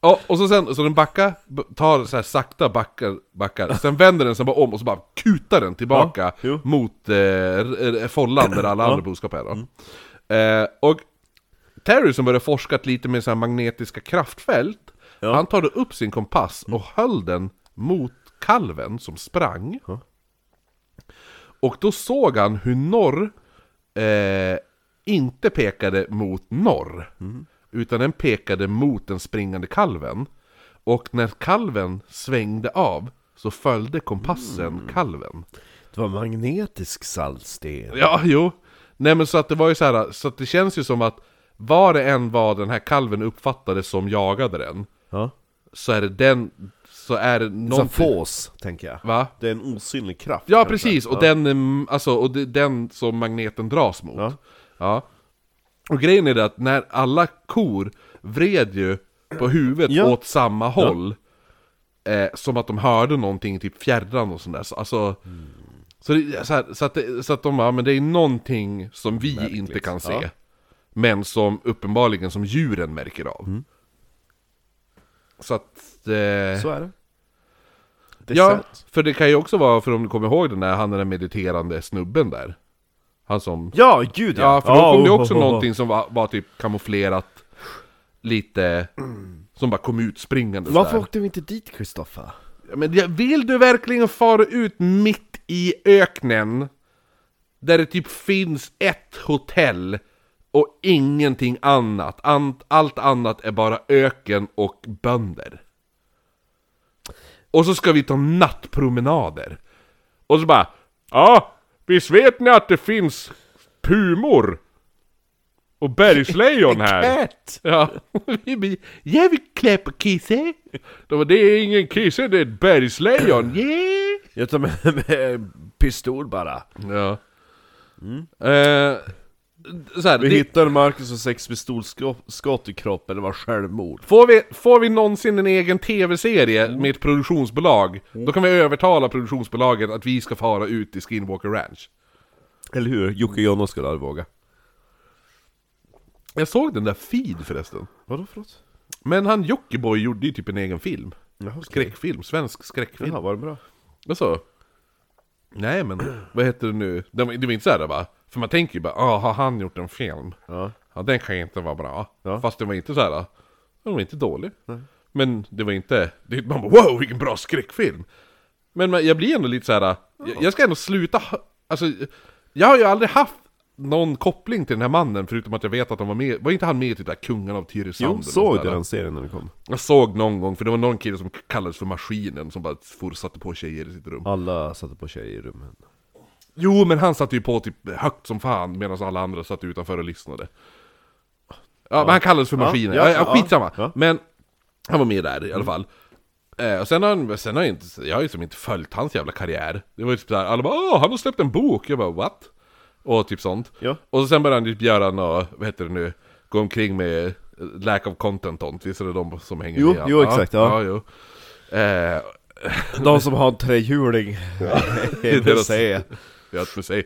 B: Ja, och så sen, så den backar, b- tar så här sakta backar, backar. Sen vänder den sig bara om och så bara kutar den tillbaka
A: Ja, jo.
B: mot eh, r- r- follan där alla andra boskap är då.
A: Mm.
B: Eh, och Terry som började forskat lite med så här magnetiska kraftfält, han tar då upp sin kompass
A: Mm.
B: och höll den mot kalven som sprang. Och då såg han hur norr eh, inte pekade mot norr. Utan den pekade mot den springande kalven. Och när kalven svängde av så följde kompassen kalven.
A: Det var magnetisk saltsten.
B: Ja, jo. Nej men så att det var ju så här, så att det känns ju som att vad det än var den här kalven uppfattade som jagade den,
A: Ja.
B: så är det den, så är det
A: Som
B: någon...
A: fås, tänker jag.
B: Va?
A: Det är en osynlig kraft.
B: Ja,
A: kanske.
B: precis. Och, Den, mm, alltså, och det- den som magneten dras mot.
A: Ja.
B: Ja. Och grejen är det att när alla kor vred ju på huvudet
A: Ja.
B: åt samma håll. Eh, som att de hörde någonting i typ fjärran och sånt där. Så, alltså, så, det, så, här, så, att det, så att de bara, men det är någonting som vi inte kan se.
A: Ja.
B: Men som uppenbarligen som djuren märker av.
A: Mm.
B: Så att... Eh,
A: Så är det. det är
B: Ja,
A: sant.
B: för det kan ju också vara, för om du kommer ihåg den där, han den där mediterande snubben där. Han som...
A: ja gud ja!
B: Ja, för då kom det
A: oh,
B: också
A: oh, oh, oh.
B: någonting som var, var typ kamouflerat lite... Som bara kom ut springande
A: Varför
B: sådär.
A: åkte vi inte dit Kristoffer?
B: Ja, Men jag- vill du verkligen fara ut mitt i öknen? Där det typ finns ett hotell och ingenting annat. Ant- Allt annat är bara öken och bönder. Och så ska vi ta nattpromenader. Och så bara Ja, visst vet ni att det finns pumor? Och bergslejon här?
A: Ät!
B: Ja, vi blir- jag vill klä på kisse. De bara, det är ingen kisse, det är ett bergslejon. Yeah.
A: Jag tar med, med pistol bara.
B: Ja. Eh, så här,
A: Vi
B: det,
A: hittade Marcus och sex pistolskott i kroppen, det var självmord.
B: får, vi, får vi någonsin en egen tv-serie med ett produktionsbolag, då kan vi övertala produktionsbolaget att vi ska fara ut i Skinwalker Ranch.
A: Eller hur? Jocke och Jonna skulle aldrig våga.
B: Jag såg den där feed förresten.
A: Vadå för något?
B: Men han Jockiboi gjorde ju typ en egen film.
A: Jaha, okej.
B: Skräckfilm, svensk skräckfilm.
A: Jaha, var det bra?
B: Vad så? Nej men, vad heter det nu? Det var, det var inte såhär va? För man tänker ju bara, ah, har han gjort en film?
A: Ja.
B: Ja, den kan ju inte vara bra.
A: Ja.
B: Fast den var inte såhär, den var inte dålig. Men det var inte, det, man bara wow vilken bra skräckfilm! Men man, jag blir ändå lite såhär, jag, jag ska ändå sluta, ha- alltså jag har ju aldrig haft någon koppling till den här mannen förutom att jag vet att han var med, var inte han med i typ där Kungen av Tyresand? eller
A: Jo,
B: något
A: såg
B: sådär,
A: du
B: va?
A: den serien när den kom?
B: Jag såg någon gång, för det var någon kille som kallades för Maskinen som bara fortsatte på tjejer i sitt rum.
A: Alla satte på tjejer i rummen.
B: Jo, men han satt ju på typ högt som fan medan alla andra satt utanför och lyssnade. Ja, men han kallades för maskinen.
A: ja,
B: Ja,
A: ja,
B: ja, skitsamma.
A: ja. Mm.
B: Men han var med där i alla fall. Eh, och sen har, han, sen har jag inte, jag har ju som inte följt hans jävla karriär. Det var ju typ såhär, alla bara Åh, han har släppt en bok! Jag bara what? Och typ sånt.
A: Ja.
B: Och sen började han typ göra nå, vad heter det nu, gå omkring med eh, lack of content ont, visst är det de som hänger
A: Jo,
B: med han?
A: jo, exakt,
B: ja
A: ja.
B: jo. Eh,
A: De som har en trehjuling,
B: är
A: vill
B: deras-
A: säga.
B: jag har ett museum.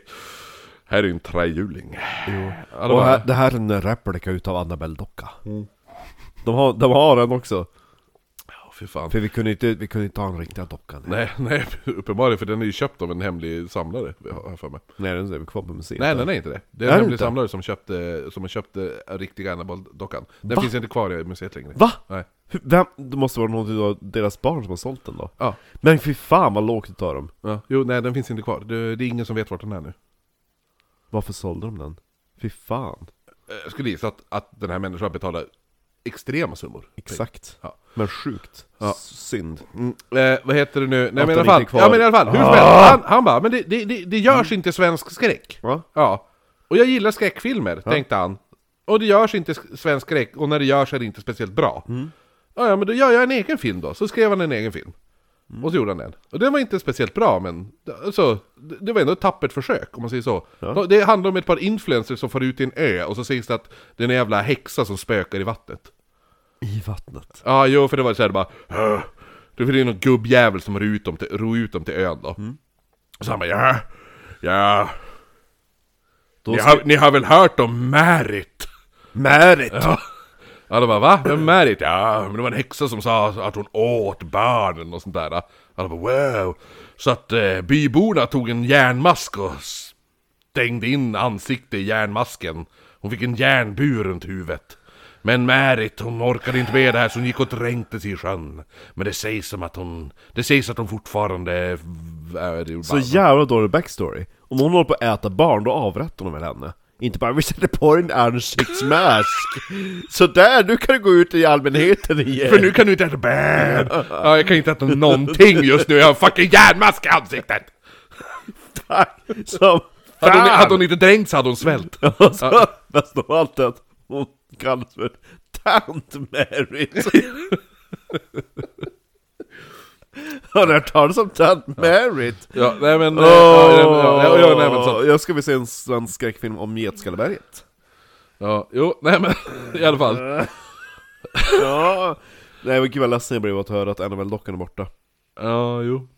B: Här är en trehjuling. Jo. Ja, det
A: Och
B: var-
A: här, det här är en replika utav Annabelle-docka. De, har, de har den också.
B: Ja, fy fan.
A: För vi kunde inte, vi kunde inte ha en riktiga docka. Nej,
B: Nej, nej, uppenbarligen för den är ju köpt av en hemlig samlare, har jag för mig.
A: nej den är kvar på museet.
B: Nej, den är inte det. Det är
A: Är
B: en
A: det
B: hemlig
A: inte?
B: samlare som köpte, som köpte riktiga Annabelle-dockan. Den
A: Va?
B: finns inte kvar i museet längre.
A: Va?
B: Nej.
A: Hur- Vem, det måste vara någon av deras barn som har sålt den då?
B: Ja.
A: Men fy fan vad lågt utav dem.
B: ja. Jo, nej, den finns inte kvar. Det, det är ingen som vet vart den är nu.
A: Varför sålde de den? Fy fan.
B: Eh, Jag skulle gissa att, att den här människan betalar extrema summor.
A: Exakt.
B: Ja.
A: Men sjukt.
B: Ja.
A: S- Synd.
B: Mm, eh, vad heter det nu? Nej men i
A: den
B: alla
A: inte är
B: fall,
A: kvar. Ah.
B: ja, men i alla fall hur som helst. Han, han bara, men det, det, det, det görs inte svensk skräck.
A: Va?
B: Ja. Och jag gillar skräckfilmer, tänkte han. Och det görs inte s- svensk skräck, och när det görs är det inte speciellt bra.
A: Mm.
B: Ja, ja, men då gör jag en egen film då. Så skrev han en egen film.
A: Mm.
B: Och så gjorde han den. Och den var inte speciellt bra, men alltså, det det var ändå ett tappert försök, om man säger så. Då- Det handlar om ett par influencers som far ut till en ö, och så sägs det att det är en jävla häxa som spökar i vattnet.
A: I vattnet.
B: Ja, jo, för det var såhär bara "Åh." Det var det någon gubbjävel som ro ut dem till, ro ut dem till ön då.
A: Mm.
B: Och så han bara ja, ja,
A: Då
B: ni
A: ska...
B: har, ni har väl hört om Märit?
A: Märit!
B: Ja. Ja, de bara va? Vem är Märit? Ja, men det var en häxa som sa att hon åt barnen och sånt där. Ja, de bara wow. Så att eh, byborna tog en järnmask och stängde in ansiktet i järnmasken. Hon fick en järnbur runt huvudet. Men Märit, hon orkade inte med det här så hon gick och dränkte sig i sjön. Men det sägs som att hon... Det sägs att hon fortfarande... är- är-
A: Så jävla dålig backstory. Om hon håller på att äta barn, då avrättar de väl henne? Inte bara 'Vi sätter på en ansiktsmask' Sådär, nu kan du gå ut i allmänheten igen!
B: För nu kan du inte äta bär! Ja, jag kan inte äta någonting just nu, jag har fucking järnmask i ansiktet!
A: Tack! Som
B: Hade hon,
A: fan!
B: hade hon inte dränkt så hade hon svällt.
A: Och så, bäst av allt är att hon kallas för Tant Merit. Har ni hört talas om Tant Merit?
B: Ja, nej men...
A: Åh,
B: nej, men så.
A: jag ska vi se en svensk skräckfilm om Getskalleberget.
B: Ja, jo, nej men i alla fall.
A: Ja. Nej men gud vad ledsen jag blev att höra att Annabelle-dockan är borta.
B: Ja, jo.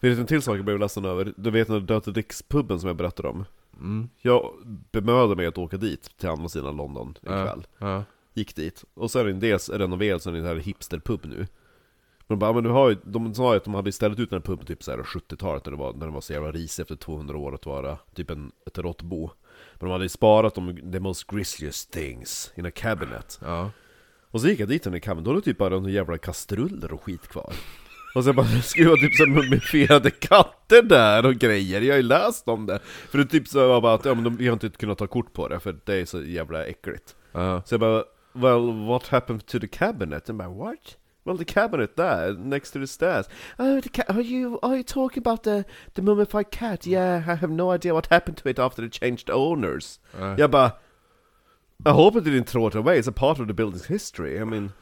A: Vet du en till sak jag blev ledsen över? Du vet den där Dirty Dicks-puben som jag berättade om?
B: Mm.
A: Jag bemödade mig att åka dit till andra sidan London ikväll.
B: Ja.
A: Gick dit, och så är den dels renoverad så är det en här hipsterpub nu Men de bara, "Ja, men du har ju, de sa ju att de hade ställt ut den här puben typ såhär 70-talet när, det var- när den var så jävla risig efter 200 år att vara typ en, ett råttbo Men de hade ju sparat de the most grisliest things in a cabinet
B: ja.
A: Och så gick jag dit den i kammaren, då var det typ bara några jävla kastruller och skit kvar och sen bara, det ska ju vara typ såhär mumifierade katter där och grejer, jag har ju läst om det! För det typ så var bara att, ja men de, vi har inte kunnat ta kort på det, för det är så jävla äckligt
B: Ja.
A: så jag bara, well what happened to the cabinet? And bara, what? Well the cabinet there, next to the stairs. Oh, the ca- are you are you talking about the, the mummified cat? Yeah, I have no idea what happened to it after they changed owners. Jag bara, I hope it didn't throw it away, it's a part of the building's history. I mean,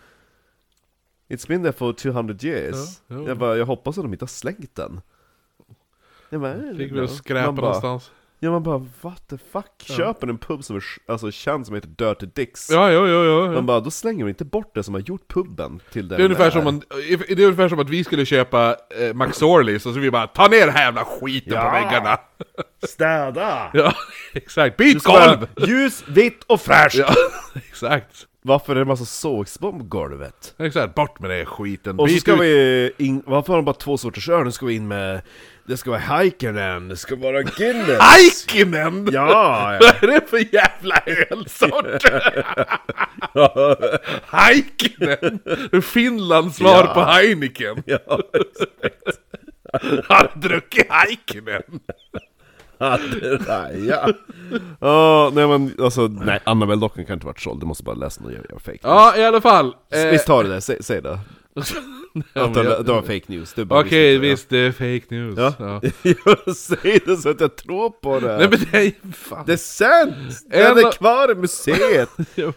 A: it's been there for 200 years.
B: Ja, ja.
A: Jag bara, jag hoppas att de inte har slängt den. Jag bara, I don't
B: Fick
A: know.
B: väl skräpa
A: Man bara,
B: någonstans.
A: Ja man bara, what the fuck? Köper en pub som är, alltså, känd som heter Dirty Dicks.
B: Ja, jo, jo, jo.
A: Man
B: jo.
A: bara, då slänger vi inte bort det som har gjort puben till den
B: Det är, ungefär
A: där.
B: som man, det är ungefär som att vi skulle köpa eh, Max Orleys och så vi bara Ta ner den här jävla skiten på
A: Ja.
B: väggarna!
A: Städa!
B: Ja, exakt!
A: Du
B: Byt
A: ska vara
B: golv!
A: Ljus, vitt och fräscht!
B: Ja, exakt!
A: Varför är det en massa sågspån på golvet?
B: Exakt, bort med den skiten!
A: Och så
B: Byt
A: ska
B: ut-
A: vi in, varför har de bara två sorters öl? Nu ska vi in med, det ska vara Heikkinen, det ska vara Guinness!
B: Aikinen!
A: Ja! ja.
B: Vad är det för jävla ölsort? Heikkinen! Finlands svar
A: Ja.
B: på Heineken! Har du druckit Heikkinen?
A: Nej, ja. Ja, nej men alltså, nej Annabelle-dockan kan inte varit såld, det måste bara läsa någon jävla fake news.
B: Ja, i alla fall. Eh,
A: Visst har du det? Säg, säg det.
B: ja,
A: Att
B: men
A: det,
B: jag-
A: det var fake news, du bara
B: Okej,
A: visste inte
B: visst det är fake news.
A: det.
B: Ja.
A: Ja. Jag säger det så att jag tror på det!
B: Nej men det är ju fan.
A: Det är sant!
B: En-
A: Den är kvar i museet!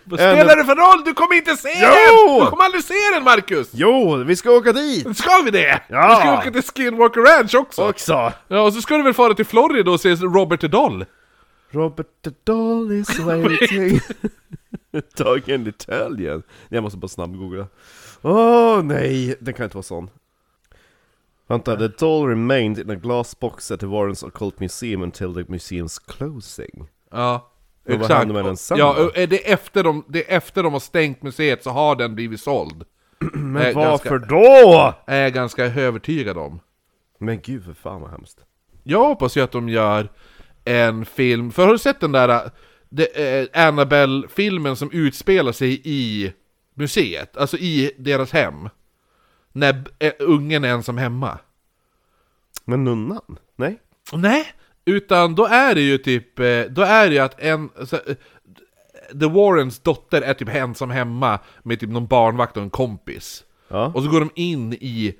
B: Vad spelar det för roll? Du kommer inte se den!
A: Jo!
B: Du kommer aldrig se den Marcus!
A: jo, vi ska åka dit!
B: Ska vi det?
A: Ja!
B: Vi ska åka till Skinwalker Ranch också!
A: Också!
B: Ja, och så ska du väl fara till Florida och se Robert the Doll?
A: Robert the doll is waiting Tagen Italien Jag måste bara snabbgoogla Åh nej, den kan inte vara sån Vänta, the doll remained in a glass box at the Warrens Occult Museum until the museum's closing
B: Ja.
A: Men vad händer med den sen
B: ja,
A: då?
B: och är det är efter de, det är efter de har stängt museet så har den blivit såld. Men är Ganska,
A: då?
B: är jag ganska övertygad om.
A: Men gud för fan vad hemskt
B: Jag hoppas ju att de gör en film, för har du sett den där äh, det, eh, Annabelle-filmen som utspelar sig i museet? Alltså i deras hem? När b- eh, ungen är ensam hemma?
A: Men nunnan? Nej?
B: Nej! Utan då är det ju typ, eh, då är det ju att en... Så, eh, The Warrens dotter är typ ensam hemma med typ någon barnvakt och en kompis.
A: Ja.
B: Och så går de in i,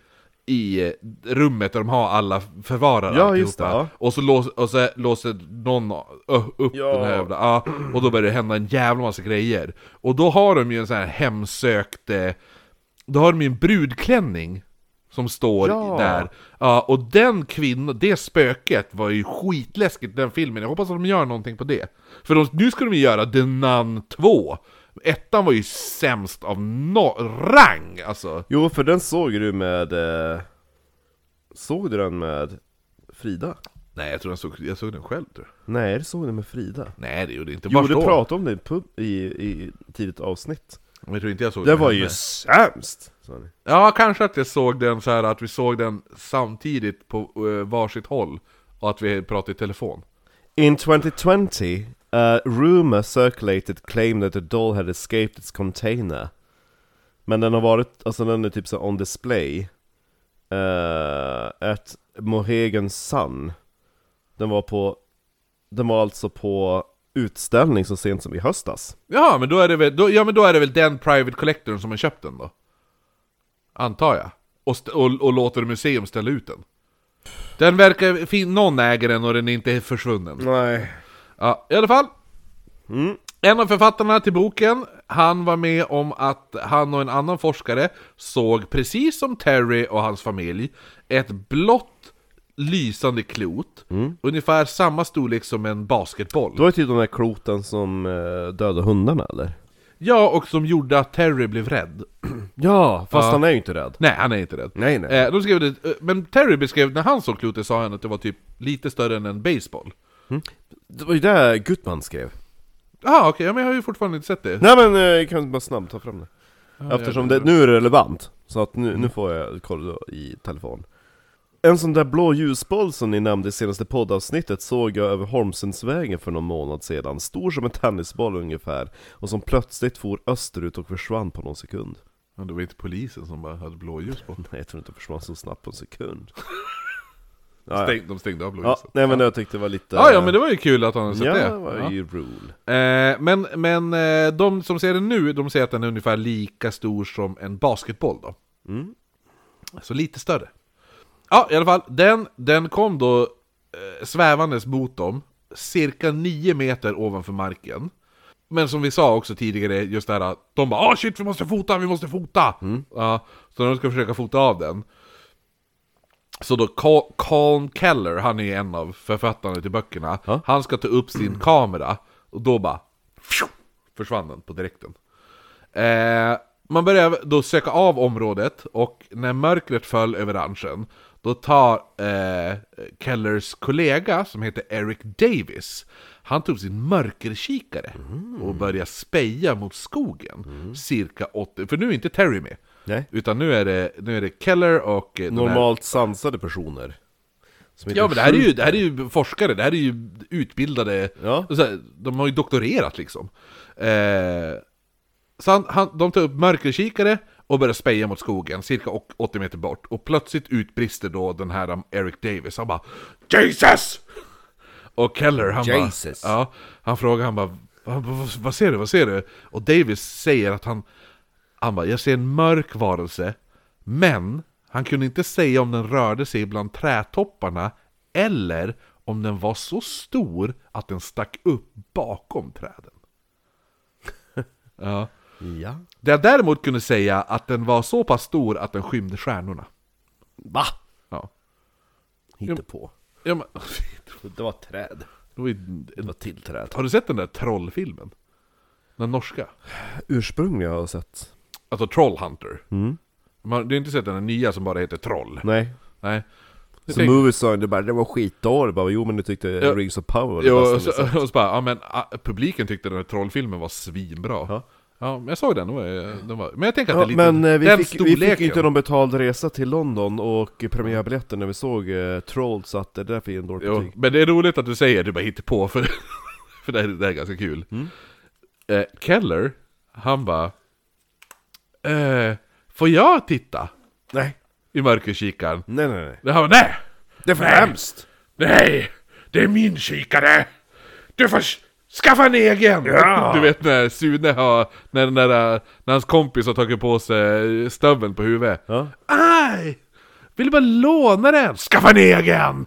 B: i eh, rummet där de har alla förvarare
A: Ja, just
B: alltihopa.
A: det,
B: Och så, lås, och så låser någon ö, upp
A: Ja.
B: den här jävla, ja, och då börjar det hända en jävla massa grejer. Och då har de ju en sån här hemsökt, eh, då har de ju en brudklänning som står
A: Ja.
B: där. Ja, och den kvinnan, det spöket var ju skitläskigt den filmen, jag hoppas att de gör någonting på det. För de, nu ska de ju göra The Nun 2. Ettan var ju sämst av no- rang, alltså.
A: Jo, för den såg du med... Eh... Såg du den med Frida?
B: Nej, jag tror jag såg, jag såg den själv tror jag.
A: Nej, du såg den med Frida.
B: Nej, det gjorde jag inte.
A: Jo,
B: Vart
A: du
B: då?
A: pratade om det i, pub- i, i tidigt avsnitt.
B: Men jag tror inte jag såg
A: Det
B: den
A: var
B: hemma.
A: ju sämst! sa ni.
B: Ja, kanske att jag såg den så här att vi såg den samtidigt på uh, varsitt håll. Och att vi pratade i telefon.
A: In 2020, a rumor circulated claimed that the doll had escaped its container. Men den har varit, alltså den är typ så on display. eh, at Mohegan Sun. Den var på, den var alltså på utställning så sent som i höstas.
B: Ja, men då är det väl, då, ja, men då är det väl den private collectorn som har köpt den då? Antar jag. Och, st- och, och låter museum ställa ut den. Den verkar, fin- någon äger den och den är inte försvunnen.
A: Nej.
B: Ja, i alla fall.
A: Mm.
B: En av författarna till boken, han var med om att han och en annan forskare såg, precis som Terry och hans familj, ett blått lysande klot,
A: Mm.
B: ungefär samma storlek som en basketboll.
A: Det var ju typ den där kloten som eh, dödade hundarna eller?
B: Ja, och som gjorde att Terry blev rädd.
A: Ja, fast han är ju inte rädd.
B: Nej, han är inte rädd.
A: Nej, nej.
B: Eh, de skrev det, eh, men Terry beskrev, när han såg klotet sa han att det var typ lite större än en baseball.
A: Det var ju det Gutman skrev.
B: Ah, okej, ja, men jag har ju fortfarande inte sett det.
A: Nej men eh, jag kan bara snabbt ta fram det. Eftersom det, nu är det relevant, så att nu,
B: Mm.
A: nu får jag kolla i telefon. En sån där blå ljusboll som ni nämnde i senaste poddavsnittet såg jag över Holmsundsvägen för någon månad sedan, stor som en tennisboll ungefär, och som plötsligt for österut och försvann på någon sekund.
B: Ja, det var inte polisen som bara hade blåljus på.
A: Nej, jag tror inte det försvann så snabbt på en sekund.
B: Stäng, de stängde av
A: Ja,
B: blåljuset.
A: nej men jag tyckte det var lite...
B: Ja, ja, men det var ju kul att han hade sett
A: Ja,
B: det.
A: det var ju rule.
B: Ja. Eh, men men eh, de som ser den nu, de säger att den är ungefär lika stor som en basketboll då.
A: Mm.
B: Så lite större. Ja, i alla fall. Den, den kom då eh, svävandes mot dem, cirka 9 meter ovanför marken. Men som vi sa också tidigare, just det här att de bara ah shit, vi måste fota, vi måste fota!'
A: Mm.
B: Ja, så när de ska försöka fota av den, så då Col- Colin Keller, han är ju en av författarna till böckerna,
A: Ja.
B: han ska ta upp sin kamera, och då bara pju, försvann den på direkten. Eh, man börjar då söka av området, och när mörkret föll över ranchen, då tar eh, Kellers kollega, som heter Eric Davis, han tog sin mörkerkikare
A: Mm.
B: och började speja mot skogen, cirka 80, för nu är inte Terry med.
A: Nej.
B: Utan nu är det, nu är det Keller och... eh, den här-
A: Normalt sansade personer. Som inte
B: Ja men det här, är ju, det här är ju forskare, det här är ju utbildade,
A: Ja.
B: så här, de har ju doktorerat liksom. Eh, så han, han, de tar upp mörkerkikare och börjar speja mot skogen, cirka å- 80 meter bort. Och plötsligt utbrister då den här um, Eric Davis, han bara Jesus! Och Keller han
A: Jesus.
B: bara, ja, han frågar han bara, "Vad- vad, vad ser du, vad ser du? Och Davis säger att han, han bara, jag ser en mörk varelse, men han kunde inte säga om den rörde sig bland trädtopparna eller om den var så stor att den stack upp bakom träden. Ja.
A: Ja.
B: Det jag däremot kunde säga att den var så pass stor att den skymde stjärnorna.
A: Va?
B: Ja.
A: Hitta på.
B: ja men,
A: Det var träd.
B: det var ju-
A: Det var till träd.
B: har du sett den där trollfilmen? Den norska?
A: Ursprungliga har jag sett.
B: Alltså Trollhunter. Man, du har inte sett den där nya som bara heter Troll?
A: Mm. Nej.
B: Nej. Jag
A: Så
B: tänker-
A: Moviesong, det bara det var skitdåligt, bara jo men du tyckte
B: Ja.
A: Rings of Power var det
B: Jo,
A: bästa
B: och,
A: ni
B: så,
A: sett.
B: och så bara, ja men ah, publiken tyckte den där trollfilmen var svinbra. Ja.
A: Ja.
B: men jag såg den, den var, den var, men jag tänker att
A: Ja,
B: det är lite,
A: men eh, vi
B: den
A: fick, vi fick inte någon betald resa till London och premiärbiljetten när vi såg eh, Trolls, så att det där fick en dåligt
B: jo,
A: betyg.
B: Men det är roligt att du säger, du bara hittar på för, för det, här, det här är ganska kul.
A: Mm.
B: Eh, Keller, han bara, eh, får jag titta
A: Nej,
B: i mörkerkikaren?
A: nej nej nej.
B: Det här var, nej!
A: Det är för
B: Nej.
A: hemskt!
B: Nej! Det är min kikare! Du får s- skaffa en egen! Du vet när Sune har, när, den där, när hans kompis har tagit på sig stöveln på huvudet.
A: Ja.
B: Aj! Vill du bara låna den? Skaffa en egen!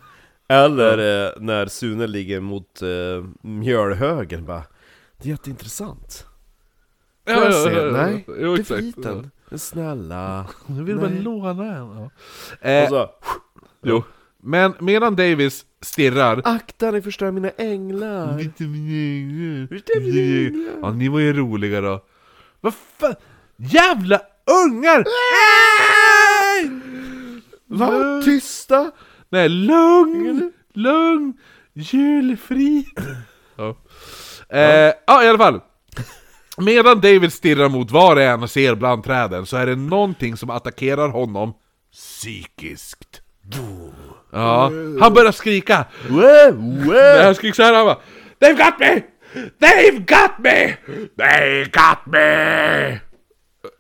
A: Eller eh, när Sune ligger mot eh, mjölhögen bara Det är jätteintressant Får jag se? Nej,
B: Jo,
A: det är
B: exakt.
A: för liten Men Snälla
B: Nu vill du bara
A: Nej.
B: låna den. Ja.
A: Och
B: Eh,
A: så,
B: jo. Men medan Davis stirrar
A: akta ni förstör mina änglar
B: Lite mjängel.
A: Lite mjängel.
B: Mjängel. Ja, ni var ju roliga då. Vad fan? Jävla ungar! Mm.
A: Va? Typ- Tysta?
B: Nej, lugn! Lugn! Julfri! ja. Eh, ja, i alla fall. Medan David stirrar mot var det än och ser bland träden så är det någonting som attackerar honom psykiskt. Ja, han börjar skrika.
A: Wow,
B: Men
A: wow.
B: han skrek såhär, han bara They've got me! They've got me! They got me!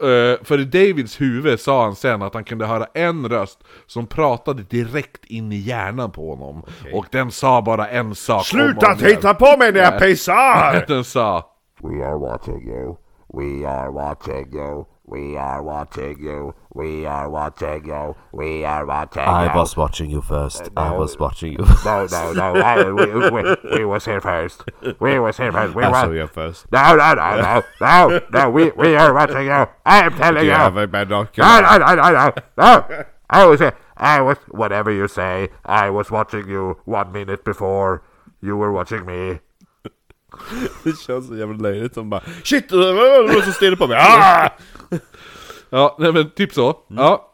B: Eh, för i Davids huvud sa han sen att han kunde höra en röst som pratade direkt in i hjärnan på honom. Och den sa bara en sak
D: Sluta
B: om och om igen.
D: titta på mig när jag pissar!
B: Den sa
E: We are watching you. We are watching you. We are watching you. We are watching you. We are watching you.
F: I was watching you first. I was watching
A: Mm.
F: you.
E: No, no, no. I, we, we, we was here first. We was here first. We
D: Alltså
E: were.
D: jag först.
E: No, no, no, no, no, no. We, we are watching you. I am telling you.
D: Jävel med
E: No,
D: dockorna.
E: no, no, no, no, no. I was here. I was. Whatever you say, I was watching you one minute before you were watching me.
A: Det känns så jävla löjligt som bara Shit, det var någon som stirrade på mig! Ah!
B: Ja, nej men typ så.
D: Mm.
B: Ja.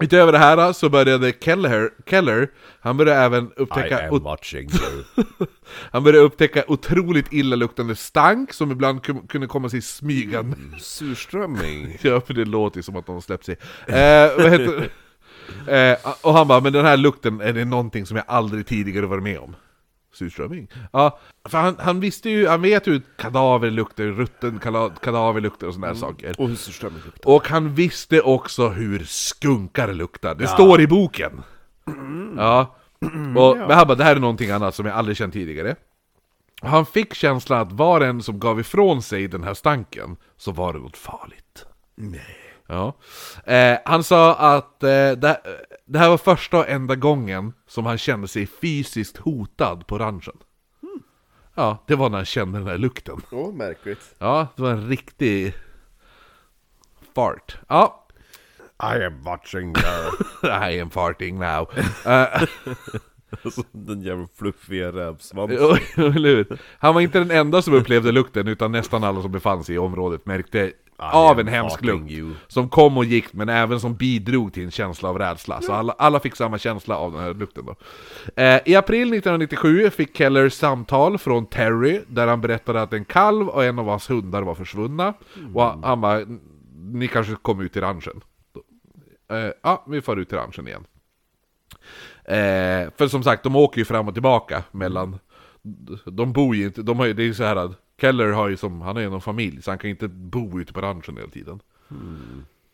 B: Utöver det här så började Keller, Keller han började även
D: I
B: upptäcka
D: am watching you.
B: Han började upptäcka otroligt illaluktande stank som ibland kun- kunde komma sig smygande.
A: Surströmming
B: Ja, för det låter ju som att de har släppt sig. Eh, vad heter eh, och han bara, men den här lukten är det någonting som jag aldrig tidigare varit med om. Surströmming. Ja, för han, han visste ju, han vet ju hur kadaver luktar, rutten kala- kadaver luktar och sådana här saker.
A: Och hur surströmming luktar
B: Och han visste också hur skunkar luktar. Det står i boken. Ja. Och, Men han bara, det här är någonting annat som jag aldrig känt tidigare. Och han fick känslan att var en som gav ifrån sig den här stanken så var det något farligt. Ja. Eh, han sa att eh, det, det här var första och enda gången som han kände sig fysiskt hotad på ranchen. Ja, det var när han kände den här lukten.
A: Åh, märkligt
B: Ja, det var en riktig fart. Ja,
D: I am watching you.
B: I am farting now.
A: Alltså, den jävla fluffiga rävsvansen
B: Jo, eller hur? Han var inte den enda som upplevde lukten, utan nästan alla som befann sig i området märkte av en hemsk
A: farting
B: lukt.
A: you.
B: Som kom och gick, men även som bidrog till en känsla av rädsla. Så alla, alla fick samma känsla av den här lukten då. Eh, I april 1997 fick Keller samtal från Terry, där han berättade att en kalv och en av hans hundar var försvunna. Och han- han bara, ni kanske kom ut i ranchen. Eh, ja, vi far ut till ranchen igen. Eh, för som sagt, de åker ju fram och tillbaka mellan... De bor ju inte... De har ju, det är ju så här att Keller har ju som... Han har ju någon familj, så han kan ju inte bo ute på ranchen hela tiden.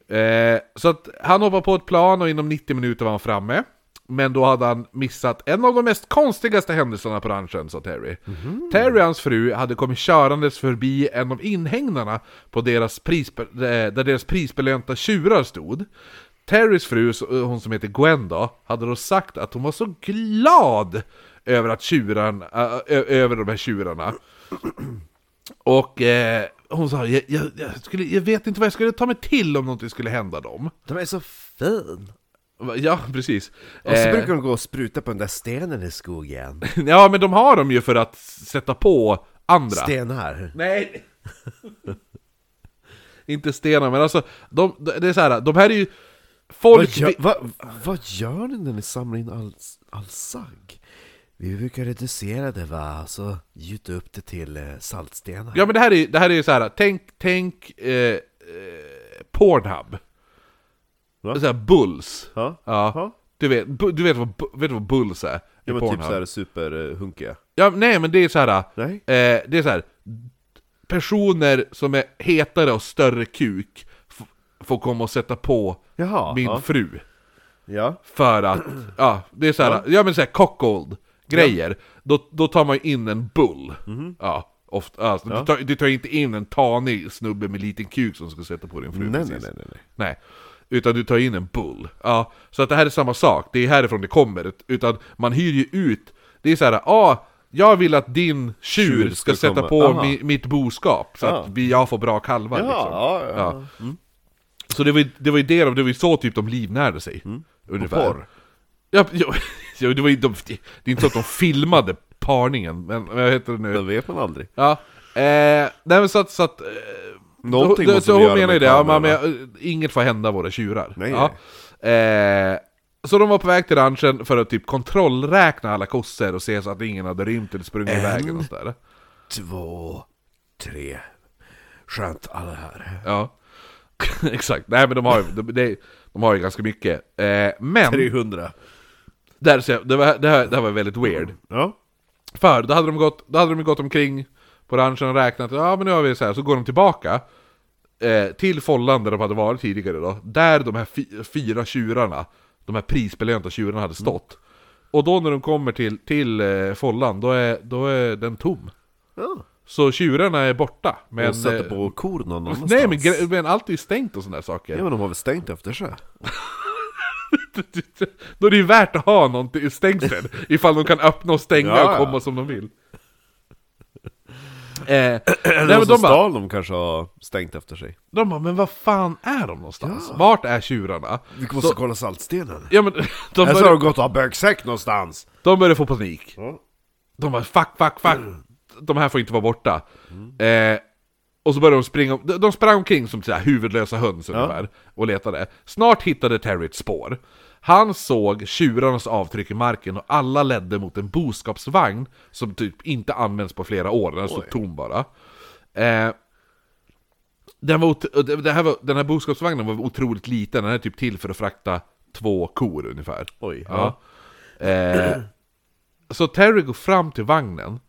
B: Eh, så att han hoppar på ett plan och inom 90 minuter var han framme. Men då hade han missat en av de mest konstigaste händelserna på ranchen, sa Terry. Terry och hans fru hade kommit körandes förbi en av inhägnarna på deras pris, eh, där deras prisbelönta tjurar stod. Terrys fru, så- eh, hon som heter Gwen då, hade då sagt att hon var så glad över att tjuran, ö- ö- över de här tjurarna. Och eh, hon sa, jag, jag, jag, skulle, jag vet inte vad jag skulle ta mig till om någonting skulle hända dem.
A: De är så fin!
B: Va- Ja, precis.
A: Och så
B: Eh,
A: brukar de gå och spruta på den där stenen i skogen
B: Ja, men de har dem ju för att s- sätta på andra.
A: Stenar
B: Nej! inte stenar, men alltså, de, det är så här, de här är ju...
A: vad,
B: Folk...
A: gör- vad, vad gör ni när ni samlar in all, all sagg? Vi brukar reducera det va, så gjuta upp det till eh, saltstenar
B: Ja men det här är, det här är ju så här. tänk, tänk eh, eh, Pornhub.
A: Va?
B: Så här bulls.
A: Ja. Ja.
B: Du, vet, bu- du vet, vad, bu- vet vad bulls är? i
A: Ja men typ
B: Pornhub.
A: såhär superhunkiga
B: Ja, nej men det är så här.
A: Nej.
B: Eh, det är så här. Personer som är hetare och större kuk f- får komma och sätta på
A: Jaha,
B: min
A: ja.
B: fru.
A: Ja
B: För att, ja, det är så här, ja men såhär cockold grejer, då, då tar man in en bull.
A: Mhm.
B: Ja, ofta, alltså, Du, tar, du tar inte in en tanig snubbe med liten kuk som ska sätta på din fru.
A: Nej,
B: precis.
A: nej, nej, nej, nej.
B: nej. Utan du tar in en bull. Ja, så att det här är samma sak, det är härifrån det kommer. Ut- Utan man hyr ju ut, det är så här, ah, jag vill att din tjur
A: Tjur
B: ska,
A: ska
B: sätta
A: komma.
B: på
A: Aha.
B: mi, mitt boskap, så
A: Ja.
B: att vi, jag får bra kalvar
A: Ja,
B: liksom.
A: ja, ja.
B: Så det var ju det, var ju det, de- det var ju så typ de livnärde sig. Ungefär.
A: Mm. porr.
B: Ja, jo, jo, det var ju de, det är inte så att de filmade parningen, men men vad heter det nu?
A: Det vet man aldrig.
B: Ja, eh, nej men så att, så att eh,
A: Någonting
B: då,
A: måste
B: så
A: vi
B: hon
A: göra
B: menar ju
A: med
B: det, ja, men,
A: kamerorna.
B: men, eh, inget får hända våra tjurar.
A: Nej.
B: Ja. Eh, så de var på väg till ranchen för att typ kontrollräkna alla kossor och se så att ingen hade rymt eller sprungit iväg
A: Mm.
B: eller något sådär.
A: Två, tre. Skönt alla här.
B: Ja, exakt. Nej men de har ju, de, de, de har ju ganska mycket. Eh, men,
A: 300.
B: där, så, jag- det, var, det, här, det här var väldigt weird.
A: Ja.
B: För då hade de gått, då hade de gått omkring på ranchen och räknat, ja men nu har vi så här, så går de tillbaka eh, till follan där de hade varit tidigare då, där de här fy, fyra tjurarna, de här prisbelönta tjurarna
A: Mm.
B: hade stått. Och då när de kommer till, till eh, follan, då är, då är den tom.
A: ja.
B: Så tjurarna är borta. Men,
A: och sätter
B: eh,
A: på kor någon annanstans.
B: Nej men, gre- men allt är ju stängt och sådana där saker.
A: Ja men de har väl stängt efter sig?
B: Då är det ju värt att ha någonting stängsel Ifall de kan öppna och stänga
A: Ja, ja.
B: och komma som de vill eh, Nej
A: Eller
B: men
A: de som
B: de bara,
A: stal de kanske har stängt efter sig.
B: de bara, men vad fan är de någonstans? Vart är tjurarna?
A: Vi måste kolla saltstenen.
B: Ja men, de
A: Här så Alltså, har
B: börjar,
A: de gått och har bögsäck någonstans.
B: de börjar få panik
A: Ja.
B: De bara, fuck, fuck, fuck De här får inte vara borta
A: Mm.
B: eh, Och så börjar de springa, de de sprang omkring som så här huvudlösa höns ungefär Och letade Snart hittade Terry ett spår Han såg tjurarnas avtryck i marken och alla ledde mot en boskapsvagn Som typ inte används på flera år, den stod tom bara eh, den, var ot- och det- det här var, den här boskapsvagnen var otroligt liten, den är typ till för att frakta två kor ungefär
A: Oj,
B: ja. Eh, Så Terry går fram till vagnen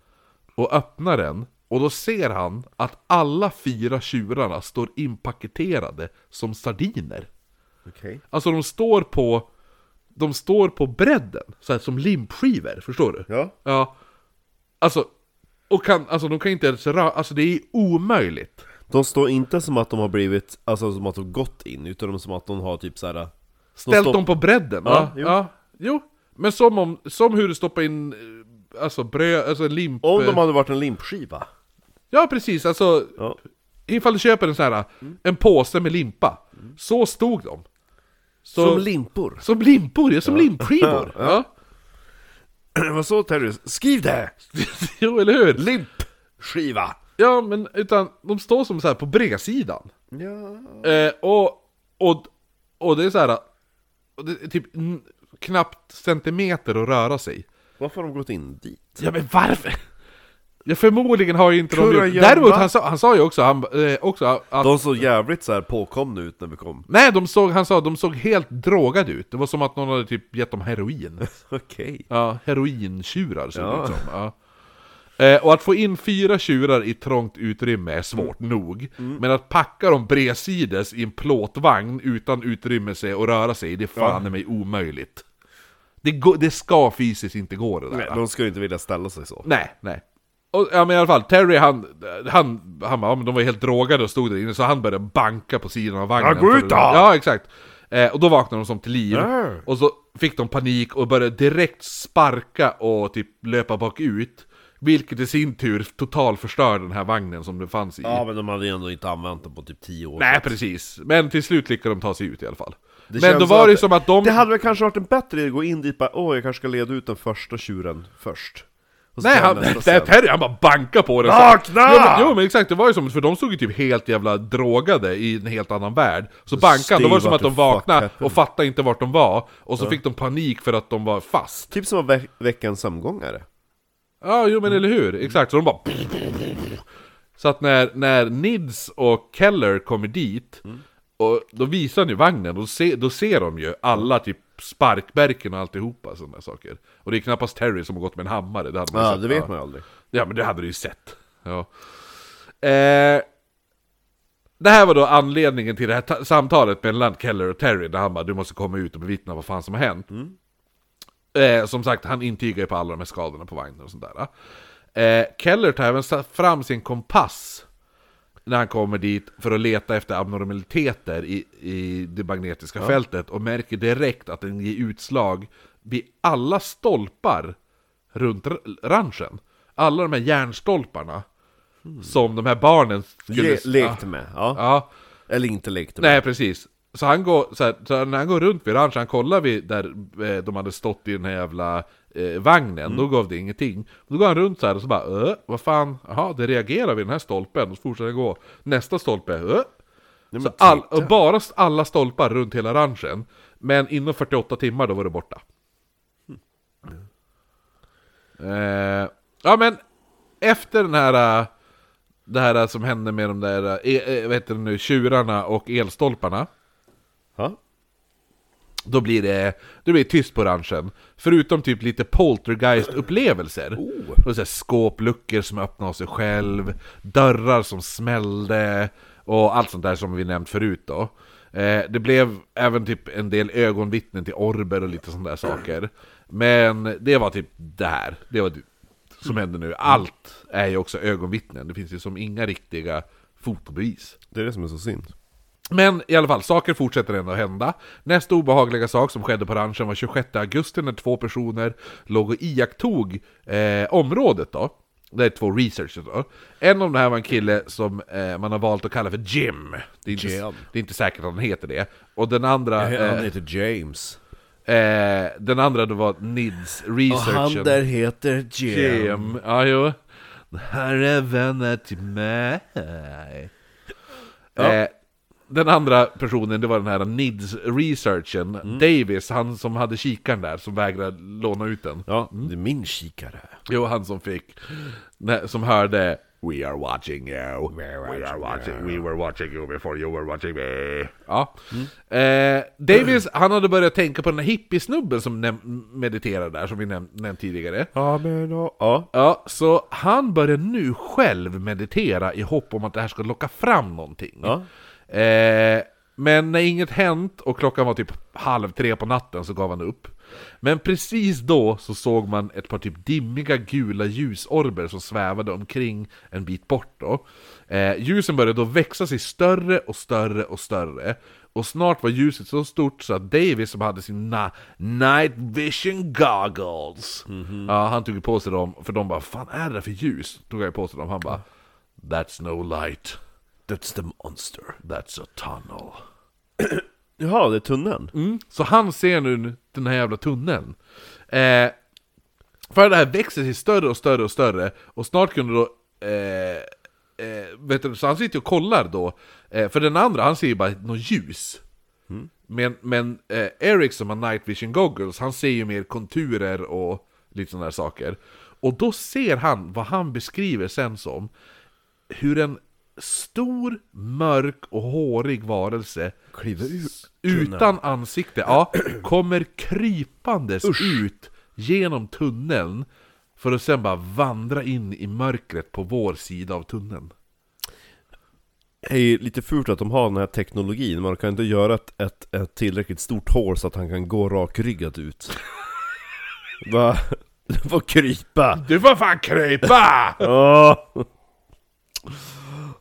B: och öppnar den och då ser han att alla fyra tjurarna står inpaketerade som sardiner.
A: Okej.
B: Alltså de står på De står på bredden, så här, som limpskivor, förstår du?
A: Ja.
B: Ja Alltså, och kan, alltså de kan inte ens röra, alltså det är omöjligt
A: De står inte som att de har blivit, alltså som att de gått in, utan de som att de har typ såhär...
B: Ställt dem på bredden, ja,
A: Ja,
B: ja,
A: jo.
B: jo Men som om, som hur du stoppar in eh, Alltså bröd, alltså en limp
A: Om de hade varit en limpskiva.
B: Ja precis, alltså
A: Ja.
B: Ifall du köper en sån här, en påse med limpa Så stod de så,
A: Som limpor.
B: Som limpor, ja, som limpskivor! Ja.
A: Vad så Terry? Skriv det!
B: jo, eller hur?
A: Limpskiva!
B: Ja, men utan de står som så här på bredsidan.
A: Ja.
B: Eh, och, och, och det är så här. och Det är typ n- knappt centimeter att röra sig.
A: Varför har de gått in dit?
B: Ja, men varför? Ja, förmodligen har ju inte de
A: Kurragömma.
B: gjort... Däremot, han sa, han sa ju också, han, eh, också att...
A: De såg jävligt så här påkomna ut när vi kom.
B: Nej, de såg, han sa de såg helt drogade ut. Det var som att någon hade typ gett dem heroin.
A: Okej.
B: Ja, herointjurar ser det
A: Ja.
B: ut som. Ja. Eh, och att få in fyra tjurar i trångt utrymme är svårt
A: Mm.
B: nog. Men att packa dem bredsides i en plåtvagn utan utrymme sig och röra sig, det är fan i mig omöjligt. Det, går- det ska fysiskt inte gå det där.
A: Nej,
B: va?
A: de skulle inte vilja ställa sig så.
B: Nej, nej. Och, ja men i alla fall, Terry han, han, han bara, ja, men de var helt drogade och stod där inne så han började banka på sidan av vagnen.
D: Ja, gå
B: för-
D: ut då!
B: Ja, exakt. Eh, och då vaknade de som till liv. Och så fick de panik och började direkt sparka och typ löpa bakut. Vilket i sin tur totalförstörde den här vagnen som det fanns i.
A: Ja men de hade ju ändå inte använt den på typ 10 år.
B: Nej precis, men till slut lyckades de ta sig ut i alla fall.
A: Det
B: men
A: känns
B: då var det ju som att de...
A: Det hade väl kanske varit en bättre idé att gå in dit bara åh jag kanske ska leda ut den första tjuren först. Och så
B: Nej,
A: tar jag
B: han,
A: nästa
B: det är
A: sen.
B: Perry, han bara bankar på den
D: Vakna!
B: Jo men, jo men exakt, det var ju som, för de stod ju typ helt jävla drogade i en helt annan värld Så bankade, då var det som
A: Steve, typ
B: att de
A: what the fuck
B: vaknade
A: happened?
B: och fattade inte vart de var Och så fick de panik för att de var fast
A: Typ som att ve- väcka en sömngångare.
B: Ja, jo men eller hur, exakt, så de bara Så att när, när Nids och Keller kommer dit
A: Mm.
B: och Då visar han ju vagnen, och se, då ser de ju alla typ sparkbärken och alltihopa sådana saker Och det är knappast Terry som har gått med en hammare, det hade man
A: Alltså, Ja
B: sett.
A: det vet man ju aldrig.
B: Ja men det hade du ju sett. Ja. Eh, det här var då anledningen till det här ta- samtalet mellan Keller och Terry där han bara du måste komma ut och bevittna vad fan som har hänt. Eh, som sagt, han intygar ju på alla de här skadorna på vagnen och sånt där. Eh, Keller tar även sa- fram sin kompass när han kommer dit för att leta efter abnormaliteter i, i det magnetiska fältet och märker direkt att den ger utslag vid alla stolpar runt r- ranchen. Alla de här järnstolparna som de här barnen skulle...
A: Le- lekte med, ja.
B: Ja,
A: Eller inte lekte med.
B: Nej, precis. Så han går, så här, så när han går runt vid ranchen, han kollar vid där eh, de hade stått i den här jävla eh, vagnen, då gav det ingenting. Då går han runt så här och så bara äh, vad fan, jaha, det reagerar vid den här stolpen, och så fortsätter han gå. Nästa stolpe, äh. Så all, och bara s- alla stolpar runt hela ranchen, men inom 48 timmar då var det borta. Eh, ja men, efter den här... eh, det här som hände med de där, eh, eh, vad heter det nu, tjurarna och elstolparna.
A: Ja.
B: Då blir det, då blir det tyst på ranchen. Förutom typ lite poltergeist-upplevelser. Och så här skåpluckor som öppnar av sig själv, dörrar som smällde och allt sånt där som vi nämnt förut då. Eh, det blev även typ en del ögonvittnen till orber och lite sådana där saker. Men det var typ det här. Det var typ som händer nu. Allt är ju också ögonvittnen. Det finns ju som inga riktiga fotobevis.
A: Det är det som är så synd.
B: Men i alla fall, saker fortsätter ändå hända. Nästa obehagliga sak som skedde på ranchen var 26 augusti när två personer låg och iakttog eh, området då. Det är två researchers då. En av de här var en kille som eh, man har valt att kalla för Jim. Det är inte,
A: Jim.
B: Det är inte säkert att han heter det. Och den andra... Eh,
A: heter James.
B: eh, den andra då var Nids
A: Och
B: researchen.
A: han där heter Jim.
B: Jim. Ja, jo. Det här är vänner till mig. Eh, den andra personen, det var den här NIDS-researchen, Davis, han som hade kikaren där, som vägrade låna ut den.
A: Ja, det är min kikare.
B: Jo, han som fick, nä- som hörde We are watching you, we are watching, we were watching you before you were watching me. Ja. Eh, Davis, han hade börjat tänka på den här hippiesnubben som näm- mediterade där, som vi näm- nämnt tidigare.
A: Ja, men då. Ja.
B: Ja, så han börjar nu själv meditera i hopp om att det här ska locka fram någonting.
A: Ja.
B: Eh, men när inget hänt och klockan var typ halv tre på natten så gav han upp. Men precis då så såg man ett par typ dimmiga gula ljusorber som svävade omkring en bit bort då. Eh, ljusen började då växa sig större och större och större. Och snart var ljuset så stort så att Davis som hade sina night vision goggles ja, Han tog ju på sig dem, för de bara 'Fan är det där för ljus?' Tog han ju på sig dem, han bara 'That's no light'
A: That's the monster.
B: That's a tunnel.
A: Jaha, det är tunneln.
B: Så han ser nu den här jävla tunneln. Eh, för det här växer sig större och större och större och snart kunde då... Eh, eh, vet du, så han sitter och kollar då. Eh, för den andra, han ser ju bara något ljus. Men, men eh, Eric som har night vision goggles, han ser ju mer konturer och lite sådana där saker. Och då ser han vad han beskriver sen som hur en stor, mörk och hårig varelse
A: Kliver ur
B: s- utan ansikte, ja, kommer krypandes ut genom tunneln för att sen bara vandra in i mörkret på vår sida av tunneln.
A: Det är ju lite fult att de har den här teknologin, man kan inte göra ett, ett, ett tillräckligt stort hål så att han kan gå rakryggat ut. Va? Du får krypa!
B: Du får fan krypa!
A: Åh!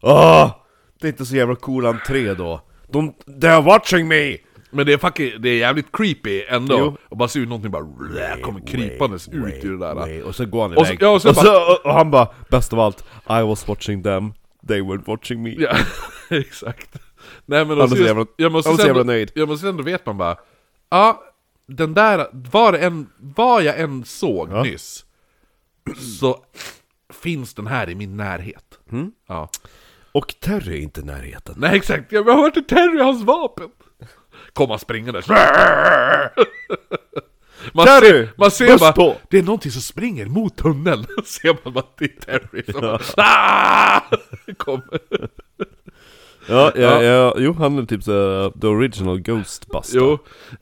A: Åh! Ah! Det är inte så jävla cool entré då. De, they are watching me!
B: Men det är, fucking, det är jävligt creepy ändå.
A: Jo.
B: Och bara se hur någonting bara kommer krypandes ut ur det där.
A: Nej, Och sen går han
B: Och så-
A: iväg.
B: ja, och
A: och,
B: så bara-
A: och han bara, bäst av allt, I was watching them, they were watching me.
B: Ja, exakt. Nej men
A: var
B: också
A: så
B: just-
A: jävla-
B: jag måste
A: han var så
B: ändå-
A: jävla nöjd.
B: Jag måste ändå vet man bara, ja, den där, var, det en, var jag än såg nyss, så finns den här i min närhet.
A: Mm.
B: Ja.
A: Och Terry är inte i närheten.
B: Nej exakt, jag har hört det Terry och hans vapen! Komma springandes. Man
A: Terry,
B: ser, man ser
A: buss
B: bara,
A: på!
B: det är någonting som springer mot tunneln. ser man bara, det är Terry som bara, "Ah!" kommer.
A: Ja,
B: Ja.
A: ja, ja, jo han är typ så, the original Ghostbuster.
B: Jo.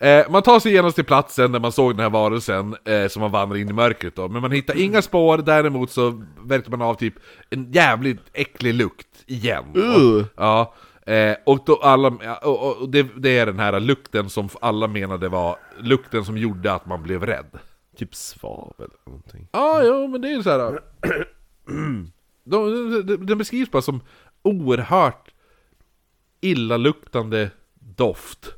B: Eh, man tar sig genast till platsen där man såg den här varelsen eh, som man vandrar in i mörkret då. Men man hittar inga spår, däremot så verkar man av typ en jävligt äcklig lukt igen.
A: Ugh.
B: Ja. Eh, och då alla, ja, och, och- och det, det är den här lukten som alla menade var lukten som gjorde att man blev rädd.
A: Typ svavel eller någonting.
B: Ja, jo, men det är ju så här. De, de, de beskrivs bara som oerhört illaluktande doft.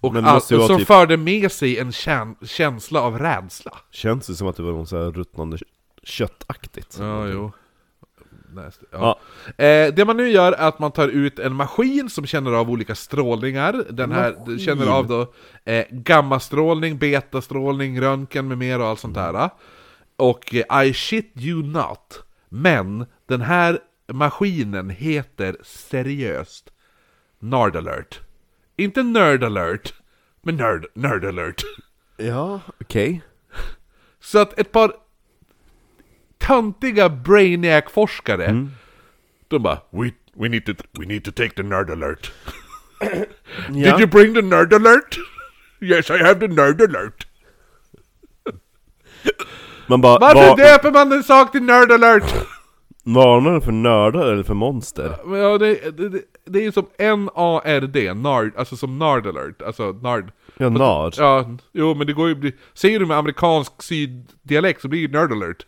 B: Och
A: Men
B: Men
A: det måste ju vara
B: som
A: typ-
B: förde med sig en kän- känsla av rädsla.
A: Känns det som att det var något så här ruttnande köttaktigt?
B: Ja, jo. Näst, ja.
A: Ja.
B: Eh, det man nu gör är att man tar ut en maskin som känner av olika strålningar. Den här den känner av då eh, gammastrålning, betastrålning, röntgen med mera och allt sånt där. Och eh, I shit you not. Men den här maskinen heter seriöst Nard alert. Inte nerd alert, men nerd, nerd alert.
A: Ja, okej.
B: Så att ett par töntiga brainiac-forskare, de bara we, we, need to, we need to take the nerd alert.
A: Ja.
B: Did you bring the nerd alert? Yes I have the nerd alert.
A: Man bara,
B: Varför
A: var,
B: döper man en sak till nerd alert?
A: varnar den för nördar eller för monster?
B: Men ja, det, det, det- det är ju som N-A-R-D, nard, alltså som nard alert, alltså nard.
A: Ja, nörd.
B: Ja, jo men det går ju bli... Säger du med amerikansk syddialekt så blir det nerd alert.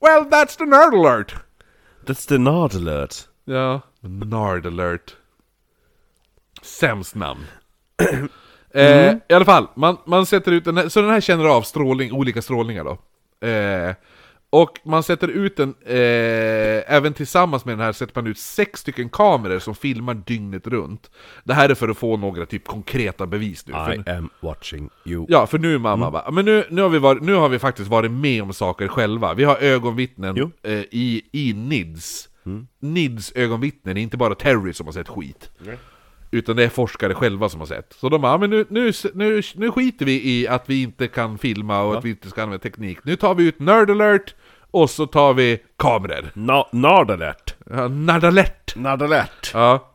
B: Well that's the nerd alert!
A: That's the nörd alert.
B: Ja. Nard alert. Sämst namn. eh, I alla fall, man, man sätter ut den här, så den här känner av strålning, olika strålningar då. Eh, och man sätter ut den, eh, även tillsammans med den här sätter man ut sex stycken kameror som filmar dygnet runt. Det här är för att få några typ konkreta bevis nu. För,
A: I am watching you.
B: Ja, för nu är mamma
A: Mm.
B: bara, men nu, nu, har vi varit, nu har vi faktiskt varit med om saker själva. Vi har ögonvittnen
A: Jo. Mm.
B: eh, i, i NIDS. NIDS ögonvittnen, det är inte bara Terry som har sett skit. Utan det är forskare själva som har sett. Så de bara, "Ja, men nu, nu, nu, nu skiter vi i att vi inte kan filma och att vi inte ska använda teknik. Nu tar vi ut Nerd alert och så tar vi kameror.
A: Na- nörd alert.
B: Ja, Nerd alert!
A: Nörd alert.
B: Ja.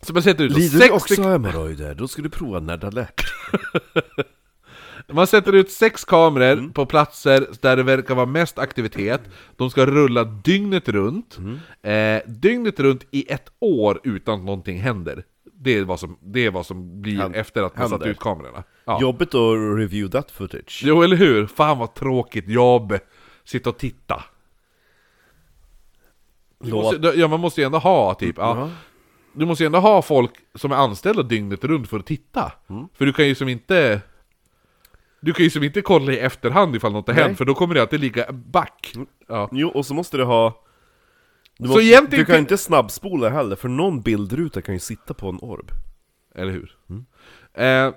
B: Så man sätter ut
A: Lider
B: sex
A: du också
B: stycken-
A: av hemorrojder? Då ska du prova nörd alert.
B: Man sätter ut sex kameror
A: Mm.
B: på platser där det verkar vara mest aktivitet. De ska rulla dygnet runt.
A: Mm.
B: Eh, dygnet runt i ett år utan att någonting händer. Det är vad som, det är vad som blir efter att man satt
A: händer.
B: ut kamerorna. Ja.
A: Jobbigt att review that footage.
B: Jo, eller hur? Fan vad tråkigt jobb! Sitta och titta. Du
A: Låt-
B: måste, ja, man måste ju ändå ha typ... Ja. Du måste ju ändå ha folk som är anställda dygnet runt för att titta. För du kan ju som inte... Du kan ju som inte kolla i efterhand ifall något har hänt, för då kommer det alltid ligga back. Ja.
A: Jo, och så måste du ha... Du,
B: Så
A: måste,
B: egentligen
A: du kan
B: kan-
A: inte snabbspola heller, för någon bildruta kan ju sitta på en orb.
B: Eller hur? Eh,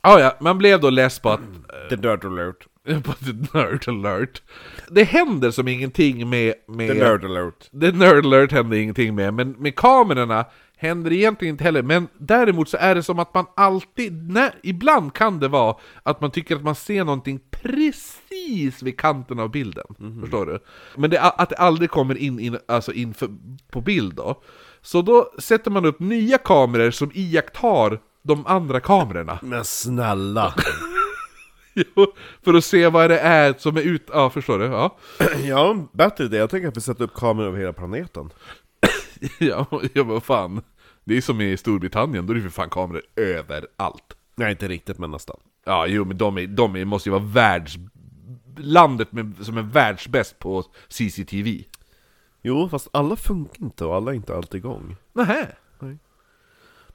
B: ah, ja, man blev då less på att...
A: The nerd alert.
B: På nerd alert. Det händer som ingenting med... med
A: alert.
B: The Nerd Alert hände ingenting med, men med kamerorna händer det egentligen inte heller. Men däremot så är det som att man alltid, nej, ibland kan det vara att man tycker att man ser någonting precis vid kanten av bilden. Förstår du? Men det, att det aldrig kommer in, in, alltså in för, på bild då. Så då sätter man upp nya kameror som iakttar de andra kamerorna.
A: Men snälla!
B: Jo, för att se vad det är som är ut... Ja, förstår du? Ja.
A: Jag har en bättre idé, jag tänker att vi sätter upp kameror över hela planeten.
B: Ja, ja men fan. Det är som i Storbritannien, då är det för fan kameror överallt.
A: Nej, inte riktigt, men nästan.
B: Ja, jo men de, är, de är, måste ju vara världs... Landet med, som är världsbäst på CCTV.
A: Jo, fast alla funkar inte och alla är inte alltid igång.
B: Nähä?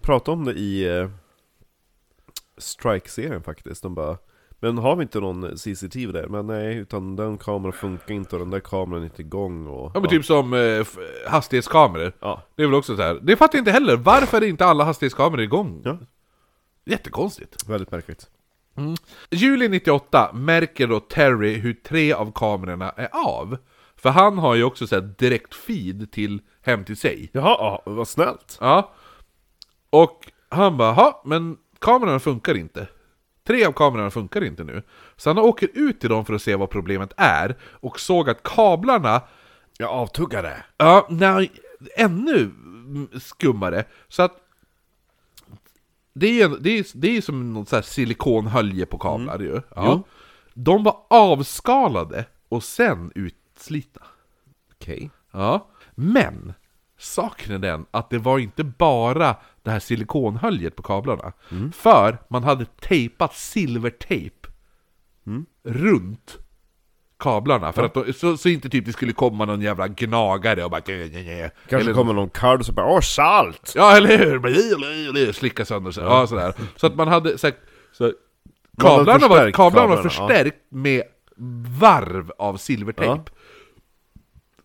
A: Prata om det i eh, Strike-serien faktiskt, de bara Men har vi inte någon CCTV där? Men nej, utan den kameran funkar inte och den där kameran är inte igång och...
B: Ja men typ som eh, f- hastighetskameror.
A: Ja.
B: Det är väl också så här. Det fattar jag inte heller. Varför är inte alla hastighetskameror igång?
A: Ja.
B: Jättekonstigt.
A: Väldigt märkligt.
B: Juli 98 märker då Terry hur tre av kamerorna är av. För han har ju också så här direkt feed till hem till sig.
A: Jaha, ja, vad snällt!
B: Ja. Och han bara, "Ha, men kamerorna funkar inte. Tre av kamerorna funkar inte nu. Så han åker ut till dem för att se vad problemet är och såg att kablarna,
A: Jag avtuggar det!
B: ja, nej, ännu mm, skummare. Så att det är ju en- det är, det är ju som något så här silikonhölje på kablar ju. Ja. De var avskalade och sen utslitna.
A: Okej.
B: Ja. Men saken är den att det var inte bara det här silikonhöljet på kablarna. För man hade tejpat silvertejp runt kablarna för att då, så, så inte typ det skulle komma någon jävla gnagare och bara nj, nj, nj.
A: Kanske kommer någon kalv som bara 'Åh, salt!'
B: Ja eller hur! Bli, bli, bli, Slicka sönder sig, ja. sådär Så att man hade sagt så här,
A: Man hade
B: Kablarna var,
A: förstärkt
B: kablarna var
A: kablarna, ja.
B: förstärkt med varv av silvertejp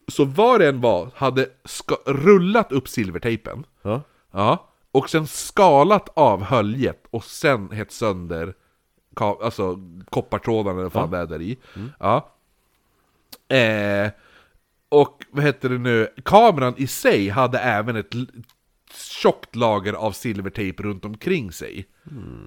B: Så var en var hade ska, rullat upp silvertejpen
A: Ja.
B: Ja, och sen skalat av höljet och sen hett sönder ka- alltså koppartrådarna eller vad fan det är där i.
A: Mm.
B: Ja. Eh, och vad heter det nu, kameran i sig hade även ett l- tjockt lager av silvertejp runt omkring sig.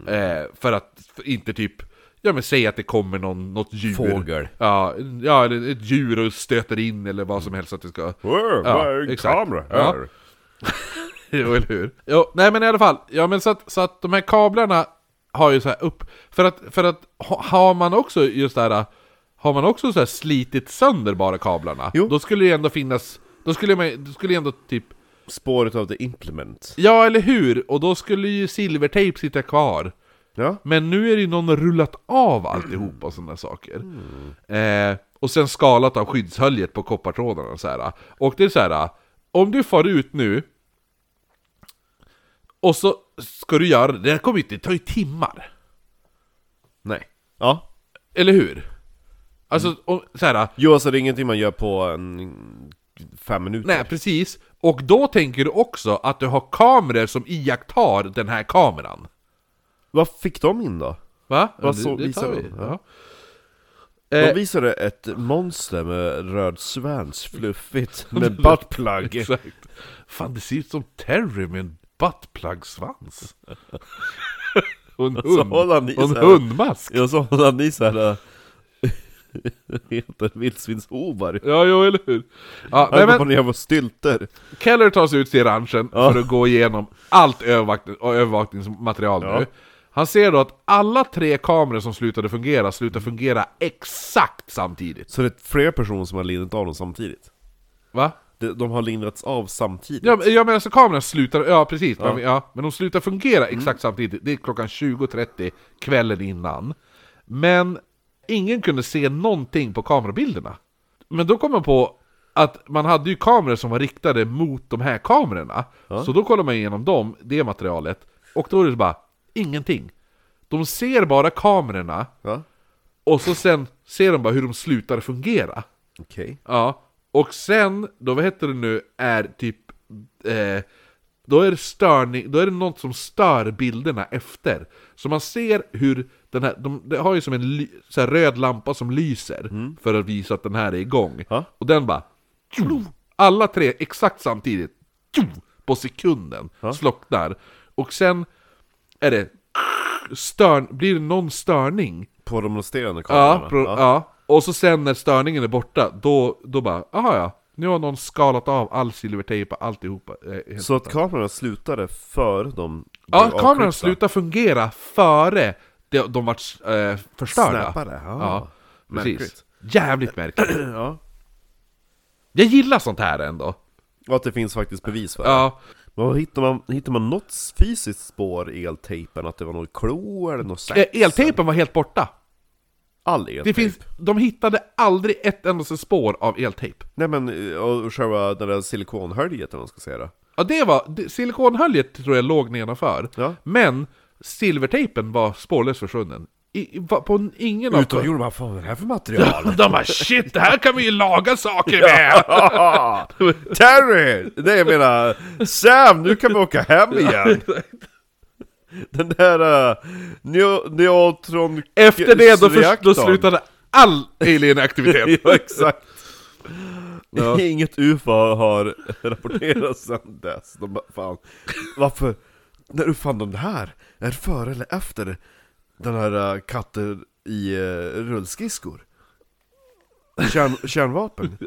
B: Eh, för att för inte typ, ja men säg att det kommer någon, något djur.
A: Fågel.
B: Ja, ja, eller ett djur och stöter in eller vad som helst att det ska...
D: Wow,
B: Ja,
D: vad är en
B: exakt.
D: kamera
B: Ja.
D: här?
B: Jo, eller hur? Jo, nej men i alla fall. Ja, men så att, så att de här kablarna har ju så här upp... För att, för att ha- har man också just det här... Har man också så här slitit sönder bara kablarna,
A: Jo.
B: då skulle det ju ändå finnas... Då skulle man då skulle ändå typ...
A: Spåret av the implement.
B: Ja, eller hur? Och då skulle ju silvertejp sitta kvar.
A: Ja.
B: Men nu är det ju någon har rullat av alltihop och sådana saker.
A: Mm.
B: Eh, och sen skalat av skyddshöljet på koppartrådarna och så här. Och det är så här, om du far ut nu och så ska du göra det, det här kommer ju inte, det tar ju timmar.
A: Nej. Ja.
B: Eller hur? Alltså,
A: Mm.
B: om, så här,
A: Jo, alltså det är ingenting man gör på en... fem minuter.
B: nej precis. Och då tänker du också att du har kameror som iakttar den här kameran.
A: Vad fick de in då?
B: Va?
A: Vad
B: Ja,
A: så
B: tar
A: visar
B: vi.
A: de?
B: Ja.
A: De
B: Eh,
A: visade ett monster med röd svans, fluffigt, med buttplug.
B: Exakt. Fan, det ser ut som Terry med en buttplug-svans. Och en,
A: Så
B: hund,
A: håller han i
B: och en
A: så här.
B: hundmask.
A: Jag sa att ni såhär... eh, heter vildsvinsovar.
B: Ja, jo, eller hur? Ja,
A: Han
B: nej,
A: går på
B: men,
A: några jävla stylter.
B: Keller tar sig ut till ranchen för att gå igenom allt övervakt- och övervakningsmaterial nu. Han ser då att alla tre kameror som slutade fungera slutar fungera exakt samtidigt.
A: Så det är flera personer som har lindrat av dem samtidigt.
B: Va?
A: De, de har lindrats av samtidigt.
B: Ja, men- ja men alltså kameran slutar, ja precis, Men, ja, men de slutar fungera exakt samtidigt, det är klockan 20.30 kvällen innan. Men ingen kunde se någonting på kamerabilderna. Men då kom man på att man hade ju kameror som var riktade mot de här kamerorna. Så då kollar man igenom dem, det materialet, och då är det bara ingenting. De ser bara kamerorna,
A: Ja.
B: och så sen ser de bara hur de slutar fungera.
A: Okej.
B: Ja, och sen, då vad heter det nu, är typ... Eh, då är det störning, då är det något som stör bilderna efter. Så man ser hur den här, de, det har ju som en ly, så här röd lampa som lyser för att visa att den här är igång.
A: Ja.
B: Och den bara... Alla tre exakt samtidigt, på sekunden, slocknar. Och sen är det... Stör, blir det någon störning
A: På de resterande kamerorna?
B: Ja, pro- ja. och så sen när störningen är borta, då, då bara, aha ja, nu har någon skalat av all silvertejp och alltihopa. eh, helt
A: Så att
B: utan.
A: kamerorna slutade före de
B: ja,
A: blev
B: kameran
A: avklippta?
B: slutar fungera före de, de vart eh, förstörda.
A: Snappade, ja.
B: precis.
A: Märkligt.
B: Jävligt märkligt.
A: Ja.
B: Jag gillar sånt här ändå.
A: Och att det finns faktiskt bevis för det.
B: Ja,
A: Men vad hittar man, hittar man något fysiskt spår i eltejpen? Att det var något klo eller något sax?
B: eh, eltejpen var helt borta.
A: All
B: Det
A: eltejp?
B: finns, de hittade aldrig ett endaste spår av eltejp.
A: Nej men, eh, och själva det där silikonhöljet eller vad man ska säga det.
B: Ja, det var... det- Silikonhöljet tror jag låg nedanför.
A: Ja.
B: Men silvertejpen var spårlöst försvunnen. I, i- va- på n- ingen av...
A: gjorde man fan vad är det här för material?
B: De bara shit, det här kan vi ju laga saker med!
A: Terry! Nej jag menar, Sam nu kan vi åka hem igen! Den där uh, neo, neutron...
B: Efter det då, först,
A: reaktorn.
B: då slutade all alien-aktivitet.
A: Ja exakt! Inget UFO har rapporterats sedan dess. De bara, fan, varför? När uppfann de det här? Är det före eller efter den här uh, katten i uh, rullskridskor? Kärn, kärnvapen?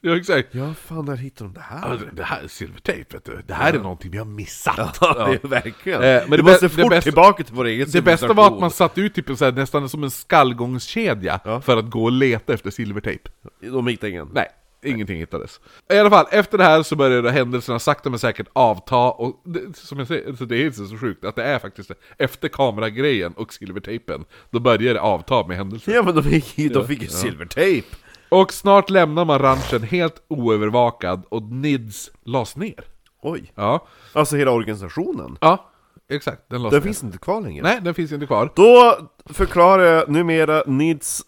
B: ja, exakt.
A: Ja, fan när hittade de det
B: Ja,
A: här?
B: det- Det här är silvertejp, vet du. Det här är någonting vi har missat.
A: Ja, det är verkligen.
B: Eh, men
A: men
B: det
A: det
B: bä-
A: måste
B: det
A: fort
B: bästa-
A: tillbaka till vår egen
B: Det bästa var att man
A: civilisation.
B: satte ut typ en så här, nästan som en skallgångskedja för att gå och leta efter silvertejp.
A: De hittade ingen.
B: Nej, ingenting hittades. I alla fall, efter det här så började händelserna sakta men säkert avta och det, som jag säger, så det är inte så sjukt att det är faktiskt det. Efter kameragrejen och silvertejpen, då började det avta med händelser.
A: Ja men de fick, de fick ju silvertejp!
B: Och snart lämnar man ranchen helt oövervakad och Nids lades ner.
A: Oj.
B: Ja,
A: Alltså hela organisationen?
B: ja exakt. Den lades
A: Den
B: ner.
A: finns inte kvar längre?
B: Nej, den finns inte kvar.
A: Då förklarar jag numera Nids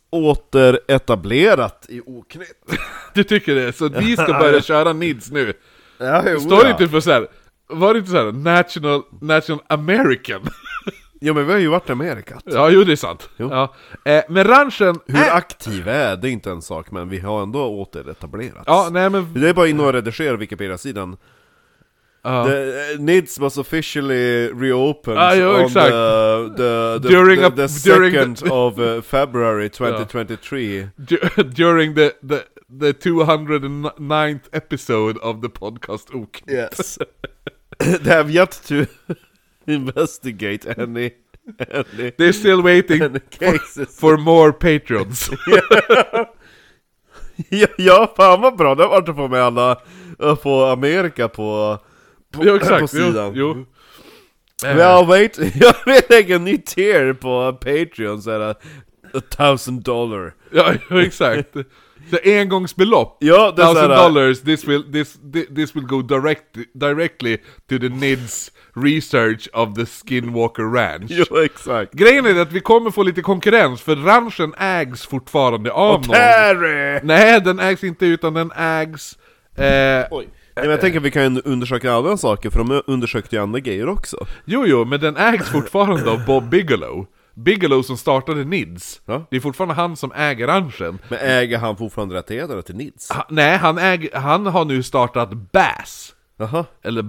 A: återetablerat i Oknytt.
B: Du tycker det? Så vi ska börja köra Nids nu.
A: Ja, jo,
B: Står typ- det
A: ja.
B: inte för såhär, var det inte såhär national, national American?
A: Ja men vi har ju varit i Amerika.
B: Ja, jo det är sant. Ja. Eh, men ranchen...
A: Hur
B: Äh,
A: aktiv är det är inte en sak, men vi har ändå återetablerats.
B: ja, nej men...
A: Det är bara in och redigera Wikipedia-sidan.
B: Ja.
A: The, eh, Nids was officially reopened
B: Ah, jo,
A: on
B: exakt.
A: the, the, the,
B: During
A: the,
B: a-
A: the
B: during the-
A: 2nd of eh, February 2023.
B: du- During the, the, the 209th episode of the podcast OK.
A: Yes. They have yet to investigate any, any,
B: They're still waiting
A: any cases.
B: for more patrons.
A: ja, ja, fan vad bra, det har varit att få med alla eh, på Amerika på, på,
B: jo, exakt.
A: på sidan.
B: Jo, jo. Eh,
A: Well, wait, jag vill lägga en ny tier på Patreon så är det A thousand dollar.
B: Ja, jo, exakt. Så engångsbelopp.
A: Ja, det är
B: Thousand
A: såhär...
B: dollars, this will, this, thi- this will go direct, directly to the NIDS research of the Skinwalker Ranch.
A: Jo, exakt.
B: Grejen är att vi kommer få lite konkurrens, för ranchen ägs fortfarande av någon.
A: Harry!
B: Nej, den ägs inte, utan den ägs... Eh,
A: Nej, men jag tänker att vi kan undersöka andra saker, för de undersökte ju andra grejer också.
B: jo, jo, men den ägs fortfarande av Bob Bigelow. Bigelow som startade NIDS.
A: Ja.
B: Det är fortfarande han som äger ranchen.
A: Men äger han fortfarande rättigheterna till Nids?
B: Ha, nej, han, äger, han har nu startat BASS.
A: Jaha. Mhm.
B: Eller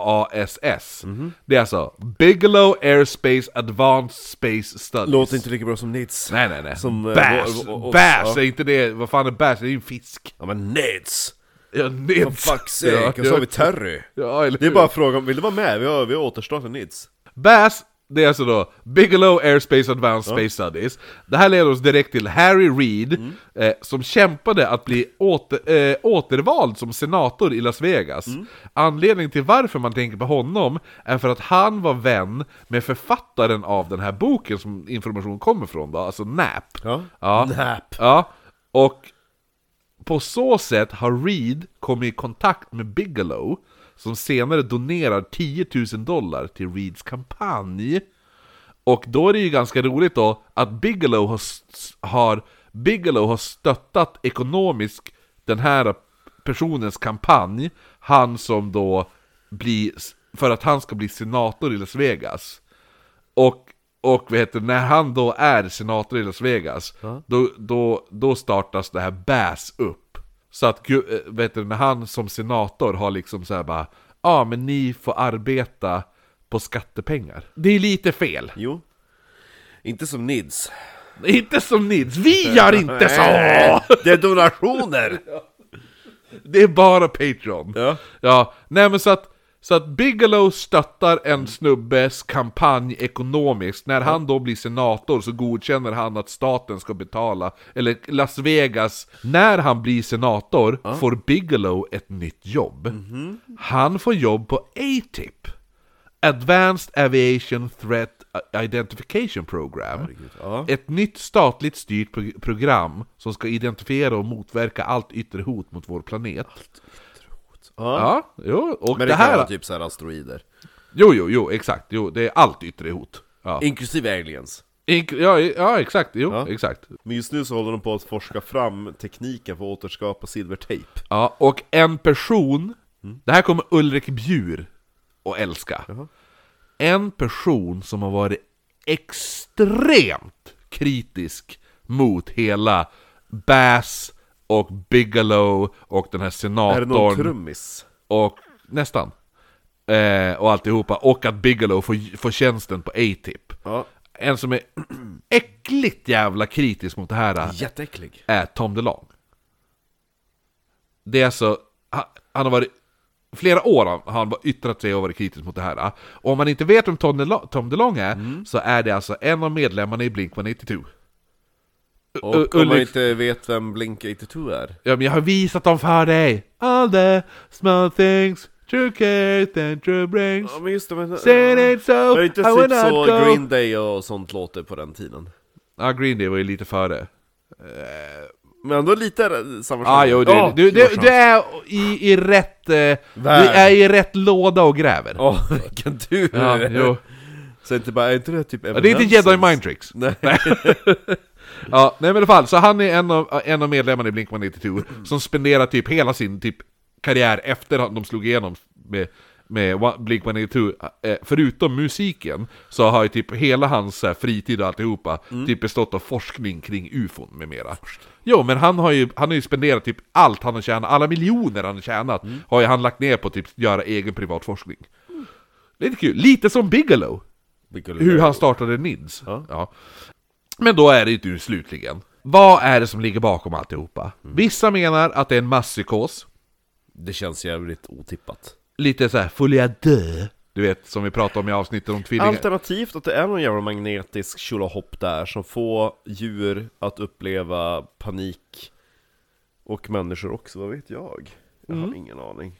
B: B-A-A-S-S. Det är alltså Bigelow Airspace Advanced Space Studies.
A: Låter inte lika bra som Nids.
B: Nej, nej, nej.
A: Som, eh,
B: bass!
A: vår- vår-
B: bass!
A: ja.
B: Är inte det... Vad fan är bass? Det är ju en fisk.
A: Ja men Nids!
B: Ja, nits.
A: Fuck sake, och så har vi Terry.
B: Ja, eller
A: Det är
B: hur?
A: bara en fråga om, vill du vara med? Vi har, vi har återstartat Nids.
B: BAS, det är alltså då Bigelow Airspace Advanced Space Studies. Det här leder oss direkt till Harry Reid, eh, som kämpade att bli åter, eh, återvald som senator i Las Vegas. Anledningen till varför man tänker på honom är för att han var vän med författaren av den här boken som information kommer från, då, alltså NAP.
A: Ja.
B: Ja.
A: Nap.
B: Ja, och på så sätt har Reed kommit i kontakt med Bigelow som senare donerar 10 000 dollar till Reeds kampanj. Och då är det ju ganska roligt då att Bigelow har, s- har, Bigelow har stöttat ekonomiskt den här personens kampanj. Han som då blir, för att han ska bli senator i Las Vegas. Och, och vad heter, det, när han då är senator i Las Vegas, då, då, då startas det här BAS upp. Så att gu- eh, vad heter, det, när han som senator har liksom så här bara, ja ah, men ni får arbeta på skattepengar. Det är lite fel.
A: Jo. Inte som Nids.
B: Inte som Nids, vi gör inte så!
A: Det är donationer!
B: Det är bara Patreon.
A: Ja.
B: ja. Nej men så att, så att Bigelow stöttar en snubbes kampanj ekonomiskt. När han då blir senator så godkänner han att staten ska betala, eller Las Vegas, när han blir senator får Bigelow ett nytt jobb. Han får jobb på ATIP. Advanced Aviation Threat Identification Program. Ett nytt statligt styrt prog- program som ska identifiera och motverka allt yttre hot mot vår planet.
A: Ja.
B: Ja, jo, och
A: Men
B: det
A: det kan
B: här...
A: vara typ såhär asteroider.
B: Jo, jo, jo, exakt. Jo, det är allt yttre hot. Ja,
A: Inklusive aliens.
B: Ink- ja, ja exakt. Jo,
A: Ja.
B: exakt.
A: Men just nu så håller de på att forska fram tekniken för att återskapa silvertejp.
B: Ja, och en person,
A: Mm.
B: det här kommer Ulrik Bjur att älska. En person som har varit extremt kritisk mot hela Bass och Bigelow och den här
A: Är det någon
B: senatorn
A: trummis?
B: och nästan. Eh, och alltihopa. Och att Bigelow får, får tjänsten på A-tip.
A: Ja.
B: En som är äckligt jävla kritisk mot det här
A: Jätteäcklig.
B: är Tom DeLong. Det är alltså, han, han har varit, flera år har han bara yttrat sig och varit kritisk mot det här. Och om man inte vet vem Tom DeLong, Tom DeLong är, så är det alltså en av medlemmarna i Blink-182. U-
A: Och om man
B: Ulrik-
A: inte vet vem Blink-82 är?
B: Ja, men jag har visat dem för dig! All the small things, true cares and true brains.
A: Ja men just det, men...
B: Said it so,
A: Var det inte
B: I
A: typ
B: will not
A: så
B: go.
A: Green Day och sånt låter på den tiden?
B: Ja, Green Day var ju lite före. Eh,
A: Men ändå lite är det samma
B: Ah, jo, det,
A: Ja,
B: du, du, du är i, i rätt... Eh, du är i rätt låda och gräver.
A: Åh, vilken tur!
B: Ja, jo.
A: Så inte bara, är inte det typ
B: Ja, Det är inte Jedi
A: Evanescence?
B: Mind Tricks.
A: Nej.
B: Ja, nej men i alla fall, så han är en av, en av medlemmarna i Blink-182 som spenderar typ hela sin typ karriär efter att de slog igenom med, med Wa- Blink-182, eh, förutom musiken, så har ju typ hela hans så här, fritid och alltihopa typ bestått av forskning kring ufon med mera. Jo, men han har ju, han har ju spenderat typ allt han har tjänat, alla miljoner han har tjänat, har ju han lagt ner på typ göra egen privat forskning. Lite kul, lite som Bigelow! Hur han startade NIDS. Ja. Men då är det ju du slutligen. Vad är det som ligger bakom alltihopa?
A: Mm.
B: Vissa menar att det är en masspsykos,
A: Det känns jävligt otippat.
B: lite så här folia dö, du vet som vi pratade om i avsnittet om tvillingar.
A: Alternativt att det är någon jävla magnetisk tjolahopp där som får djur att uppleva panik och människor också, vad vet jag? Jag
B: Mm.
A: har ingen aning.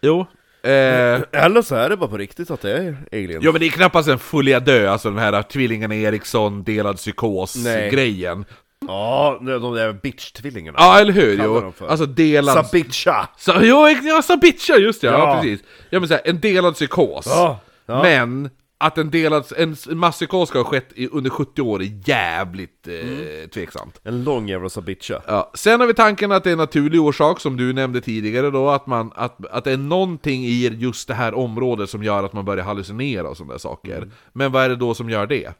B: Jo. Eh,
A: Eller så är det bara på riktigt att det är aliens.
B: jo men det är knappast en folia dö, alltså den här tvillingarna Eriksson delad
A: Nej.
B: psykos-grejen.
A: Ja, de där bitch-tvillingarna.
B: Ja eller hur?
A: Kallar
B: Jo.
A: de för.
B: Alltså delad...
A: Sabitcha!
B: Så, jo, ex- ja, sa bitchar, just det, ja,
A: Ja.
B: precis. Ja men såhär, en delad psykos.
A: Ja, ja.
B: Men, att en delad, en s- masspsykos ska ha skett i, under 70 år är jävligt eh,
A: Mm.
B: tveksamt.
A: En lång jävla sabitcha.
B: Ja. Sen har vi tanken att det är en naturlig orsak, som du nämnde tidigare då, att, man, att, att det är någonting i just det här området som gör att man börjar hallucinera och sådana där saker. Men vad är det då som gör det?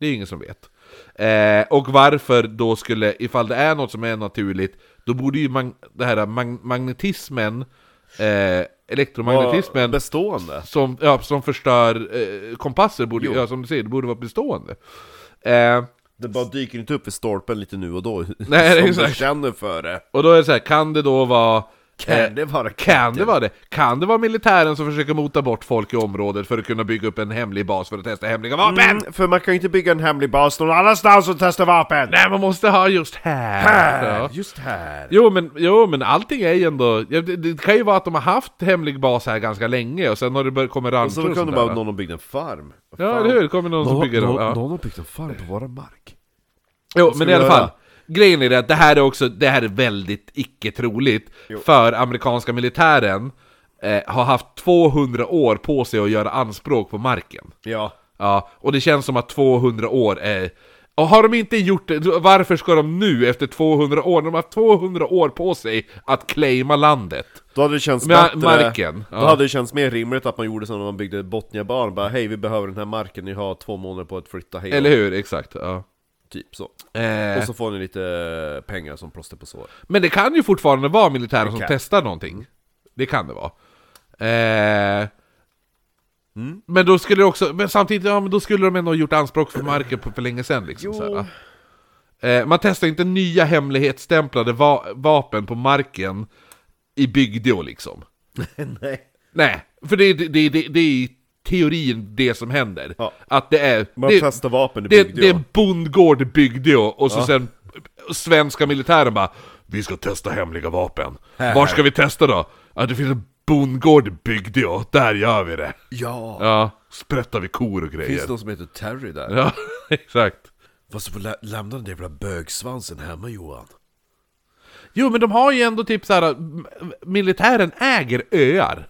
B: Det är ju ingen som vet. Eh, och varför då skulle, ifall det är något som är naturligt, då borde ju mag- det här mag- magnetismen, eh, elektromagnetismen,
A: Bestående.
B: som, ja, som förstör eh, kompasser, borde, ja, som du säger, det borde vara bestående. Eh,
A: Den bara dyker inte upp i stolpen lite nu och då.
B: Nej,
A: som
B: exakt.
A: du känner för det.
B: och då är det så här, kan det då vara...
A: Kan
B: eh,
A: det vara
B: Kan det vara det? Kan det vara militären som försöker mota bort folk i området för att kunna bygga upp en hemlig bas för att testa hemliga vapen?
A: Men, Mm, för man kan ju inte bygga en hemlig bas någon annanstans och testa vapen!
B: Nej, man måste ha just här! Ja.
A: Just här!
B: Jo, men, jo, men allting är ju ändå... ja, Det, det kan ju vara att de har haft hemlig bas här ganska länge och sen har det börjat komma ranscher
A: Och
B: och,
A: så kom
B: sånt
A: det
B: där,
A: bara
B: va?
A: någon och byggde en farm. Vad
B: Ja,
A: fan?
B: eller hur? Det kommer någon som bygger dem.
A: någon,
B: Ja.
A: någon har byggt en farm på våran mark.
B: Jo,
A: ska
B: men
A: vi
B: i alla
A: göra?
B: fall. Grejen är det att det här är också, det här är väldigt icke troligt. För amerikanska militären eh, har haft 200 år på sig att göra anspråk på marken.
A: Ja.
B: Ja, och det känns som att 200 år är... Och har de inte gjort det, varför ska de nu efter 200 år, de har haft 200 år på sig att claima landet?
A: Då hade det känts
B: Men,
A: bättre...
B: marken,
A: Då
B: ja.
A: hade det känts mer rimligt att man gjorde som när man byggde Botniabanan, bara hej vi behöver den här marken, ni har två månader på att flytta hej då."
B: Eller hur? Exakt, ja.
A: Typ så.
B: Eh,
A: Och så får ni lite pengar som plåster på sår.
B: Men det kan ju fortfarande vara militärer som
A: kan.
B: testar någonting. Det kan det vara. Eh,
A: Mm.
B: Men då skulle det också, men samtidigt, ja men då skulle de ändå ha gjort anspråk för marken på, för länge sedan liksom. Så här, va? eh, man testar inte nya hemlighetsstämplade va vapen på marken i bygder liksom.
A: Nej.
B: Nej, för det, det, det, det, det är i teorin det som händer.
A: Ja.
B: Att det är...
A: Man
B: det,
A: testar vapen i
B: det,
A: bygder.
B: det är en bondgård i Bygdeå, och så sen eh, svenska militären bara Vi ska testa hemliga vapen. Var ska vi testa då? Ja, det finns en bondgård i Bygdeå, där gör vi det.
A: Ja!
B: Ja, sprättar vi kor och
A: Finns
B: grejer.
A: det någon som heter Terry där?
B: Ja, exakt.
A: Vad så får lä- lämna den där jävla bögsvansen hemma Johan.
B: Jo, men de har ju ändå typ så här m- militären äger öar.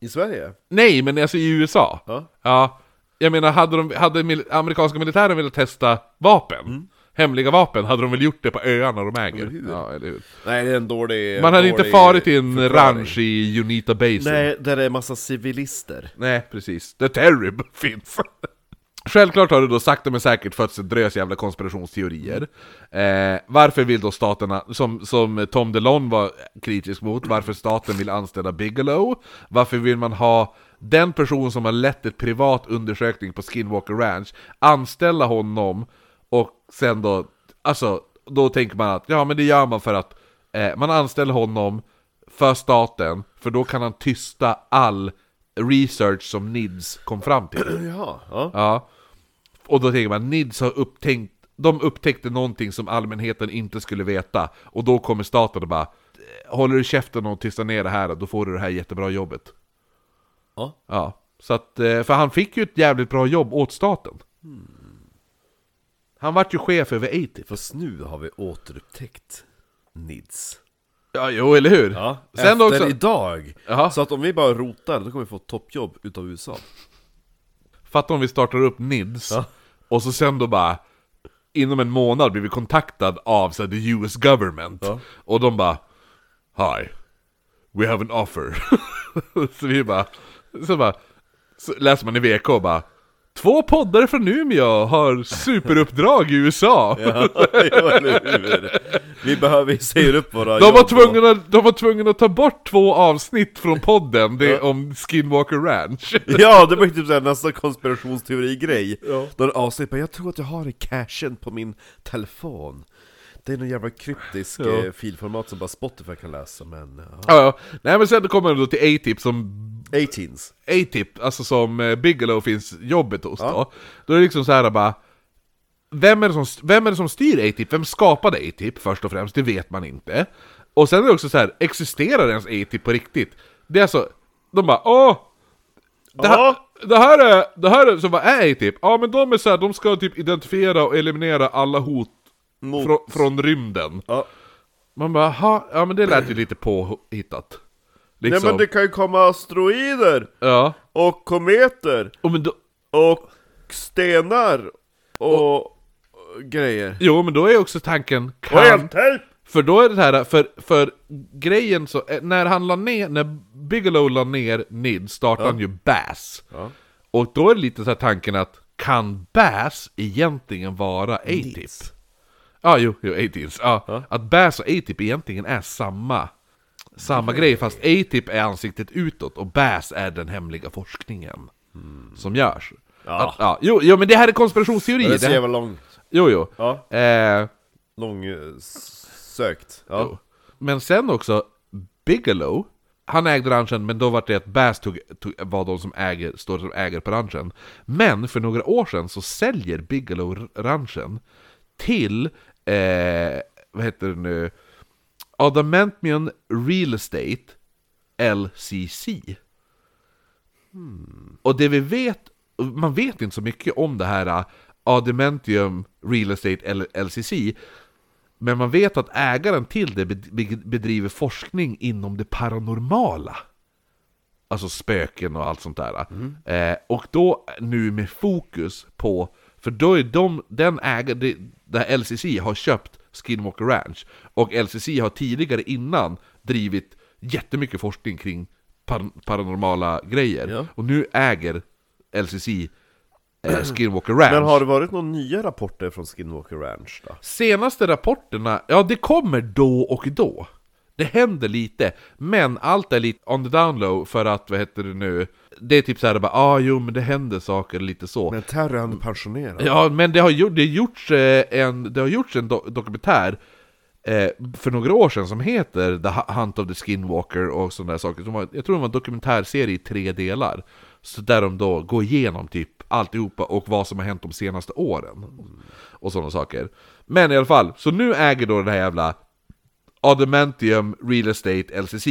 A: I Sverige?
B: Nej, men alltså i USA.
A: Ja.
B: jag menar, hade, de, hade mil, amerikanska militären velat testa vapen,
A: Mm.
B: hemliga vapen, hade de väl gjort det på öarna de äger? Ja, eller hur?
A: Nej det är en dålig...
B: Man hade
A: dålig
B: inte farit till en
A: förklaring.
B: ranch i Unita Basin.
A: Nej, där det är massa civilister.
B: Nej, precis. The Terrib finns. Självklart har det då sakta men säkert fötts ett drös jävla konspirationsteorier. Eh, varför vill då staterna, som, som Tom DeLon var kritisk mot, varför staten vill anställa Bigelow? Varför vill man ha den person som har lett ett privat undersökning på Skinwalker Ranch, anställa honom och sen då, alltså, då tänker man att ja men det gör man för att eh, man anställer honom för staten, för då kan han tysta all research som NIDS kom fram till.
A: Jaha, ja.
B: Ja. Och då tänker man, NIDS har upptänkt, de upptäckte någonting som allmänheten inte skulle veta. Och då kommer staten och bara, "Eh, håller du käften och tystar ner det här, då får du det här jättebra jobbet.
A: Ja.
B: Ja. Så att, eh, för han fick ju ett jävligt bra jobb åt staten. Han vart ju chef över ATIP.
A: Fast nu har vi återupptäckt Nids.
B: Ja, jo, eller hur?
A: Ja,
B: Sen
A: efter
B: också-
A: idag!
B: Jaha.
A: Så att om vi bara rotar, då kommer vi få toppjobb utav USA.
B: Fatta om vi startar upp NIDS,
A: Ja.
B: och så sen då bara Inom en månad blir vi kontaktad av så här, the US government Och de bara Hi We have an offer Så vi bara Så bara så läser man i VK och bara Två poddar från Umeå har superuppdrag i USA!
A: jo, eller hur? Vi behöver, vi säger upp våra
B: De,
A: jobb
B: var
A: och-
B: tvungna, de var tvungna att ta bort två avsnitt från podden det om Skinwalker Ranch
A: Ja, det var ju typ såhär nästan konspirationsteori-grej. Ja. Då är avsnitt bara, jag tror att jag har i cashen på min telefon. Det är någon jävla kryptisk eh, filformat som bara Spotify kan läsa, men... Ja.
B: ja, ja. Nej men sen kommer det då till A-tip som
A: 18s.
B: A-tip, alltså som eh, Bigelow finns jobbet hos då. Då är det liksom så här bara... Vem är, det som, vem är det som styr A-tip? Vem skapade A-tip först och främst? Det vet man inte. Och sen är det också så här, existerar ens A-tip på riktigt? Det är alltså, de bara åh! Det här, det här är, det här är, så vad är A-tip? Ja men de är så här, de ska typ identifiera och eliminera alla hot
A: Mot-
B: från, från rymden.
A: Ja.
B: Man bara, "Jaha, ja men det lät ju lite påhittat.
A: Nej
B: Liksom.
A: men det kan ju komma asteroider,
B: Ja.
A: och kometer,
B: Och men då,
A: och stenar, och, grejer.
B: Jo, men då är också tanken
A: Och
B: kan...
A: eldtält!
B: För då är det här, för, för grejen så, eh, när han la ner, när Bigelow la ner NID startade han ju Bass. Och då är det lite så här tanken att, kan Bass egentligen vara A-Tip? Ja, jo, jo, A-Tips. Ja. Att Bass och A-Tip egentligen är samma, samma grej, fast A-Tip är ansiktet utåt och Bass är den hemliga forskningen som görs. Mm. Ja. Att, ja, jo, jo, men det här är konspirationsteori.
A: Det är
B: det
A: så
B: här,
A: jävla lång,
B: jo, jo.
A: Ja.
B: Eh,
A: lång eh, s- sökt. Ja.
B: Jo. Men sen också, Bigelow, han ägde ranchen men då var det att Bass tog, tog, var de som äger, står som ägare på ranchen. Men för några år sedan så säljer Bigelow r- ranchen till, eh, vad heter det nu, Adamantium Real Estate LCC. Och det vi vet, man vet inte så mycket om det här eh, Adamantium Real Estate L- LCC men man vet att ägaren till det be- bedriver forskning inom det paranormala. Alltså spöken och allt sånt där.
A: Mm.
B: Eh, och då nu med fokus på, för då är de, den ägare, det, det här LCC har köpt Skinwalker Ranch. Och LCC har tidigare innan drivit jättemycket forskning kring par, paranormala grejer.
A: Ja.
B: Och nu äger LCC eh, Skinwalker Ranch.
A: Men har det varit några nya rapporter från Skinwalker Ranch då?
B: Senaste rapporterna, ja det kommer då och då. Det händer lite, men allt är lite on the down low för att, vad heter det nu, det är typ såhär bara, ah jo men det händer saker lite så.
A: Men Terry han är pensionerad.
B: Ja, men det har, gjort, det har gjorts eh, en, det har gjorts en do- dokumentär eh, för några år sedan som heter The Hunt of the Skinwalker och sådana där saker. Som var, jag tror det var en dokumentärserie i tre delar. Så där de då går igenom typ alltihopa och vad som har hänt de senaste åren. Och sådana saker. Men i alla fall, så nu äger då den här jävla Adamantium Real Estate LCC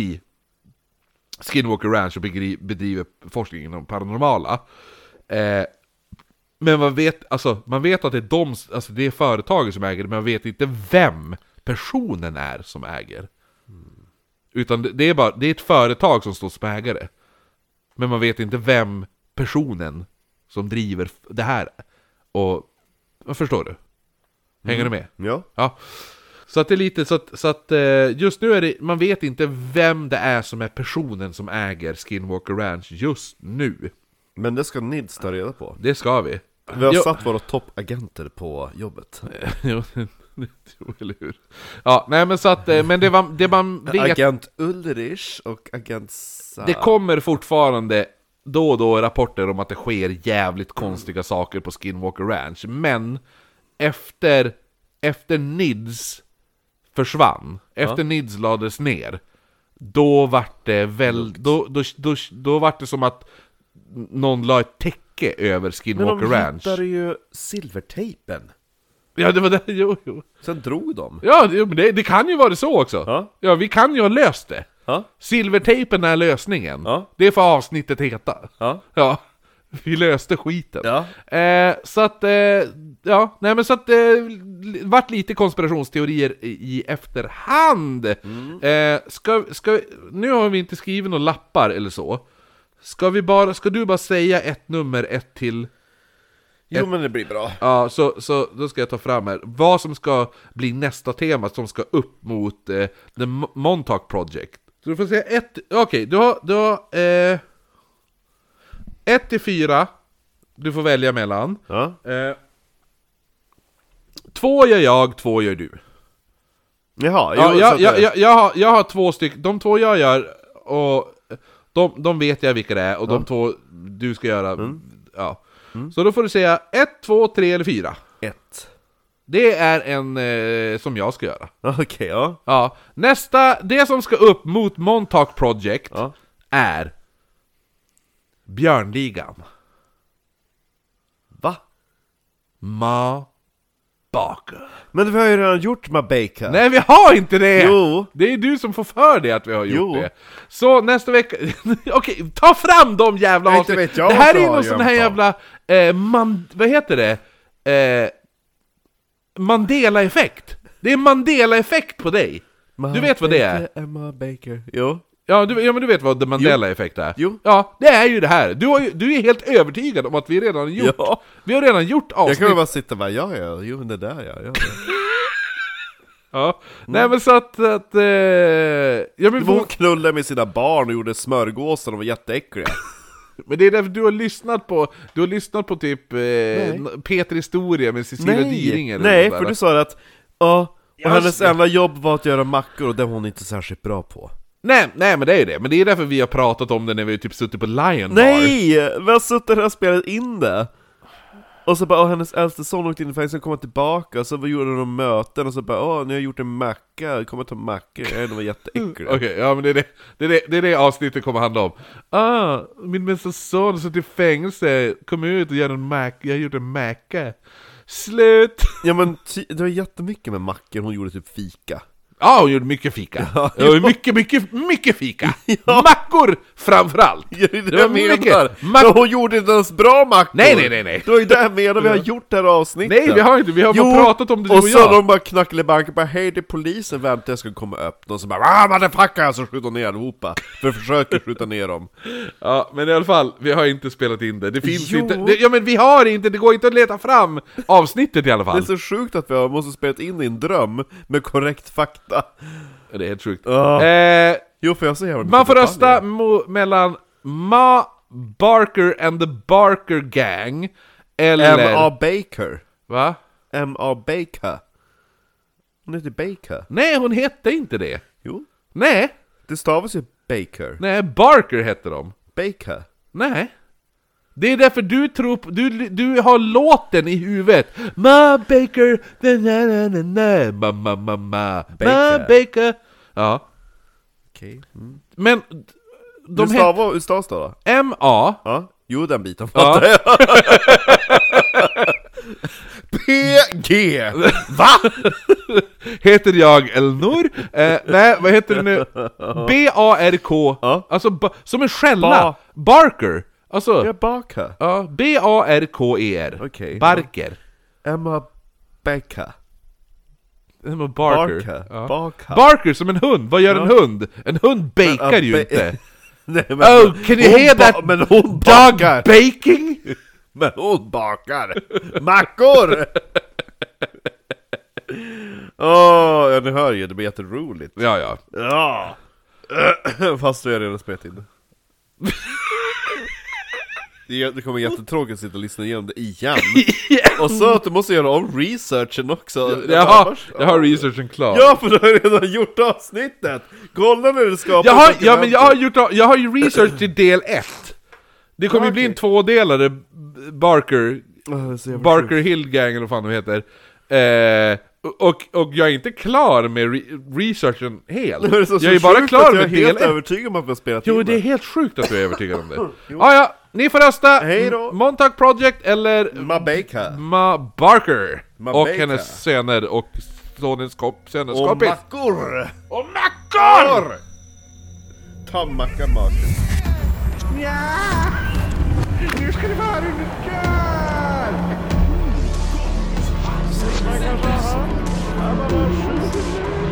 B: Skinwalker Ranch och begri- bedriver forskning inom paranormala. Eh, men man vet, alltså, man vet att det är, de, alltså, det är företaget som äger det, men man vet inte vem personen är som äger. Utan det- det är, bara, det är ett företag som står som ägare. Men man vet inte vem personen som driver f- det här är. Och, vad förstår du? Hänger du med?
A: Ja.
B: Ja. Så att det är lite så att, så att eh, just nu är det, man vet inte vem det är som är personen som äger Skinwalker Ranch just nu.
A: Men det ska Nids ta reda på.
B: Det ska vi.
A: Vi har
B: Jo.
A: satt våra toppagenter på jobbet.
B: jo, jo, eller hur? Ja, nej men så att, eh, men det, var, det man vet,
A: Agent Ulrich och agent Sa...
B: det kommer fortfarande då och då rapporter om att det sker jävligt konstiga saker på Skinwalker Ranch, men efter, efter Nids försvann, efter Nids lades ner, då vart det väl, då, då, då, då vart det som att någon la ett täcke över
A: Men
B: Skinwalker
A: de
B: Ranch.
A: hittade ju silvertejpen.
B: Ja, det var det, jo, jo.
A: Sen drog de.
B: Ja, det, men det, det kan ju vara så också.
A: Ja.
B: ja, vi kan ju ha löst det.
A: Ja.
B: Silvertejpen är lösningen.
A: Ja.
B: Det är för avsnittet heta.
A: Ja.
B: ja. Vi löste skiten.
A: Ja.
B: Eh, så att, eh, ja, nej men så att det eh, li- vart lite konspirationsteorier i, i efterhand.
A: Mm.
B: Eh, ska, ska, nu har vi inte skrivit några lappar eller så. Ska, vi bara, ska du bara säga ett nummer, ett till?
A: Jo men det blir bra.
B: Ja, så, så då ska jag ta fram här. Vad som ska bli nästa tema som ska upp mot eh, The Mo- Montauk Project. Så du får säga ett... Okej, du har... Du har eh, ett till fyra du får välja mellan.
A: Ja.
B: Eh, två gör jag, två gör du. Ja,
A: Jaha, jo, så
B: jag,
A: att
B: jag,
A: det-
B: jag, jag, har, jag har två stycken, de två jag gör, och de, de vet jag vilka det är, och de två du ska göra,
A: Mm.
B: ja. Så då får du säga ett, två, tre eller fyra.
A: Ett.
B: Det är en eh, som jag ska göra.
A: Ja, Okej, ja.
B: Ja. Nästa, det som ska upp mot Montauk Project
A: Ja.
B: är Björnligan.
A: Va?
B: Ma Baker.
A: Men vi har ju redan gjort Mabeka.
B: Nej vi har inte det!
A: Jo.
B: Det är du som får för dig att vi har gjort
A: Jo.
B: det. Så nästa vecka, okej, ta fram de jävla
A: Nej, inte
B: avsnitt.
A: vet jag
B: Det här
A: vad
B: är
A: jag
B: någon sån här
A: gömt
B: jävla, eh, man, vad heter det? Eh, Mandela-effekt. Det är Mandela-effekt på dig. Du vet vad det är?
A: Emma Baker. Jo.
B: Ja, du, ja men du vet vad The Mandela-effekt är?
A: Jo.
B: Ja, det är ju det här! Du, har ju, du är helt övertygad om att vi redan har gjort,
A: Ja.
B: vi har redan gjort
A: Jag
B: avsnitt!
A: kan väl bara sitta och bara, ja ja, jo men det där ja. ja.
B: ja. Nej men så att... att eh, ja, men,
A: Det var Hon knullade med sina barn och gjorde smörgåsar, de var jätteäckliga.
B: men det är därför du har lyssnat på, du har lyssnat på typ eh, n- Peter Historia med Cecilia Dyring eller
A: nej
B: något
A: för
B: där.
A: du sa att, ja, och hennes enda jobb var att göra mackor och det var hon inte särskilt bra på.
B: nej, nej men det är ju det, men det är därför vi har pratat om det när vi typ suttit på Lion Bar.
A: Nej! Vi har suttit här och spelat in det! Och så bara, åh, hennes äldste son åkte in i fängelse och kom tillbaka, och så vad gjorde de möten och så bara, åh, nu har jag gjort en macka, kom och ta mackor, nej, de var jätteäckliga.
B: Okej, ja men det är det, det, är det, det är det avsnittet kommer handla om. Ah, min bästa son satt i fängelse, kom ut och gjorde en macka, jag gjorde en macka. Slut!
A: Ja men ty- det var jättemycket med mackor, hon gjorde typ fika.
B: Ja, hon gjorde mycket fika.
A: Ja,
B: Det var mycket, mycket, mycket fika! Mackor framförallt!
A: Ja, Det är det
B: var
A: jag menar!
B: mycket
A: Men
B: Mack-
A: hon gjorde inte ens bra mackor!
B: Nej, nej, nej, nej.
A: Det var ju det jag menar, vi har gjort det här avsnittet!
B: Nej, vi har inte, vi har bara pratat om det du och,
A: och så
B: jag.
A: de bara knackelibanken bara hej det är polisen, vänta jag ska komma och öppna och så bara ah motherfucker! Så skjuter de ner allihopa, för jag försöker skjuta ner dem.
B: Ja, men i alla fall, vi har inte spelat in det. Det finns
A: Jo.
B: inte. Det, ja, men vi har inte, det går inte att leta fram avsnittet i alla
A: Det är
B: fall.
A: så sjukt att vi har måste spela in i en dröm med korrekt fakta.
B: Det är, helt sjukt.
A: Ja.
B: Eh,
A: Jo för jag ser jävla mycket
B: man får
A: detaljer.
B: rösta mo- mellan Ma Barker and the Barker Gang, eller...
A: M.A. Baker.
B: Va?
A: M.A. Baker. Hon heter Baker.
B: Nej, hon hette inte det.
A: Jo.
B: Nej,
A: Det stavas ju Baker.
B: nej, Barker hette de.
A: Baker.
B: Nej. Det är därför du tror på, du, du har låten i huvudet. Ma Baker, na na na na na, ma ma ma ma, ma
A: Baker.
B: Baker. Ja,
A: Okej.
B: men de
A: Hur
B: hette
A: stavar- hur stavas det då?
B: M-A.
A: Ja, jo den biten fattar jag. PG!
B: Va? heter jag Elnor? Eh, nej, vad heter det nu? B-A-R-K.
A: Ja.
B: Alltså, ba- som en skälla.
A: Ba-
B: Barker. Alltså,
A: Jag bakar.
B: ja, B-A-R-K-E-R.
A: Okej.
B: E Barker.
A: Emma Becka.
B: Barker. Barker.
A: Barker.
B: Ja.
A: Barker.
B: Barker som en hund, vad gör en hund? En hund bakar ju
A: ba-
B: inte!
A: Nej, men,
B: Oh, can you
A: hon
B: hear
A: ba-
B: that
A: Men hon
B: Dog
A: bakar!
B: baking?
A: Men hon bakar! Mackor! Åh, ja, ni hör ju, det blir jätteroligt.
B: Ja, ja.
A: Ja. Fast du har redan spelat in det. det. är- Det kommer jättetråkigt att sitta och lyssna igenom det igen. Och så att du måste göra om researchen också.
B: Jag har, jag har researchen klar.
A: Ja, för du har ju redan gjort avsnittet! Kolla när du skapar
B: Jag har, ja,
A: dokumentet.
B: men jag har, gjort, jag har ju research till del 1. Det kommer ju bli en tvådelare, B- Barker,
A: Ah, det är så jävla sjukt.
B: Barker Hill Gang eller vad fan de heter. Eh, och, och jag är inte klar med re researchen helt.
A: Det är så
B: jag är
A: sjukt
B: bara
A: att
B: klar
A: Jag
B: med
A: är
B: del
A: helt
B: 1.
A: övertygad om att vi har spelat
B: Jo,
A: in
B: det är helt sjukt att du är övertygad om det. ah, ja, ni får rösta!
A: Hej då.
B: M- Montauk Project eller
A: Mabeka.
B: Ma Barker!
A: Ma
B: och
A: Baker.
B: hennes söner och sonens komp- söners
A: Och
B: kompis.
A: mackor!
B: Och mackor!
A: Ta macka maken.
G: Hej
D: Nu ska det vara under kör! Man kan vara här. Man kan vara sjuk.